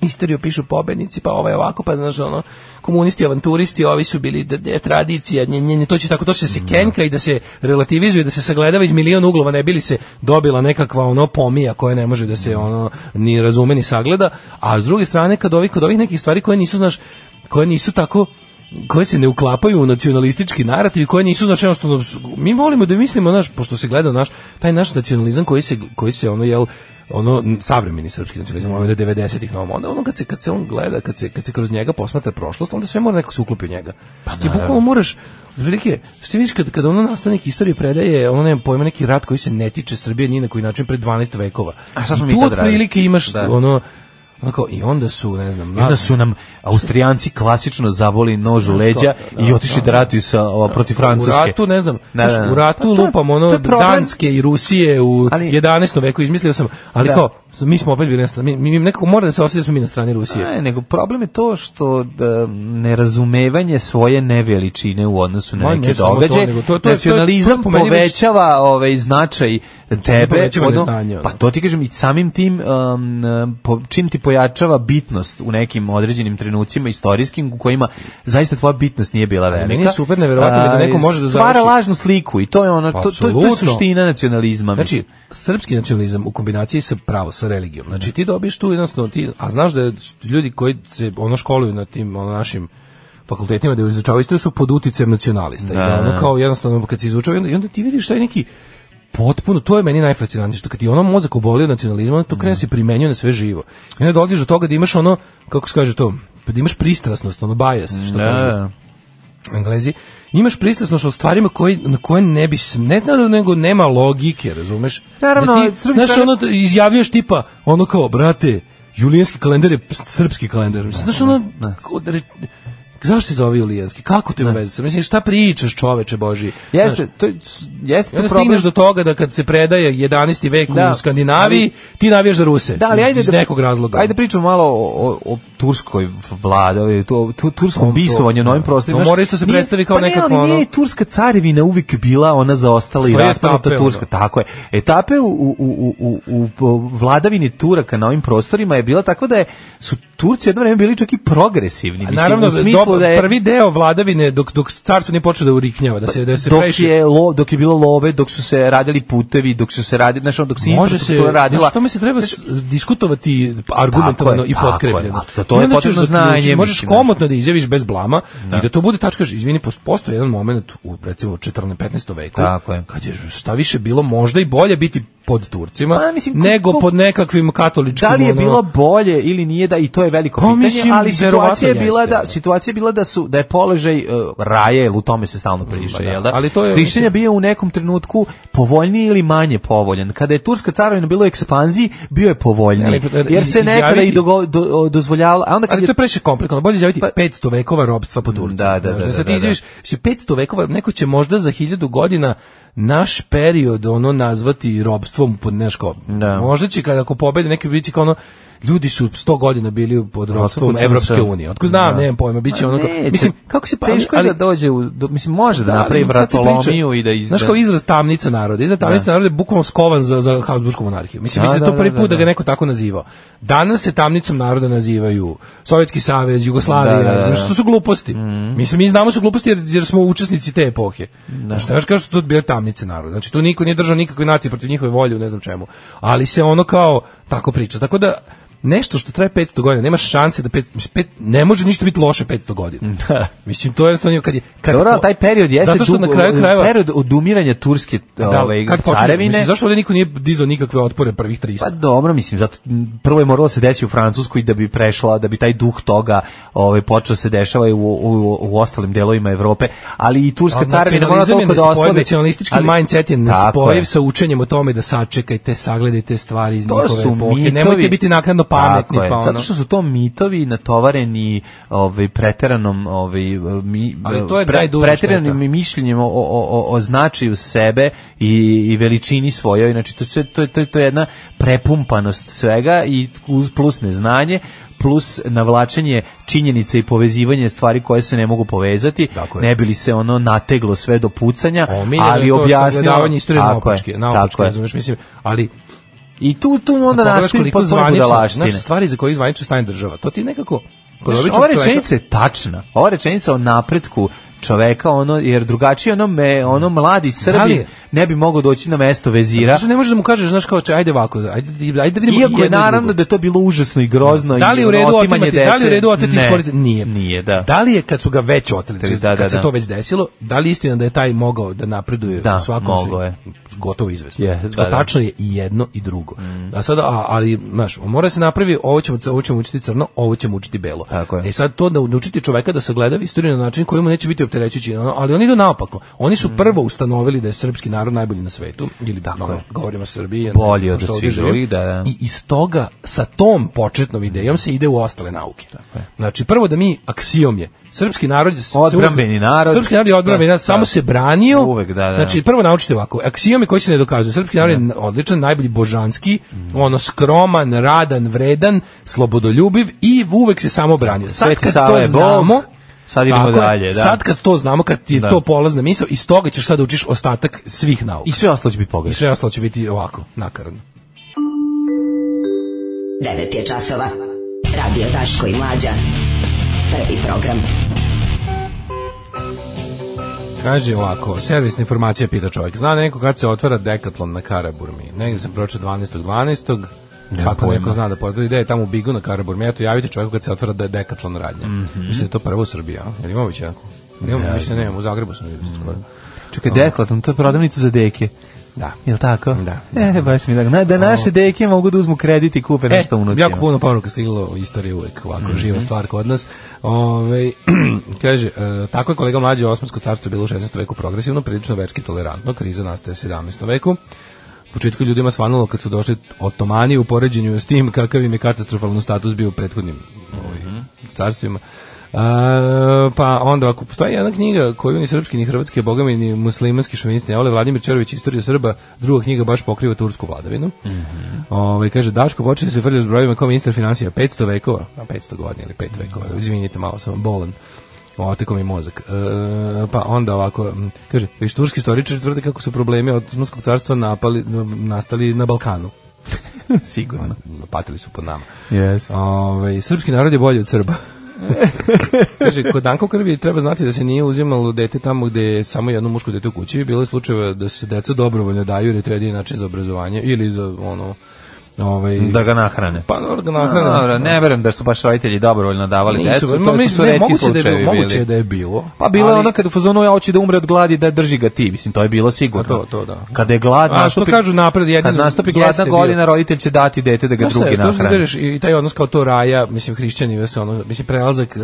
istoriju pišu pobednici, pa ovaj ovako, pa znaš, ono, komunisti, avanturisti, ovi su bili da, da, tradicija, nje, nje, nje, to će tako, to će da se kenka i da se relativizuje, da se sagledava iz milion uglova, ne bili se dobila nekakva ono pomija koja ne može da se ono ni razume ni sagleda, a s druge strane, kad ovih, kod ovih nekih stvari koje nisu, znaš, koje nisu tako, koje se ne uklapaju u nacionalistički narativ i koje nisu znaš jednostavno mi volimo da mislimo naš pošto se gleda naš taj naš nacionalizam koji se koji se ono jel ono n- savremeni srpski nacionalizam ovaj do 90-ih na ovamo, onda ono kad se kad se on gleda kad se kad se kroz njega posmatra prošlost onda sve mora nekako se uklopi u njega Pa i bukvalno moraš Otprilike, što vidiš kad, kad ono nastavnik istorije predaje, ono nema pojma neki rat koji se ne tiče Srbije ni na koji način pre 12 vekova. A šta smo I mi tu tad radili? otprilike imaš Da. ono, onako, i onda su, ne znam, I onda su nam Austrijanci klasično zaboli nož u leđa i otišli da ratuju sa, o, protiv Francuske. U ratu, ne znam, Da, znaš, da, da. u ratu Pa to je- lupam to ono je problem. Danske i Rusije u Ali- 11. veku, izmislio sam, ali Da. kao, mi smo opet bili na strani, mi, mi nekako mora da se osjeća da smo mi na strani Rusije. Ne, nego problem je to što da, nerazumevanje svoje neveličine u odnosu na Ma, neke ne samo to, događaje. nego to- to je- to je- Nacionalizam to je po meni već- povećava ovaj, značaj tebe. povećava neznanje, ono. pa to ti kažem i samim tim, um, po- čim ti pojačava bitnost u nekim određenim trenucima istorijskim u kojima zaista tvoja bitnost nije bila velika. meni je super neverovatno da neko A, može da Stvara završi- lažnu sliku i to je ono, Pa, to, to, to je apsolutno. suština nacionalizma. Znači, srpski nacionalizam u kombinaciji sa pravo, sa religijom. Znači, ti dobiješ tu jednostavno, ti, a znaš da su ljudi koji se ono školuju na tim ono, našim fakultetima da izučavaju istoriju su pod uticajem nacionalista. I Da, da, ono, da. kao jednostavno kad se izučava, i onda, i onda ti vidiš taj neki potpuno, to je meni najfascinantnije, što kad ti ono mozak oboli od nacionalizma, onda to krene da se primenjuje na sve živo. I onda dolaziš do toga da imaš ono, kako se kaže to, da imaš pristrasnost, ono bias, što Da, kažu. da. Englezi, imaš pristrasnost o stvarima koji, na koje ne bi, sm- ne da nego nema logike, razumeš? Naravno, da ali ti, s druge znaš, strane- ono, izjavljuješ tipa, ono kao, brate, julijanski kalendar je ps- srpski kalendar. Znaš, ono, ko- re- zašto se zove julijanski? Kako to ima veze? sa- Mislim, šta pričaš, čoveče Boži? Jeste, Znaš, to, je- jeste i to onda problem. stigneš do toga da kad se predaje 11. vek Da, u Skandinaviji, ti navijaš za Ruse. Da, ali ajde iz da- nekog razloga. Ajde pričamo malo o, o, o turskoj vladi, o tu, tu, turskom Tom, bistovanju na ovim da. prostorima. No, Znaš, mora isto se nije- predstavi kao pa ne, ali nekakvo ono- nije i turska carevina uvijek bila ona zaostala i Svoje raspadnuta etape, turska, ono. tako je. Etape u, u, u, u, u- u vladavini Turaka na ovim prostorima je bila tako da je, su Turci jedno vreme bili čak i progresivni. Mislim, Naravno, u smislu dob- da je, prvi deo vladavine dok dok carstvo nije počelo da uriknjava, da se da se dok previše- je lo, dok je bilo love, dok su se radili putevi, dok su se radili, znači dok se Može se, infrastruktura radila. Što mi se treba s- diskutovati argumentovano Tako je, i tako je. potkrepljeno. A za to je onda ćeš potrebno zaključiti. znanje. Možeš mislim, komotno da izjaviš bez blama Da. i da to bude tačka, izvini, pos- postoji jedan moment u recimo 14. 15. veku Tako je. kad je šta više bilo možda i bolje biti pod Turcima nego Pa, ko- pod nekakvim katoličkim da li je ono- bilo bolje ili nije da i to je veliko Pa, pitanje, mislim, ali verovatno situacija je bila jeste, da situacija je bila da su da je položaj uh, raje, jer u tome se stalno priče, Pa da, jel da? ali to je- Hrišćan je bio u nekom trenutku povoljniji ili manje povoljan. Kada je turska carevina bila u ekspanziji, bio je povoljniji. Ne, ali- Jer se nekada i izjaviti- dogo- do- dozvoljavalo, a onda kad Ali je Pa- to je previše komplikovano. Bolje izjaviti 500 vekova robstva po Turcima. Da, da, da, da. sad da, ti da. izjaviš, mislim, 500 vekova, neko će možda za 1000 godina naš period ono nazvati robstvom pod nešto. Da. Možda će kada ako pobede neki biće kao ono ljudi su 100 godina bili pod robstvom Otkud sam Evropske se- unije. Otko znam, Da. nemam pojma, biće Ma ono kao- neće. mislim kako se pa- teško je ali- da dođe u do, mislim može da, Da, ali napravi sad se priča- vratolomiju i da iz Znaš kao izraz tamnica naroda, izraz tamnica Da. naroda je bukvalno skovan za, za Habsburgsku monarhiju. Mislim, Da, mislim da, da, je to prvi da, put da, da, ga neko tako nazivao. Danas se tamnicom naroda nazivaju Sovjetski savez, Jugoslavija, Da, da, Mhm. da. znaš, to su gluposti. Mislim, mi znamo su gluposti jer, jer smo učesnici te epohe. Da. Znaš, znaš kao što su to bile tamnice naroda. Znači, tu niko nije držao nikakve nacije protiv njihove volje u ne znam čemu. Ali se ono kao tako priča. Tako da, nešto što traje 500 godina, nema šanse da 500, mislim, pet, ne može ništa biti loše 500 godina. Da. Mislim, to je jednostavno kad je... Kad Dobro, po- ali taj period jeste Zato što na dugo- kraju krajeva... Da, period odumiranja turske ove, kad počinje? ovaj, carevine. Mislim, zašto ovdje niko nije dizao nikakve otpore prvih 300? Pa dobro, mislim, zato m, prvo je moralo se desiti u Francuskoj da bi prešla, da bi taj duh toga ovaj počeo se dešava i u, u, u ostalim delovima Evrope, ali i turska Ali carevina mora nacionalizam je toliko da nespojiv, osladi. znači, Nacionalistički ali- mindset je Tako nespojiv je. sa učenjem o tome da sačekajte, sagledajte stvari iz To njihove su epohe. mitovi. Nemojte biti naknadno pametni. Tako je, Pa ono. Zato što su to mitovi natovareni ovaj preteranom ovaj mi Ali to je najduža preteranim šteta. mišljenjem o, o, o, o značaju sebe i, i veličini svojoj, znači to sve to je to, je- to je jedna prepumpanost svega i uz plus neznanje plus navlačenje činjenice i povezivanje stvari koje se ne mogu povezati, Tako je. ne bi li se ono nateglo sve do pucanja, Omiljeno ali je to objasnilo sagledavanje istorije Tako je, naopačke, naopačke, tako je. razumeš, mislim, ali I tu, tu onda pogledaš nastaju koliko potpuno zvanično- budalaštine. Znaš, stvari za koje zvanično stane država, to ti nekako... kod Znaš, običnog ova čoveka- rečenica je tačna. Ova rečenica o napretku čoveka, ono, jer drugačije ono, me, ono mladi Da li Srbi je? ne bi mogao doći na mesto vezira. Znaš, ne možeš da mu kažeš, znaš kao, čaj, ajde ovako, ajde, ajde da vidimo Iako je jedno i naravno drugo. da je to bilo užasno i grozno Da li i je u redu ono, otimati, otimanje da li je u dece. redu oteti Ne. iz porodice? Nije. Nije, da. Da li je kad su ga već oteli, Da, kad da, da. se to već desilo, da li je istina da je taj mogao da napreduje Da, u svakom mogao svi- je. Gotovo izvesno. Je, da, Mm. Kao tačno je i jedno i drugo. A sada, a, ali, znaš, mora da se napravi, ovo ćemo, ovo ćemo učiti crno, ovo ćemo učiti belo. Tako je. E sad to da naučiti čoveka da sagleda istoriju na način koji mu neće biti opterećujući, ono, ali oni idu naopako. Oni Mm. su prvo ustanovili da je srpski narod najbolji na svetu, ili Tako je. govorimo o Srbiji, Bolji od pošto svih ovdje živim. drugih, da, da. I iz toga sa tom početnom idejom se ide u ostale nauke. Znači prvo da mi aksiom je srpski narod je se uvek- Odbrambeni narod. Srpski narod je odbrambeni Da, narod, samo da. se branio. Uvek, da, da. Znači prvo naučite ovako, aksiome koji se ne dokazuju. Srpski narod je odličan, najbolji božanski, Mm. ono skroman, radan, vredan, slobodoljubiv i uvek se samo branio. Sad Sveti kad Sava to je Bog, znamo, sad idemo Tako je. dalje, da. Sad kad to znamo, kad ti je Da. to polazna misao, iz toga ćeš sad da učiš ostatak svih nauka. I sve ostalo će biti I pogrešno. sve ostalo će biti ovako, nakaradno. 9 je časova. Radio Daško i Mlađa. Prvi program. Kaže ovako, servisna informacija pita čovjek. Zna neko kad se otvara Decathlon na Karaburmi? Negdje sam pročio 12.12. Nemam Ako pojma. neko zna da potvrdi da je tamo u Bigu na Karaburmi, eto javite čovjeku kad se otvara da je Decathlon radnja. Mhm. Mislim da je to prvo u Srbiji, a? Jel imamo već jednako? Imamo, mislim da nemamo, u Zagrebu sam vidio skoro. Čekaj, deklatom, to je prodavnica za deke. Da. Jel tako? Da. E, E, baš mi je tako. Na, da naše deke mogu da uzmu kredit i kupe nešto unutra. Jako puno poruka stiglo, istorija je uvek ovako živa stvar kod nas. Ove, kaže, e, tako je kolega mlađe Osmansko carstvo je bilo u 16. veku progresivno, prilično verski tolerantno, kriza nastaje u 17. veku. U početku je ljudima svanulo kad su došli otomani u poređenju s tim kakav im je katastrofalno status bio u prethodnim ovaj, carstvima. E, pa onda ako postoji jedna knjiga koju ni srpski ni hrvatski, a boga mi ni muslimanski šovinisti ne vole, Vladimir Čerović Istorija Srba, druga knjiga baš pokriva tursku vladavinu. Ovaj, kaže, Daško počeli se frlja s brojima kao ministar financija, 500 vekova, a 500 godina ili 5 vekova, izvinite malo, sam bolan. Oteko mi mozak. E, pa onda ovako, m, kaže, viš turski istoričari tvrde kako su problemi Osmanskog carstva napali, nastali na Balkanu. Pa, Sigurno. Patili su pod nama. Yes. Ovaj, srpski narod je bolji od Srba. Kaže, kod Danko krvi treba znati da se nije uzimalo dete tamo gde je samo jedno muško dete u kući. Bilo je slučajeva da se deca dobrovoljno daju jer je to jedini način za obrazovanje ili za ono Ovaj da ga nahrane. Pa dobro, ga nahrane. Dobro, ne verujem da su baš roditelji dobrovoljno davali Nisu, decu, ma, to mislim, su ne, retki moguće da je slučajevi bilo, bili. moguće da je bilo, Pa bilo je ali- ono kada u fazonu ja hoće da umre od gladi da drži ga ti, mislim to je bilo sigurno. Pa to- to da. Kada je glad A, što nastupi. kažu napred, jedino Kad nastupi jeste gladna bio. godina, roditelj će dati dete da ga Znaš šta je, drugi to što nahrani. kažeš, i i taj odnos kao to raja, mislim hrišćani, da se ono, mislim prelazak e,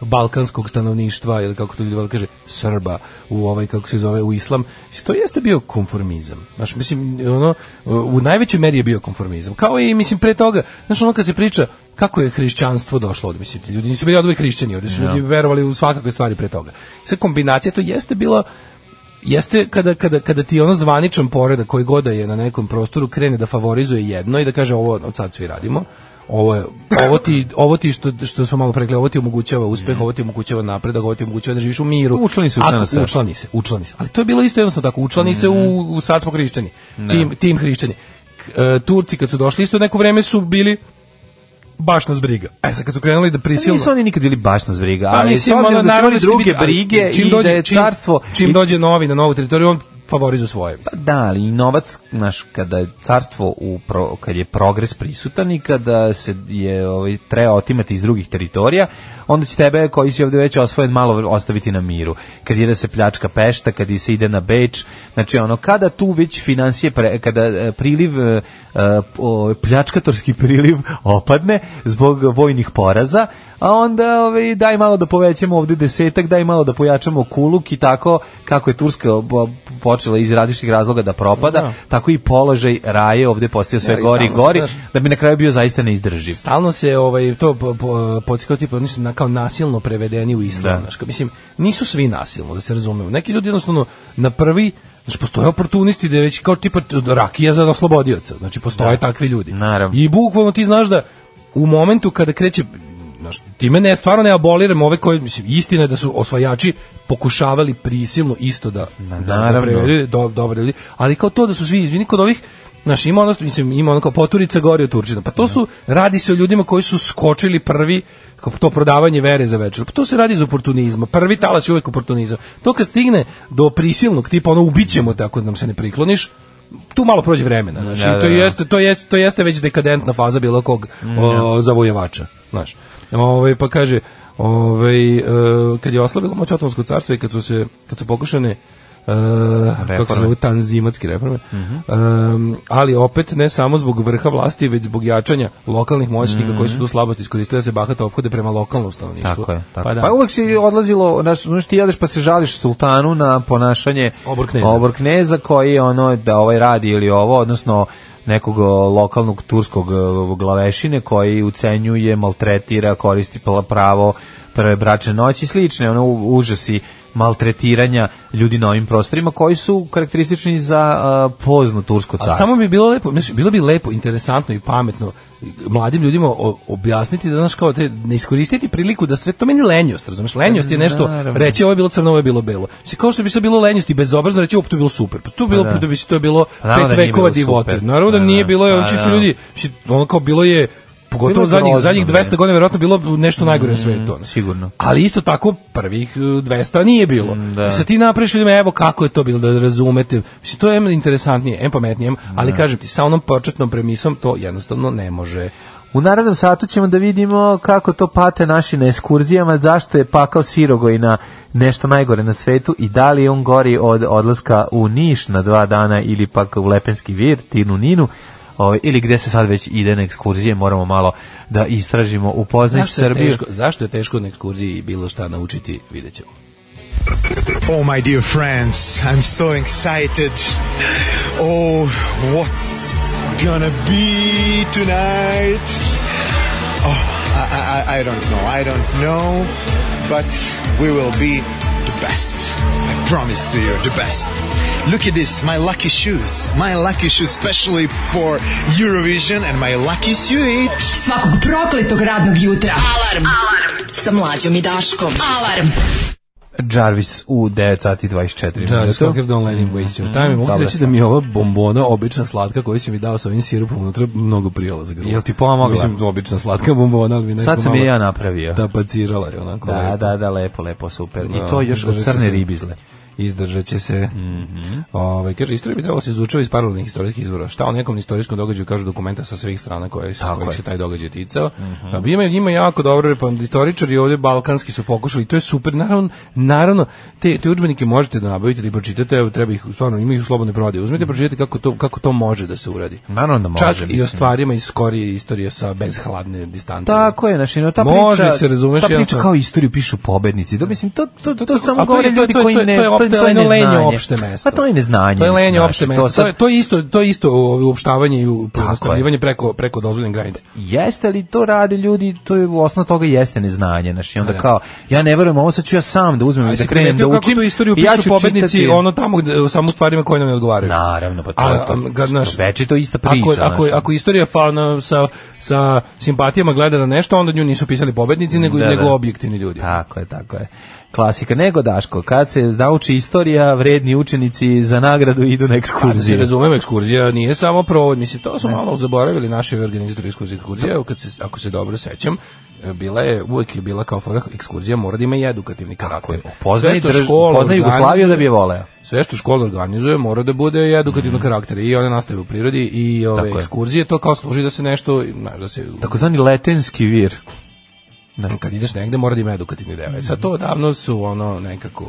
balkanskog stanovništva ili kako to ljudi vole da kaže Srba u ovaj kako se zove u islam, mislim, to jeste bio konformizam. Znaš, mislim ono e, u najvećoj meri je bio konformizam. Kao i mislim pre toga, znaš ono kad se priča kako je hrišćanstvo došlo ovde, mislim ti ljudi nisu bili odvek hrišćani, ovde su Ja. ljudi verovali u svakakve stvari pre toga. Sve kombinacija to jeste bila jeste kada, kada, kada ti ono zvaničan poredak koji god da je na nekom prostoru krene da favorizuje jedno i da kaže ovo od sad svi radimo, ovo, je, ovo ti, ovo ti što, što smo malo prekli, ovo ti omogućava uspeh, ovo ti omogućava napredak, ovo ti omogućava da živiš u miru. Učlani se u Ako- SNS. Učlani se, učlani se. Ali to je bilo isto jednostavno tako, učlani se u, u sad smo hrišćani, Da. tim, tim hrišćani. K- e, Turci kad su došli isto neko vreme su bili baš nas briga. E sad kad su krenuli da Pa prisilno Nisu oni nikad bili baš nas briga, pa, ali mislim, s obzirom ono, da su naravno imali će druge biti- ali brige čim i dođe- da je čim- carstvo... Čim i- dođe novi na novu teritoriju, on favorizuje svoje. mislim. Da, ali i novac, znaš, kada je carstvo, u pro, kad je progres prisutan i kada se je ovaj, treba otimati iz drugih teritorija, onda će tebe koji si ovde već osvojen malo ostaviti na miru. Kad ide da se pljačka pešta, kad i se ide na beč, znači ono, kada tu već financije, pre, kada e, priliv, e, e, o, pljačkatorski priliv opadne zbog vojnih poraza, a onda ovaj, daj malo da povećamo ovde desetak, daj malo da pojačamo kuluk i tako kako je Turska bo- počela iz različitih razloga da propada, Da. tako i položaj raje ovde postao sve Da, i gori i stalno gori, se, znaš. da bi na kraju bio zaista neizdrživ. Stalno se ovaj to po, po, podsjetio, tipa oni su na, kao nasilno prevedeni u islam, Da. znaš, kao, mislim nisu svi nasilno da se razumemo. Neki ljudi jednostavno na prvi Znači, postoje oportunisti da je već kao tipa rakija za oslobodioca. Znači, postoje takvi ljudi. Naravno. I bukvalno ti znaš da u momentu kada kreće znaš, time ne, stvarno ne aboliram ove koje, mislim, istina je da su osvajači pokušavali prisilno isto da, da, da naravno. prevedu, do, dobre ljudi, ali kao to da su svi, izvini, kod ovih, znaš, ima ono, mislim, ima ono kao poturica gori od Turčina, pa to su, radi se o ljudima koji su skočili prvi, kao to prodavanje vere za večer, pa to se radi iz oportunizma, prvi talas je uvek oportunizam, to kad stigne do prisilnog tipa, ono, ubićemo te ako nam se ne prikloniš, tu malo prođe vremena, znaš, Da, i to da, Mm, da. jeste, to jeste, to jeste već dekadentna faza bilo kog o, zavojevača, znaš. Ovaj pa kaže, ovaj e, kad je oslabilo moć Otomansko carstvo i kad su se kad su pokušane e, kako se Reforme. Mhm. zove tanzimatske reforme. E, ali opet ne samo zbog vrha vlasti, već zbog jačanja lokalnih moćnika koji su tu slabost iskoristili da se bahata ophode prema lokalnom stanovništvu. Mhm. Tako je. Tako. Pa Pa, da. pa uvek si odlazilo, znaš, znaš, ti jedeš pa se žališ sultanu na ponašanje Obrkneza. obrkneza koji je ono da ovaj radi ili ovo, odnosno nekog o, lokalnog turskog o, glavešine koji ucenjuje, maltretira, koristi pla- pravo prve bračne noći i slične, ono u- užasi maltretiranja ljudi na ovim prostorima koji su karakteristični za a, pozno tursko A carstvo. samo bi bilo lepo, mislim, bilo bi lepo, interesantno i pametno mladim ljudima o- objasniti da znaš kao te ne iskoristiti priliku da sve to meni lenjost, razumeš? Lenjost je nešto Naravno. reći ovo je bilo crno, ovo je bilo belo. Mislim kao što bi se bilo lenjost i bezobrazno reći op to je bilo super. Pa to je bilo Pa da. da. bi se to je bilo Pa naravno da pet nije vekova bilo divote. super. Naravno da Pa nije da. bilo je Pa očito da. ljudi, mislim ono kao bilo je Bilo pogotovo je zadnjih grozno, zadnjih bre. 200 godina verovatno bilo nešto najgore na svetu. ono. Sigurno. Ali isto tako prvih e, 200 nije bilo. da. I sad ti napraviš ljudima, evo kako je to bilo, da razumete. Mislim, to je em interesantnije, em pametnije, em, ali kažem ti, sa onom početnom premisom to jednostavno ne može. U narednom satu ćemo da vidimo kako to pate naši na eskurzijama, zašto je pakao Sirogoj na nešto najgore na svetu i da li je on gori od odlaska u Niš na dva dana ili pak u Lepenski vir, Tinu Ninu, ovaj, ili gde se sad već ide na ekskurzije, moramo malo da istražimo, upoznaš Zašto je, Srbiju. teško, zašto je teško na ekskurziji bilo šta naučiti, vidjet ćemo. Oh, my dear friends, I'm so excited. Oh, what's gonna be tonight? Oh, I, I, I don't know. I don't know. But we will be the best. I promise to you, the best. Look at this, my lucky shoes. My lucky shoes, specially for Eurovision and my lucky suit. Svakog prokletog radnog jutra. Alarm. Alarm. Sa mlađom i Daškom. Alarm. Jarvis u 9 sati 24 Jarvis minuta. Cocker, Don't Let Him Waste Your Time. Mogu ti Dobra reći da stvar. mi je ova bombona, obična slatka koju si mi dao sa ovim sirupom unutra, mnogo prijela za grlo. Jel ti pomogla? Mislim, obična slatka bombona, ali mi neko Sad sam malo je ja napravio. tapacirala je onako. Da, lepo. da, da, lepo, lepo, super. I Da, to još od držat ću crne se. ribizle. izdržat će se. Mm Mhm. -hmm. Ove, kaže, istorija bi trebalo se izučava iz paralelnih istorijskih izvora. Šta o nekom istorijskom događaju kažu dokumenta sa svih strana koje, s kojih se taj događaj ticao. Mm Mhm. -hmm. Ima, ima jako dobro, pa istoričari ovdje balkanski su pokušali, to je super. Naravno, naravno te, te udžbenike možete da nabavite da ih pročitate, evo, treba ih, stvarno, imaju slobodne prodaje. Uzmite, pročitajte kako to, kako to može da se uradi. Naravno da Mhm. može. Čak mislim. i o stvarima iz skorije istorije sa bez hladne distance. Tako je, znači, no, ta priča, može se, razumeš, ta priča jasno. kao istoriju pišu pobednici. To, mislim, to, to, to, to samo A to je- govore to je- ljudi to je- koji to je- ne... to je opšte- to je lenje neznanje. opšte mesto. A to je neznanje. To je lenje mislim, opšte znaš, mesto. to sad- To, je- to je isto, to je isto ovo uopštavanje i uopštavanje preko, preko dozvoljene granice. Jeste li to rade ljudi, to je u osnovu toga jeste neznanje, znači onda Da. kao ja ne verujem, ovo sad ću ja sam da uzmem i Ali da si krenem da primetio kako učim. tu istoriju i ja pišu ću pobednici, čitati- ono tamo gde, samo u stvarima koje nam ne odgovaraju. Naravno, pa to A- je to. a, kad, znaš, Već je to ista priča. Ako, ako, znaš. ako istorija fa, na, sa, sa simpatijama gleda na nešto, onda nju nisu pisali pobednici, nego, Da, da. nego objektivni ljudi. Tako je, tako je. Klasika, nego Daško, kad se nauči istorija, vredni učenici za nagradu idu na Pa da se ekskurzije. razumemo, ekskurzija nije samo provod, mislim, to Da. su malo zaboravili naši organizatori ekskurzije. Ekskurzija, kad se, ako se dobro sećam, bila je, uvek je bila kao fora, ekskurzija mora da ima i edukativni karakter. Poznaje, Sve što drž- škola poznaje Jugoslaviju organizuje- da bi je voleo. Mm. sve što škola organizuje mora da bude i edukativnog karaktera i one nastave u prirodi i ove Tako je. ekskurzije to kao služi da se nešto znaš, da se Takozvani letenski vir. kad ideš negde mora da ima edukativni deo. E Sad to odavno su ono nekako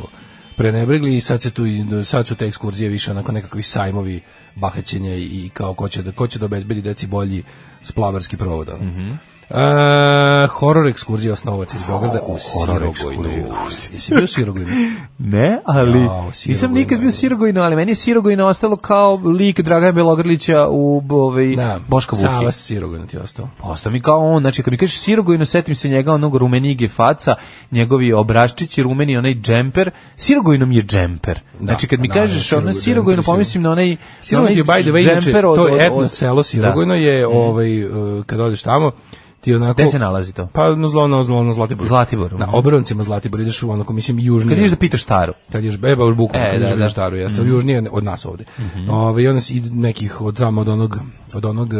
prenebregli i sad se tu i- sad su te ekskurzije više onako nekakvi sajmovi bahaćenja i i kao ko će da ko će da obezbedi deci bolji splavarski provod. ono. Mhm. E, horor ekskurzija osnovac iz Beograda u Sirogojnu. Jesi bio u Sirogojnu? Ne, ali Jao, nisam Sirogojno nikad je. bio Sirogojno, ali meni je Sirogojno ostalo kao lik Dragana Belogrlića u ovaj, Da, Boška Vuki. Sava Sirogojnu ti je ostao. Ostao mi kao on, znači kad mi kažeš Sirogojno, setim se njega onog rumenige faca, njegovi obraščići rumeni, onaj džemper, Sirogojno mi je džemper. znači kad mi da, kažeš da, ono Sirogojno, Sirogojno, džemper, pomislim na onaj, na Sirogojno onaj je by the way, inače, džemper od- to od- je etno od- Da. Mhm. selo Sirogojno je, ovaj, e, kad odeš tamo, ti onako... Gde se nalazi to? Pa na zlo, na zlo, na Zlatiboru. Zlatiboru. Na obroncima Zlatibora ideš u onako, mislim, južnije. mhm. Kad ideš da pitaš staru. Kad ideš beba, u buku, E, kad da, ideš da. da, staru, jeste, Mhm. južnije od nas ovde. Ovaj, I onda si- i nekih od tamo, od onog, od onog e,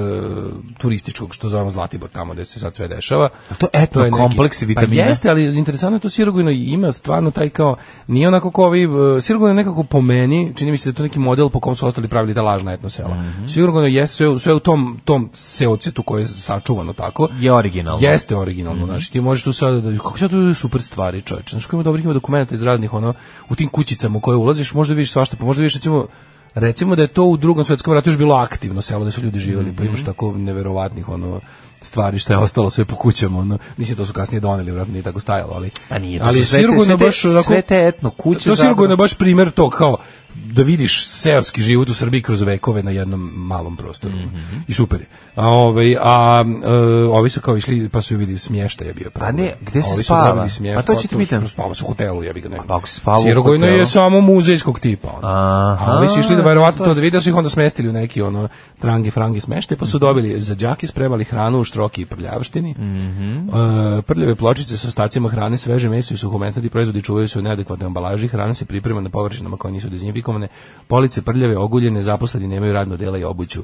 turističkog, što zovemo Zlatibor, tamo gde se sad sve dešava. to etno neki- kompleksi vitamina? Pa jeste, ali interesantno je to Sirogojno ima stvarno taj kao, nije onako kao ovi, e, Sirogojno je nekako po meni, čini mi se da je to neki model po kom su ostali pravili ta lažna etno sela. Mhm. Sirogojno je sve, u- sve u tom, tom seocetu koje je sačuvano tako. Je originalno. Mhm. Jeste originalno, znači ti možeš tu sada da kako sad tu je super stvari, čoveče. Znači ima dobrih ima dokumenata iz raznih ono u tim kućicama u koje ulaziš, možda vidiš svašta, pa možda vidiš recimo recimo da je to u drugom svjetskom ratu još bilo aktivno selo da su ljudi živjeli, pa Mhm. imaš tako neverovatnih ono stvari što je ostalo sve po kućama, ono. Mislim to su kasnije doneli, vratno nije tako stajalo, ali A nije, to ali su sve te- Sirogojno sve te- baš onako- sve te etno kuće To Sirogojno je zapravo. baš primjer tog kao da vidiš seoski život u Srbiji kroz vekove na jednom malom prostoru. Mhm. I super je. A, ovaj, a e, ovi su kao išli, pa su i vidjeli smještaj je bio problem. A Pa ne, gde se Ovi su spava? dobili smještaj, Pa to ću ti su- pitam. Spava se u hotelu, jebi ga ne. Pa ako se spava u Sirogojno hotelu. je samo muzejskog tipa. ono. Aha. a ovi su išli da verovatno to da vide, su ih onda smestili u neki ono trangi frangi smeštaj, pa su dobili za đake spremali hranu u štroki i prljavštini. E, prljave pločice sa ostacima hrane, sveže meso i suhomesnati proizvodi čuvaju se u neadekvatnoj ambalaži, hrana se priprema na površinama koje nisu dezinfikovane, police prljave, oguljene, zaposleni nemaju radno dela i obuću.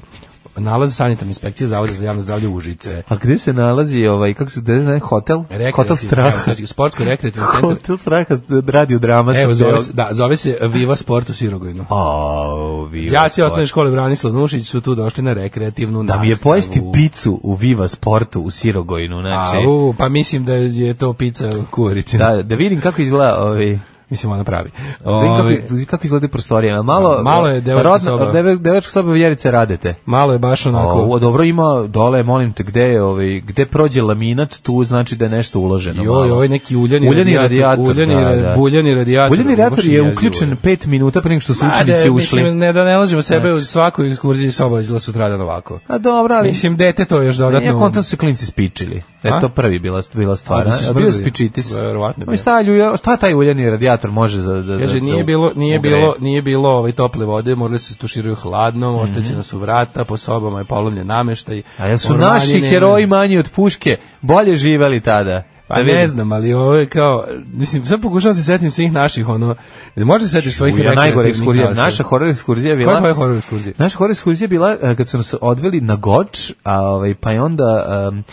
Nalaz sanitarne inspekcije Zavoda za javno zdravlje Užice. A gde se nalazi ovaj kako se gde se zove hotel? Hotel Straha. Sportsko rekreativni centar. Hotel Straha radio drama da Evo, sa zove se, da, zove se Viva Sport u Sirogojnu. A, Ja se osnovne škole Branislav Nušić su tu došli na rekreativnu ovaj. Da mi je nastavu. pojesti picu u Viva Sportu u Sirogojnu, znači. Au, pa mislim da je to pizza u kuvarici. Da, da vidim kako izgleda ovaj Mislim, ona pravi. Da Ovaj, vidim kako, kako izgleda prostorija. Malo, eh, Malo je devačka soba. deve- devačka soba Vjerice Radete. malo je baš onako... O, dobro ima dole, molim te, gde, je, ovaj, gde prođe laminat, tu znači da je nešto uloženo. Jo, malo. ovaj neki uljani, Uljani radijator, uljani, da, ra- da. buljani radijator. Uljeni reaktor Baš je jezivo uključen je. 5 minuta pre nego što su Ma, učenici da, ušli. Mislim, ne da ne lažemo sebe, u svakoj ekskurziji soba izgleda sutradan ovako. A dobro, ali Mislim, dete to još dodatno... Ja kontam su klinci spičili. E A? to prvi bila bila stvar. A, da su A, bio smrzli? spičiti. Verovatno Mi bio. stavlju, šta taj uljeni radijator može za da da- Kaže, da nije u- bilo, nije ugreje? bilo, nije bilo ovaj tople vode, morali su da se tuširaju hladno, oštećena su vrata, po sobama je polomljen nameštaj. Mhm. A jel su ormari naši ne- heroji manji od puške, bolje živeli tada. Pa Da vidim. ne znam, ali ovo je kao, mislim, sad pokušavam se setim svih naših, ono, možda se setiš svojih Uja, najgore rekreativnih ekskurzija. nastava. Naša horor ekskurzija je bila... Koja je tvoja horor ekskurzija? Naša horor ekskurzija je bila e, kad su nas odveli na Goč, a, ovaj, pa je onda... em,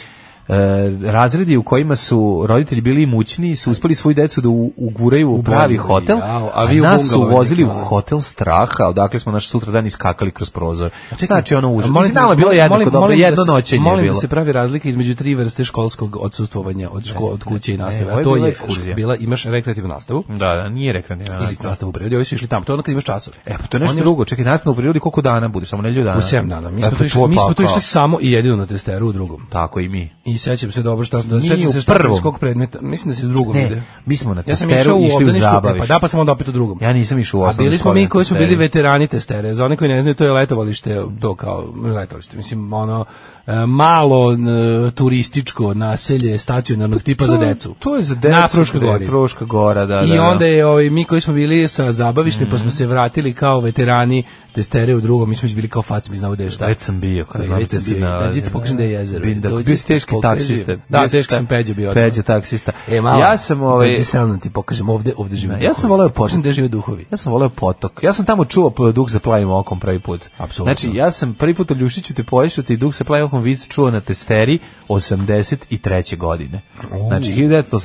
razredi u kojima su roditelji bili imućni su uspeli svoju decu da u- uguraju u pravi bolnicu, hotel, jao, a a, vi u nas su bungalove vozili u neke, ono. hotel straha, odakle smo naš sutra dan iskakali kroz prozor. Znači ono užas. Molim Mislim, nama je vas, bilo molim- jednako molim- dobro, molim da jedno se- noćenje je Molim bilo. da se pravi razlika između tri vrste školskog odsustvovanja od, ško, od kuće i nastave. ovo a je to bila je ekskurzija. bila, imaš rekreativnu nastavu. Da, da, nije rekreativna Ili nastava. nastavu u prirodi, ovi su išli tamo. To je ono kad imaš časove. E, pa to je nešto drugo. Čekaj, nas u prirodi koliko dana budeš? Samo nedelju dana. U 7 dana. Mi E, smo, pa to išli, tvoj mi smo to pakao. išli samo i jedino na testeru u drugom. Tako i mi. I sećam se dobro šta Mi smo, sećam u se šta prvom. iz kog predmeta. Mislim da se u drugom Ne, ide. mi smo na Ja sam testeru išao u išli u obdaništu, e, zabavište. Pa da, pa sam onda opet u drugom. Ja nisam išao u A osnovnu bili smo školu mi na koji su testeru. bili veterani testere. Za one koji ne znaju, to je letovalište, to kao letovalište. Mislim, ono, e, malo n- turističko naselje stacionarnog tipa Pa za To- decu. To je za decu. Na Fruškoj bre, gori. Fruška gora, da, da. I da. Mhm. onda je ovaj mi koji smo bili sa zabavištem pa smo se vratili kao veterani testere u drugom, mi smo već bili kao fac, mi znamo da je šta. Već sam bio, kad Kad znam već da sam si bio. nalazio. Da ti pokažem da je jezero. Bin da- Dođi, bio si teški pokažem. taksista. Da, Bio si teški ta- sam peđe bio. Peđa taksista. E, mala, Ja sam, ovaj- Da, Dođi sa mnom ti pokažem ovde, ovde žive. Ja sam voleo potok. Pokažem gde žive duhovi. Ja sam voleo potok. Ja sam tamo čuo p- duh sa plavim okom prvi put. Apsolutno. Znači, ja sam prvi put u Ljušiću te poješu i duh sa plavim okom vic čuo na testeri 83. godine. Znači,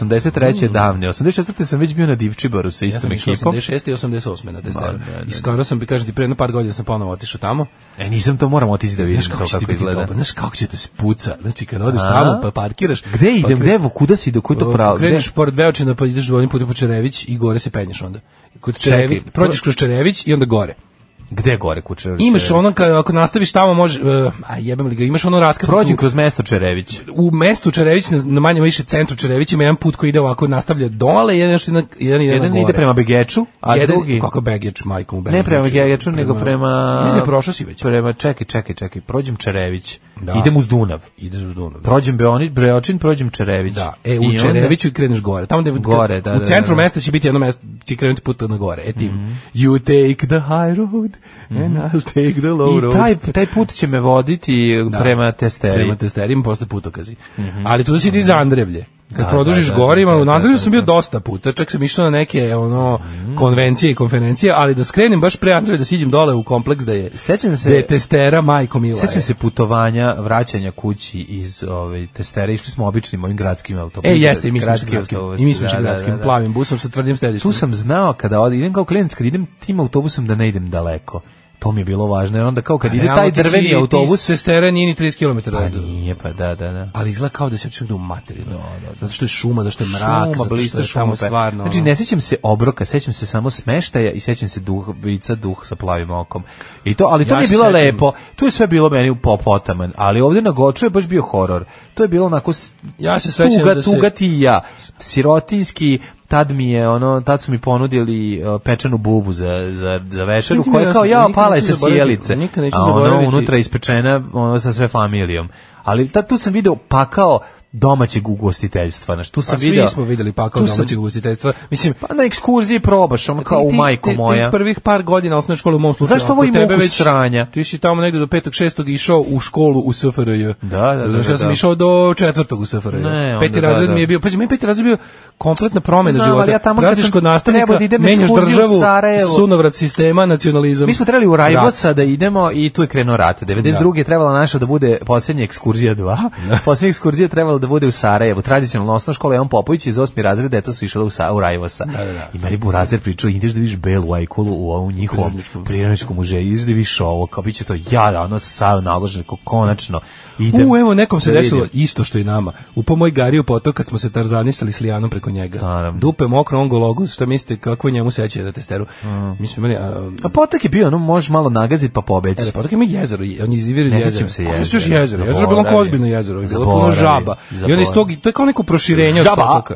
1983. davne. 84. sam već bio na Divčibaru sa Ja istom sam išao ekipom. 86. i 88. na Ma, da, testeru. ne, ne, ne. I skoro sam, kažem ti, pre jedno par godina sam ponovo otišao tamo. E, nisam to, moram otići da vidim Znaš to kako će ti kako biti izgleda. dobro, znaš kako će te spuca. Znači, kad odeš A? tamo pa parkiraš... Gde pa idem, kre- pa gde, kuda si, do koji to pravo? gde? Kreneš pored Beočina pa ideš dvojnim putem po Čerević i gore se penješ onda. Kod Čekaj, Čerević, prođeš kroz Čerević i onda gore. Gde gore kuće? Imaš ono ka- ako nastaviš tamo može uh, a jebem li ga, imaš ono raskrsnicu. Prođi kroz mesto Čerević. u mestu Čerević na, na manje više centru Čerević ima jedan put koji ide ovako nastavlja dole i jedan što ide na- jedan ide na Jedan gore. ide prema Begeču, a jedan, drugi... kako Begeč majkom u Ne prema Begeću, Gegeču, nego prema... Ne, ne, prošao si već. Prema, čekaj, čekaj, čekaj, prođem Čerević, Da. idem uz Dunav. Ideš uz Dunav. da. Prođem Beonić, Breočin, prođem Čerević. Da, e, I u onda- Čereviću i kreneš gore. Tamo gde Gore, da, u da, centru da, Mhm. da. mesta će biti jedno mesto, će krenuti put na gore. E tim, you take the high road and I'll take the low road. Mhm. I taj, taj put će me voditi Da. prema Testeri. Prema testerima posle putokazi. Ali tu si ide iz Andrevlje. Kad Mhm. Da, produžiš da, da, gore, ima, da, u da, Andrevlju da, Mhm. sam bio dosta puta, čak sam išao na neke ono, konvencije i konferencije, ali da skrenem baš pre Andrevlje, da siđem dole u kompleks da je, Sećam se- da je testera majko mila. Sećam je. se putovanja, vraćanja kući iz ove Testere, išli smo običnim ovim gradskim E, autobusom. jeste, i mi smo išli Gradskim gradskim, autobusom, i mi smo da, išli da, gradskim da, da. plavim busom sa tvrdim Tu sedištem. sam znao kada od, idem kao klijent, kad idem tim autobusom da ne idem daleko. To mi je bilo važno, jer onda kao kad ide Pa Realno, taj ti si- drveni ti autobus, s testera nije ni 30 km. pa nije, pa da, da, da. ali izgleda kao da se očekuje da u materinu. Zato što je šuma, zato što je mrak, Šuma, zato što blista, je šuma, tamo pe- stvarno... Znači, ono- ne sjećam se obroka, sjećam se samo smeštaja i sjećam se duh, vica, duh sa plavim okom. I to, ali to Ja mi je se bilo sjećam- lepo. Tu je sve bilo meni u popotaman, ali ovdje na Goču je baš bio horor. To je bilo onako s- Ja se sjećam tuga, da se- tuga ti i ja. Sirotinski, tad mi je ono tad su mi ponudili uh, pečenu bubu za za za večeru Nikad koja je ne- kao ja nikad pala je neću sa zaboraviti- sjelice nikad neću a ono zaboraviti- unutra ispečena ono sa sve familijom ali tad tu sam video pakao domaćeg ugostiteljstva znači tu sam Pa svi video smo videli pakao Tu sam- domaćeg ugostiteljstva. Mislim, Pa na ekskurziji probaš, ono kao ti- u ti- majku ti- moja. Ti prvih par godina osnovne škole u mom slučaju. Zašto ako ovo ima tebe ukus već- sranja? Ti si tamo negde do 5. 6. išao u školu u SFRJ. Da, da, da, Znaš, ja da, sam da. išao do 4. u SFRJ. Ne, onda peti da, razred da. mi je bio, pazi, meni peti razred bio kompletna promena Znam, života. ali ja tamo kad Radiš sam kod nastavnika, trebao da idem na menjaš ekskurziju u državu, Sarajevo. sunovrat sistema, nacionalizam. Mi smo trebali u rat. Rajvosa da idemo i tu je krenuo rat. 92. je trebala naša da bude posljednja ekskurzija 2. Da. Posljednja ekskurzija je trebala da bude u Sarajevu. Tradicionalna osnovna škola Evan Popović iz osmi razred deca su išla u, Sa, u Rajvosa. Da, da, da. I Maribor razred pričao, ideš da vidiš Belu Ajkulu u ovom njihovom prirodničkom muzeju, ideš da vidiš ovo, kao bit će to jada, ono sav naložen, ko konačno idem. U, evo, nekom se da desilo vidim. isto što i nama. Upao moj Gariju potok kad smo se tarzanisali s Lijanom preko njega. Naravno. Dupe mokro, on gologus, šta mislite, kako njemu seće da testeru? Mi smo imali... a, Mm. A potak je bio, ono možeš malo nagaziti pa pobeći. E, pa tako ima jezero, i- on je izvira iz Ne jezera. sjećam se Kako jezera. još jezero? Jezero je bilo Zaboravim. onako ozbiljno jezero, je bilo puno Zaboravim. žaba. I onda iz tog, Zaboravim. to je kao neko proširenje Žaba! Da. od potoka.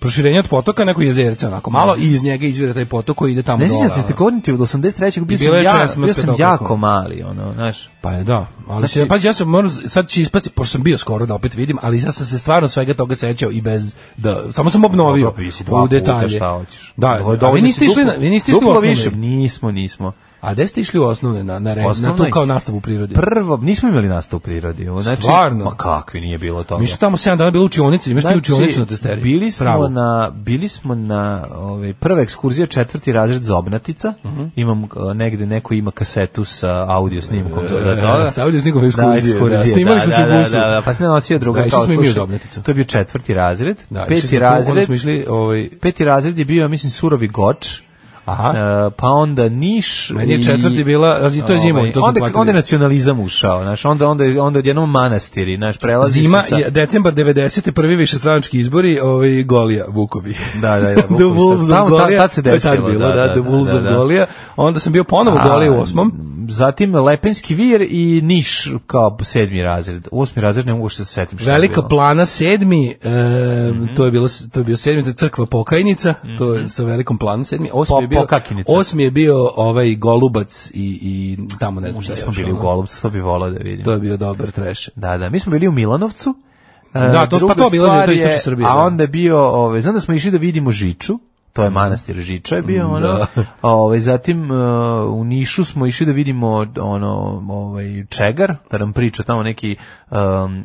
Proširenje od potoka, neko jezerce, onako malo, i iz njega izvira taj potok koji ide tamo Ne dole. sjećam se da ono. ste godinite od 83. bio I bilo sam, je ja, česma bio ste sam dobro jako rekao. mali, ono, znaš. Pa je da, ali Znači- se, pa ja sam moram, sad će ispasti, pošto sam bio skoro da opet vidim, ali ja sam se stvarno svega toga sećao i bez, da, samo sam obnovio Dobro, bio si dva u puta, detalje. Šta hoćeš? Da, Ovo je a vi dovoljno niste si išli, na, duplo- vi niste išli u duplo osnovne. više. Nismo, nismo. A gde ste išli u osnovne, na, na, re- na tu Osnovnoj? kao nastavu u prirodi? Prvo, nismo imali nastavu u prirodi. ovo, Znači, Stvarno? Ma kakvi nije bilo toga. Mi su tamo 7 dana bili učionici, imaš ti učionicu na testeri. Znači, Bili smo Pravo. na bili smo na ovaj prva ekskurzija četvrti razred Mhm. zobnatica. Imam e, negde neko ima kasetu sa audio snimkom toga. sa audio korisnikom ekskurzije. ekskurzije, Da, snimali smo da, se da, u busu. Da, da, da, pa se ne nosio druga. Da, išli kao, smo i mi slušaj, uz obletnicu. To je bio četvrti razred. Da, išli smo peti u Buku, onda razred. smo išli, ovaj... Peti razred je bio, mislim, surovi goč. Aha. E, pa onda Niš Meni je i- četvrti bila- a to je zima, Ovaj, to smo onda, platili. onda je nacionalizam ušao, znaš, onda, onda, je- onda odjednom manastiri, znaš, prelazi Zima, se sa... je, decembar 90. prvi višestranački izbori, ovaj, Golija, Vukovi. Da, da, da, The Vukovi Wolves sad. of Tamo, ta- Golija. tad se To je tad desilo, bilo, da, da, da, The Wolves da, of da. Golija. Onda sam bio ponovo u Goliji u osmom. Zatim Lepenski vir i Niš kao sedmi razred. Osmi razred ne mogu što se setim. šta je Velika bilo. Mhm. plana sedmi, e, to je bilo to je bio sedmi, to je crkva Pokajnica, to je sa velikom planom sedmi. Osmi Po- je bio Pokakinica. Osmi je bio ovaj Golubac i i tamo ne znam šta Možda je smo još, bili u ono. Golubcu, to bi volao da vidim. To je bio dobar trash. Da, da, mi smo bili u Milanovcu. E, Da, to- druga pa to obilaženje, stvar to je istočna je- Srbija, A da. onda je bio, ovaj, znam da smo išli da vidimo Žiču, to je manastir Žiča je bio, Mm, ono, da. ovaj, zatim e, u Nišu smo išli da vidimo ono, ovaj, Čegar, da nam priča tamo neki um,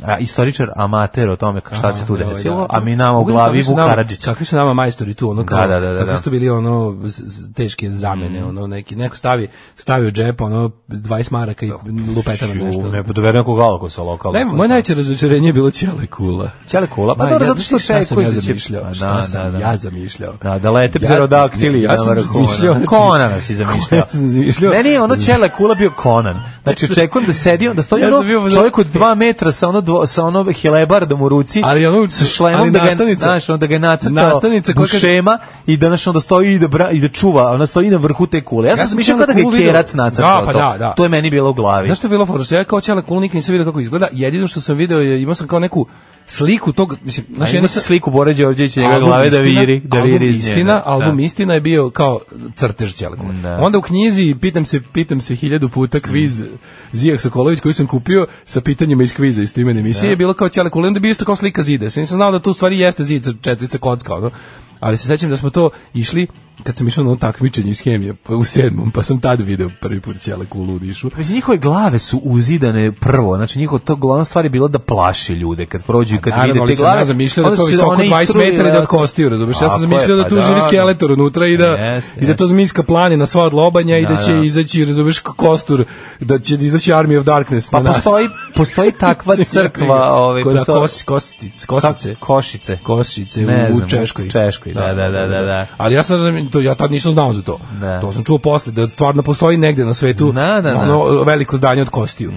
a, istoričar amater o tome ka- šta se tu Ovaj, da. desilo, Pa a mi nama u Kako su- glavi kakvi su Vuk nama- Karadžić. Kakvi su nama majstori tu, ono kao, Da, da, da, da, kakvi da. Mm. su tu bili ono z- z- teške zamene, ono neki, neko stavi, stavi u džep, ono 20 maraka i lupeta na nešto. Da, Ne, pa da dovede nekog alakosa lokalno. Ne, moje najveće razočarenje je bilo Ćele Kula. Ćele Kula, pa Ma, dobro, ja- zato što šta sam ja Šajković je- zamišljao, Pa šta da, sam da, da. ja zamišljao. Da, da lete Ja- pterodaktili ja sam na vrhu. ono. zamišljao, znači- Conan si zamišljao. Ja sam zamišljao. Meni je ono Ćele Kula bio Conan. Znači, očekujem da sedi, da stoji Ja sam bio- ono čovjek od dva metra sa ono, dvo, sa ono helebardom u ruci, Ali ono- sa ali šlemom, da ga, nastavnica- znaš, ono, da ga je nacrtao nastavnica koja kaže- šema i da, znaš, onda stoji i da, bra, i da čuva, ona stoji na vrhu te kule. Ja sam sam zamišljao Ćele kao da ga je Kulu video- kerac nacrtao. Da, pa to. da, da. To je meni bilo u glavi. Znaš što je bilo fora? Što ja kao Ćele Kula nikad nisam vidio kako izgleda. Jedino što sam video je, imao sam kao neku sliku tog, mislim, Znaš, znaš, ima jedna se sa- sliku Bore Đorđevića njega Album glave da Istina- viri, da album viri iz nje. Istina, album Da. Istina je bio kao crtež Ćele Kule. Da. Mm. Onda u knjizi pitam se, pitam se hiljadu puta kviz Zijak Sokolović koji sam kupio sa pitanjima iz kviza iz primene Da. emisije je bilo kao Ćele Kule, onda je bio isto kao slika zida. Sam nisam znao da to u stvari jeste zid sa četirica kocka, ono. Ali se sećam da smo to išli kad sam išao na ono takmičenje iz hemije pa u sedmom, pa sam tad video prvi put Ćele Kulu u Nišu. Mislim, njihove glave su uzidane prvo, znači njihova to glavna stvar je bila da plaši ljude kad prođu i kad Naravno, vide ali te sam glave. ja zamišljao da onda to su visoko one 20 istrujile, metara i da od tako- kostiju, razumiješ? Ja sam Tako je, zamišljao da pa tu živi da, skeletor unutra i da, Jeste, i da to zmijska planina sva od lobanja i Da, da će da. izaći, razumiješ, k- kostur, da će izaći Army of Darkness Pa na nas. postoji, postoji takva crkva, ovaj, Koja da, postoji- kos, kostic, kosice. Ka- košice. Košice u, Ne u znam, Češkoj. u Češkoj, da, da, da, da, da. Ali ja, sam, razum- to, ja tad nisam znao za to. Da. To sam čuo posle, da stvarno postoji negde na svetu Da, da, da. Mhm. ono veliko zdanje od kostiju.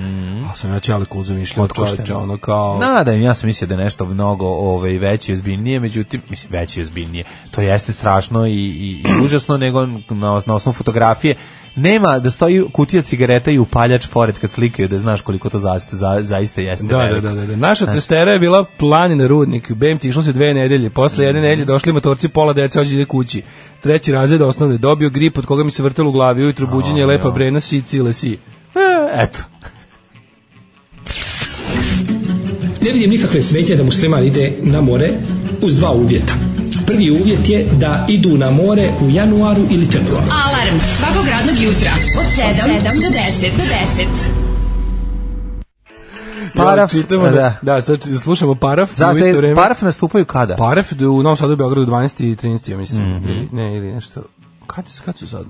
A sam ja ćele kul zamišljao, čoveče, ono kao... Da, da, ja sam mislio da je nešto mnogo ovaj, veće i ozbiljnije, međutim, mislim, veće i ozbiljnije. To jeste strašno i, i, i užasno, nego na, os- na osnovu fotografije nema da stoji kutija cigareta i upaljač pored kad slikaju da znaš koliko to zaista, za, zaista jeste. Da, da, veliko. da, da, da. Naša testera je bila planina rudnik. BMT išlo se dve nedelje. Posle jedne Mhm. nedelje došli motorci, pola dece hoće ide kući. Treći razred osnovne dobio grip od koga mi se vrtelo u glavi. Ujutro buđenje A, lepa ja. brena si cile si. E, eto. Ne vidim nikakve smetje da musliman ide na more uz dva uvjeta. Prvi uvjet je da idu na more u januaru ili februaru. Alarm svakog radnog jutra od 7, do 10. Do 10. Paraf, Ja, čitamo, da. da, da, sad či- slušamo paraf u isto Zaista, vreme. paraf nastupaju kada? Paraf u Novom Sadu i Beogradu 12. i 13. ja mislim. Mhm. ili, ne, ili nešto. Kad, kad su sad?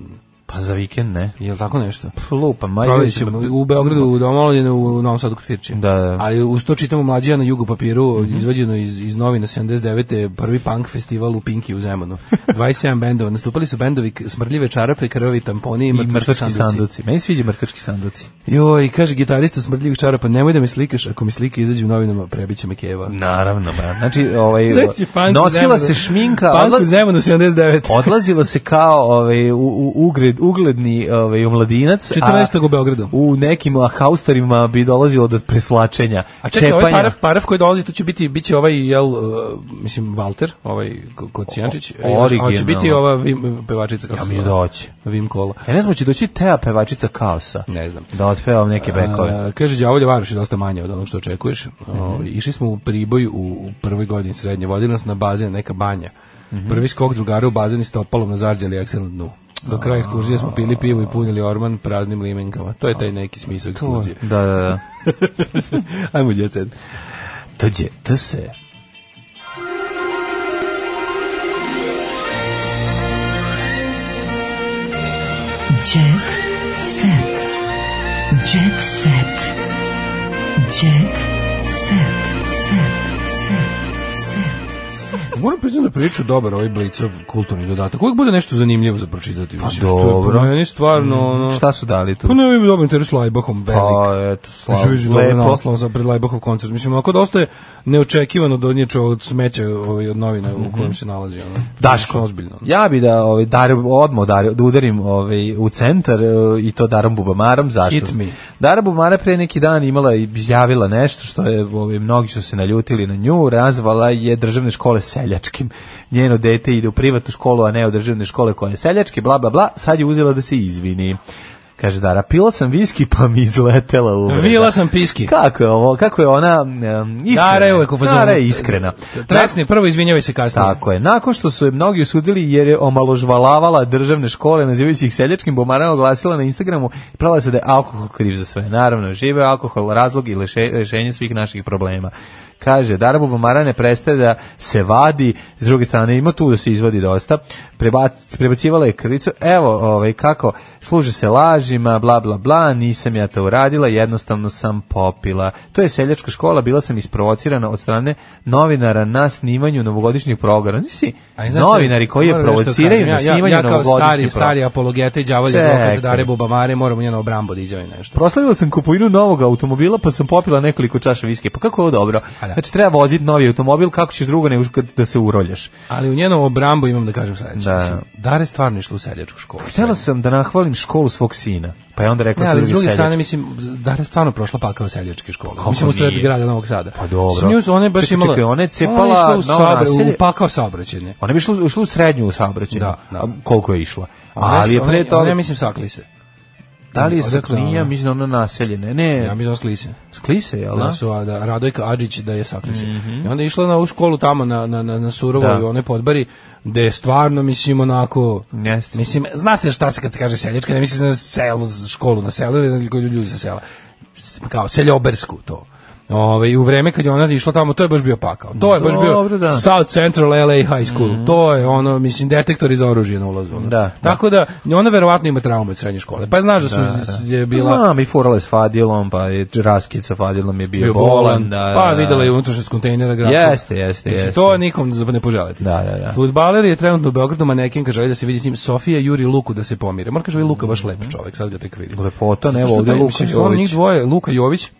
Pa za vikend ne. Je li tako nešto? Lupa, ma Provjerit vidjet Pa ćemo u Beogradu, u Domoljenu, u Novom Sadu kod Firče. Da, da. Mhm. Ali uz to čitamo mlađija na jugu papiru, izvađeno iz, iz novina 79. prvi punk festival u Pinki u Zemunu. 27 bendova. Nastupali su bendovi k- Smrdljive čarape, krvavi tamponi i I mrtvački mrtvački sanduci. sanduci. Meni se sviđa mrtvački sanduci. Joj, kaže gitarista Smrdljivih čarapa, nemoj da me slikaš, ako mi slike izađu u novinama, prebiće me keva. Naravno, ma. Znači, ovaj, Znači, punk u nosila Zemunu. se šminka, Punk odla- u Zemunu 79. odlazilo se kao ovaj, u, u, ugled, ugledni ovaj, omladinac. a 14. u Beogradu. U nekim ah, haustorima bi dolazilo do preslačenja, A čekaj, cepanja. ovaj paraf, paraf koji dolazi, tu će biti, bit će ovaj, jel, uh, mislim, Walter, ovaj ko- Kocijančić, O- a će originalno. biti ova Vim, pevačica, kako Ja se mislim da zove? hoće. Vim Kola. Ja ne znam, će doći Teja pevačica kaosa. Ne znam. Da otpevam neke bekove. A, kaže, đavolje varoš je dosta manje od onog što očekuješ. Mhm. O, išli smo u Priboj u, u prvoj godini srednje. Vodili nas na bazen, neka banja. Mhm. Prvi skok drugara u bazeni s topalom na zarđali aksel na dnu. Do kraja ekskurzije smo pili pivo i punili orman praznim limenkama. To je taj neki smisao ekskurzije. Da, da, da. Ajmo, djece. Dođe, E. to se... Jet set. Jet set. Jet set. Moram priznati da priču dobar ovaj blicov kulturni dodatak. Uvijek bude nešto zanimljivo za pročitati. Pa dobro. Mm, Meni stvarno... Ono, Šta su dali tu? Pa ne vidim dobro interes Lajbahom, velik. Pa, eto, slav, Mislim, vidim dobro lepo. naslov za pred Lajbahov koncert. Mislim, ako dosta je neočekivano da donječe od smeća ovaj, od novina u kojem se nalazi. Ono. Mhm. Daško, ozbiljno. ja bi da ovaj, dar, odmah dar, da udarim ovaj, u centar eh, i to Darom Bubamarom. Zašto? Hit me. Dara Bubamara pre neki dan imala i izjavila nešto što je, ovaj, mnogi su se naljutili na nju, razvala je državne škole seljačkim. Njeno dete ide u privatnu školu, a ne u državne škole koja je seljački, bla, bla, bla, sad je uzela da se izvini. Kaže Dara, pila sam viski pa mi izletela uvreda. Vila sam piski. Kako je ovo, kako je ona um, iskrena. Dara je uvek u fazonu. Dara je iskrena. Tresni, prvo izvinjavaj se kasnije. Tako je. Nakon što su je mnogi osudili jer je omaložvalavala državne škole nazivajući ih seljačkim bomarama oglasila na Instagramu i pravila se da je alkohol kriv za sve. Naravno, žive alkohol razlog i leše- rešenje svih naših problema. Kaže, Dara Bubamara ne prestaje da se vadi, s druge strane ima tu da se izvadi dosta, Prebac, prebacivala je krivicu, evo ovaj, kako, služe se lažima, bla bla bla, nisam ja to uradila, jednostavno sam popila. To je seljačka škola, bila sam isprovocirana od strane novinara na snimanju novogodišnjeg programa. Nisi A i znaš šta, novinari koji je moram nešto da provociraju kažem. na ja, ja, snimanju ja kao novogodišnjeg stari, programa. stari apologeta i džavolje Čekaj. advokat Dare Bubamare, moram u njeno obrambo da izjavim nešto. Proslavila sam kupovinu novog automobila, pa sam popila nekoliko čaša viske. Pa kako je ovo dobro? da. Znači, treba voziti novi automobil, kako ćeš drugo nego kad- da se uroljaš? Ali u njenom obrambu imam da kažem sledeće. Da. Da. Dare stvarno išla u seljačku školu. Htjela sam da nahvalim školu svog sina, pa je onda rekla Ne, sam ali da s bi druge strane, seljač. mislim, Dara je stvarno prošla pakao seljačke škole. Kako mislim, u sred nije? grada Novog Sada. Pa dobro. S nju su one baš Čekaj, imala... čekaj, ona je cepala Ona je išla u, novo sabra- naselje. u pakao saobraćenje. Ona bi išla, u- ušla u srednju u saobraćenju. Da, da. A Koliko je išla? Ona ali je ona pre toga... Ona, ja mislim, sakli se. da li je sa Odakle ona? Klinija, mislim da ona naseljene? Ne, Ja mislim, da skli se. skli se, jel? Da da? Mhm. su a, da, Radojka Adžić da je sakli se. I onda je išla na ovu školu tamo na, na, na, na Surovoj Da. u onoj podbari, gde je stvarno, mislim, onako... Jeste. Mislim, zna se šta se kad se kaže seljačka, ne mislim na selu, školu na selu, ili kod ljudi sa sela. S- kao seljobersku to. Ove, i u vreme kad je ona išla tamo, to je baš bio pakao. To je baš Dobro, bio da. Mhm. South Central LA High School. To je ono, mislim, detektori za oružje na ulazu. ono. Da. Tako da, ona verovatno ima traumu od srednje škole. Pa znaš da su je bila... Znam, i furala je s Fadilom, pa je raskid sa Fadilom je bio, bio bolan, bolan. Da, pa da, da. videla je unutrašnjost kontejnera gradskog. Jeste, jeste, Mislim, jeste. To nikom za- ne poželite. Da, da, da. Fudbaler je trenutno u Beogradu, manekenka želi da se vidi s njim Sofija Juri Luku da se pomire. Moram kažem, ovaj Luka baš lep čovjek, sad ga tek vidim. Lepota, ne, Zato što Mhm. ovdje taj- Luka mislim, stvarno Njih Jović. Mhm. dvoje, Luka Jović,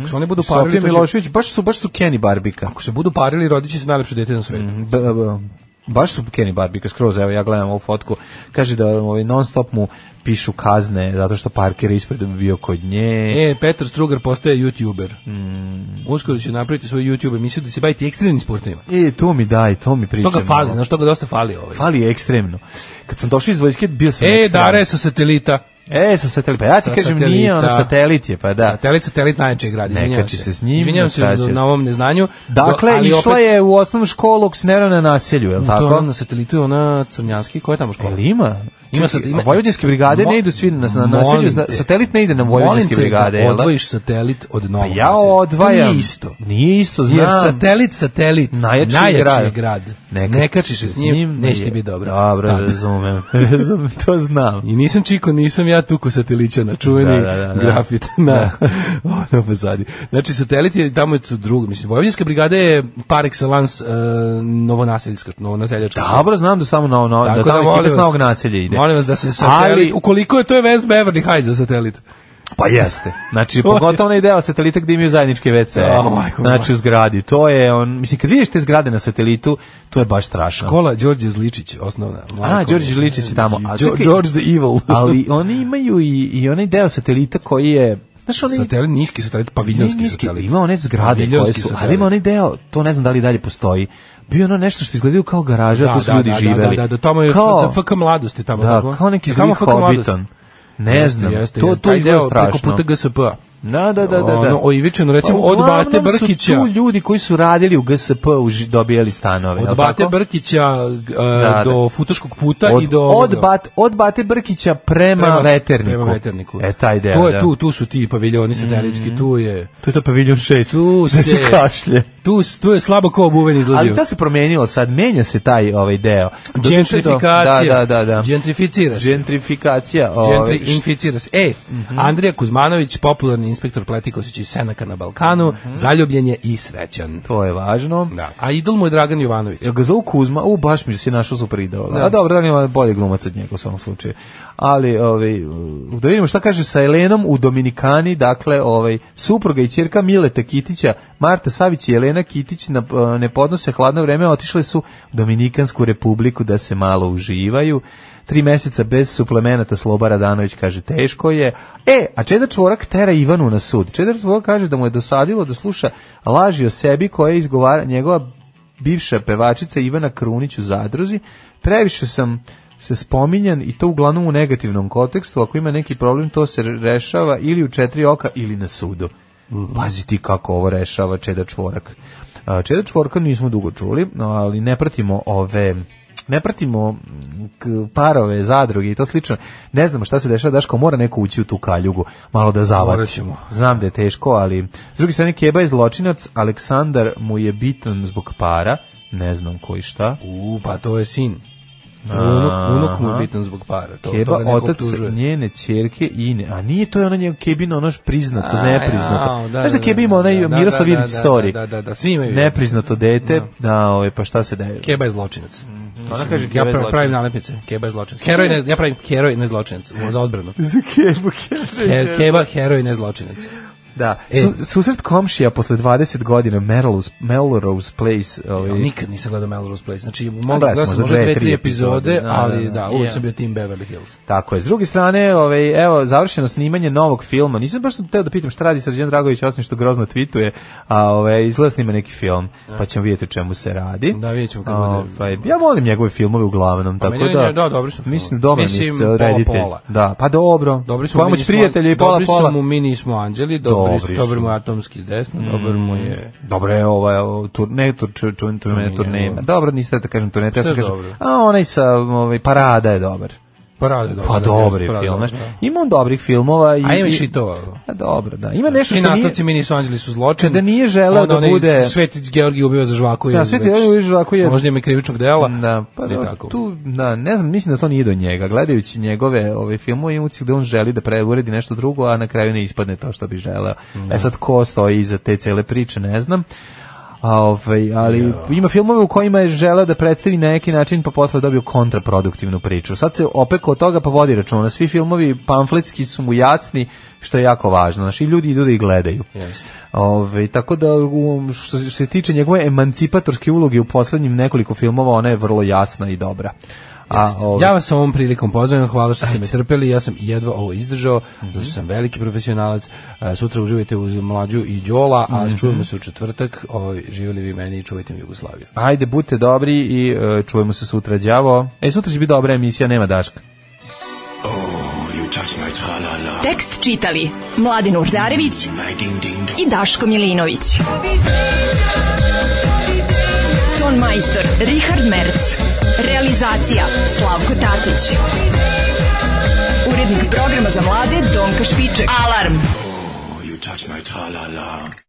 ako se oni budu parili, Sofija to će- Milošević, baš su, baš su Kenny Barbika. ako se budu parili, rodit će se najlepše dete na svetu. Mm, B- b- baš su Kenny Barbika skroz, evo ja gledam ovu fotku, kaže da ovaj, non stop mu pišu kazne zato što Parker je ispred bio kod nje. E, Petar Strugar postaje youtuber. Mhm. Uskoro će napraviti svoj youtube emisiju da se baviti ekstremnim sportovima. E, to mi daj, to mi pričam. To ga fali, znaš, to ga dosta fali ovaj. Fali ekstremno. Kad sam došao iz vojske, bio sam E, ekstreman. Dara je sa satelita. E, sa satelit, pa ja ti Sa kažem, satelita. nije ona satelit je, pa da. Satelit, satelit najjače grad, Ne izvinjavam kači se s njim, Izvinjavam ne se za- srađaj. na ovom neznanju. Dakle, Do- ali išla opet- je u osnovnu školu Ksnero na naselju, je li To je tako? ona na satelitu je ona Crnjanski, koja je tamo škola? Jel ima? Ima Ima sad- sad, ima- vojvođanske brigade Mo- ne idu svi na, na Molim naselju, te. zna- satelit ne ide na Molim vojvođanske te brigade, da jel da? odvojiš satelit od novog Pa Ja naselja. To odvajam. Nije isto. Nije isto, znam. Jer satelit, satelit, najjači, Najjači je grad. grad. Ne, kači kačiš se s njim, neće ti je- biti dobro. Dobro, Da. razumem. razumem, to znam. I nisam čiko, nisam ja tuku satelićana, čuveni Da, da, da, da. grafit na na pozadi. Znači, satelit je tamo su drugi, mislim, Vojvodinska brigada je par excellence uh, novonaseljačka, novonaseljačka. Dobro, znam da samo na ono, da Tako tamo molim ekipa s vas- novog naselja ide. Molim vas da se satelit, Ali- ukoliko je to je West Beverly Heights za satelit. Pa jeste. Znači, pogotovo onaj deo satelita gde imaju zajedničke WC. O, majko moja. znači, u zgradi. To je, on, mislim, kad vidiš te zgrade na satelitu, to je baš strašno. Kola Đorđe Zličić, osnovna. A, Majko Đorđe mi. Žiličić je tamo. A, Đo- čekaj, George the Evil. ali oni imaju i, i onaj deo satelita koji je... Znaš, onaj satelit, niski satelit, paviljonski niski, satelit. Ima one zgrade koje Paviljonski su, ali satelit. ima onaj deo, to ne znam da li dalje postoji, bio ono nešto što izgledaju kao garaža, Da, a tu su da, ljudi da, da, živeli. Da, da, da, tamo je kao, FK mladosti tamo. Da, tako? kao neki Je tamo zli FK mladosti? hobiton. Ne Jeste, znam, jeste, to, jeste. to Taj izgleda deo strašno. Preko puta P-a. GSP-a. Da, da, da, da. da. Ono, oivičeno, recimo, od uglavnom Bate Brkića. su tu ljudi koji su radili u GSP u ži- dobijali stanove. jel Od Bate tako? Brkića e, Da, da. do Futoškog puta od, i do... od, ovoga. bat, od Bate Brkića prema, Prema- veterniku. Prema veterniku. E, taj deo, To je da. Mhm. tu, tu su ti paviljoni satelitski, tu je... To je to paviljon 6. Tu gde se- se kašlje. Tu, s- tu je slabo ko obuven izlazio. Ali to se promijenilo sad, menja se taj ovaj deo. Doduše, Gentrifikacija. Da, da, da. da. Gentrificira se. Gentrifikacija. ovaj, Mhm. Gentry inficira se. E, Andrija Kuzmanović, popularni inspektor Pletikosić iz Senaka na Balkanu, Mhm. zaljubljen je i srećan. To je važno. Da. E, A idol mu je Dragan Jovanović. Jel ga zovu Kuzma? U, baš mi se našao super idol. Da. A dobro, da ima bolje glumac od njega u svom slučaju. Ali, ovaj, da vidimo šta kaže sa Elenom u Dominikani, dakle, ovaj, supruga i ćerka Mileta Kitića, Marta Savić i Elena Kitić na, e, ne podnose hladno vreme, otišle su u Dominikansku republiku da se malo uživaju tri meseca bez suplemenata Sloba Radanović kaže teško je. E, a Čedar Čvorak tera Ivanu na sud. Čedar Čvorak kaže da mu je dosadilo da sluša laži o sebi koje izgovara njegova bivša pevačica Ivana Krunić u Zadruzi. Previše sam se spominjan i to uglavnom u negativnom kontekstu. Ako ima neki problem, to se rešava ili u četiri oka ili na sudu. Mhm. Pazi ti kako ovo rešava Čeda Čvorak. A, Čeda Čvorka nismo dugo čuli, ali ne pratimo ove ne pratimo k- parove, zadruge i to slično. Ne znamo šta se dešava, Daško mora neko ući u tu kaljugu, malo da Morat zavati. ćemo. Znam da je teško, ali s druge strane Keba je zločinac, Aleksandar mu je bitan zbog para, ne znam koji šta. U, pa to je sin. To je Unuk, unuk mu je Aha. bitan zbog para. To, Keba, to ga neko otac optužuje. njene ćerke Ine. A nije to je ona njega Kebina, ono priznato, A, nepriznato. jao, da, Znaš da da, Keba ima da, onaj da, da, Miroslav da, Vidić da, story. da, da, da, svi imaju. Nepriznato dete, Da. da, ovaj, pa šta se daje? Keba je zločinac. Ona kaže ja Keba je pra- zločinac. pravim nalepnice. Keba je zločinac. Heroj ne, ja pravim heroj ne zločinac za odbranu. Za Kebu, He- Keba heroj ne zločinac. Da, E. Su, susret komšija posle 20 godina Melrose, Melrose Place. Ovaj, Ja nikad nisam gledao Melrose Place. Znači, A mogu gledali smo da sam za možda dve, dve, tri tri epizode, epizode, da, ali da, da. da, uvijek Ja. sam bio tim Beverly Hills. Tako je. S druge strane, ovaj, evo, završeno snimanje novog filma. Nisam baš teo da pitam šta radi Srđan Dragović, osim što grozno tweetuje, a ovaj, izgleda snima neki film, pa ćemo vidjeti o čemu se radi. Da, vidjet ćemo kad bude. Ovaj, ja volim njegove filmove uglavnom, Pa tako meni da, je- da, dobri su filmovi. mislim, dobar Mislim, niste reditelj. pola, pola. Da, pa dobro. Dobri su mu Pomoć mi nismo- prijatelja i pola dobri pola. su mu mi nismo anđeli, dobri, Dobri su, su. Mm. dobar mu je atomski s desno, dobar mu je... Dobro je ovaj o, tur, ne tur, ču, ču, turne, turneja. Dobro, niste da kažem turneja, ja Šta sam je kažem, dobro? a onaj sa ovaj, Parada je dobar. Parada je dobar, Pa da, dobri jeste, Parada film, je znaš. dobar, Ima on dobrih filmova. I, A ima i i- šitova. A dobro, da. Ima nešto I što nije... nastavci mi nisu anđeli su zločin. Kada nije želeo Onda da onaj bude- Svetić Georgij ubio za žvaku. je Da, Sveti već- Georgij Žvaku je- Možda ima i krivičnog dela. Da, pa i da, tako. tu, da, ne znam, mislim da to nije do njega. Gledajući njegove ove filmove, ima utisak da on želi da pre uredi nešto drugo, a na kraju ne ispadne to što bi želeo. Da. E sad, ko stoji iza te cele priče, ne znam. A, ovaj, ali ima filmove u kojima je želeo da predstavi na neki način, pa posle je dobio kontraproduktivnu priču. Sad se opeko od toga pa vodi računa. Svi filmovi pamfletski su mu jasni, što je jako važno. Znači, i ljudi idu da ih gledaju. Jeste. Ove, tako da um, što se- što se tiče njegove emancipatorske uloge u poslednjim nekoliko filmova, ona je vrlo jasna i dobra. A, ove, Ja vas ovom prilikom pozdravljam, hvala što ste me trpeli, ja sam jedva ovo izdržao, Mhm. zato što sam veliki profesionalac. E, Sutra uživajte uz mlađu i Đola, a Mhm. čujemo se u četvrtak. Ovo, živjeli vi meni i čuvajte mi Jugoslaviju. Ajde, budite dobri i e, čujemo se sutra, đavo. E, sutra će biti dobra emisija, nema Daška. Tekst čitali Mladin Urdarević i Daško Milinović. Ton majstor Richard Merc. Realizacija Slavko Tatić. Urednik programa za mlade Donka Špiček. Alarm! You touch my tra-la-la.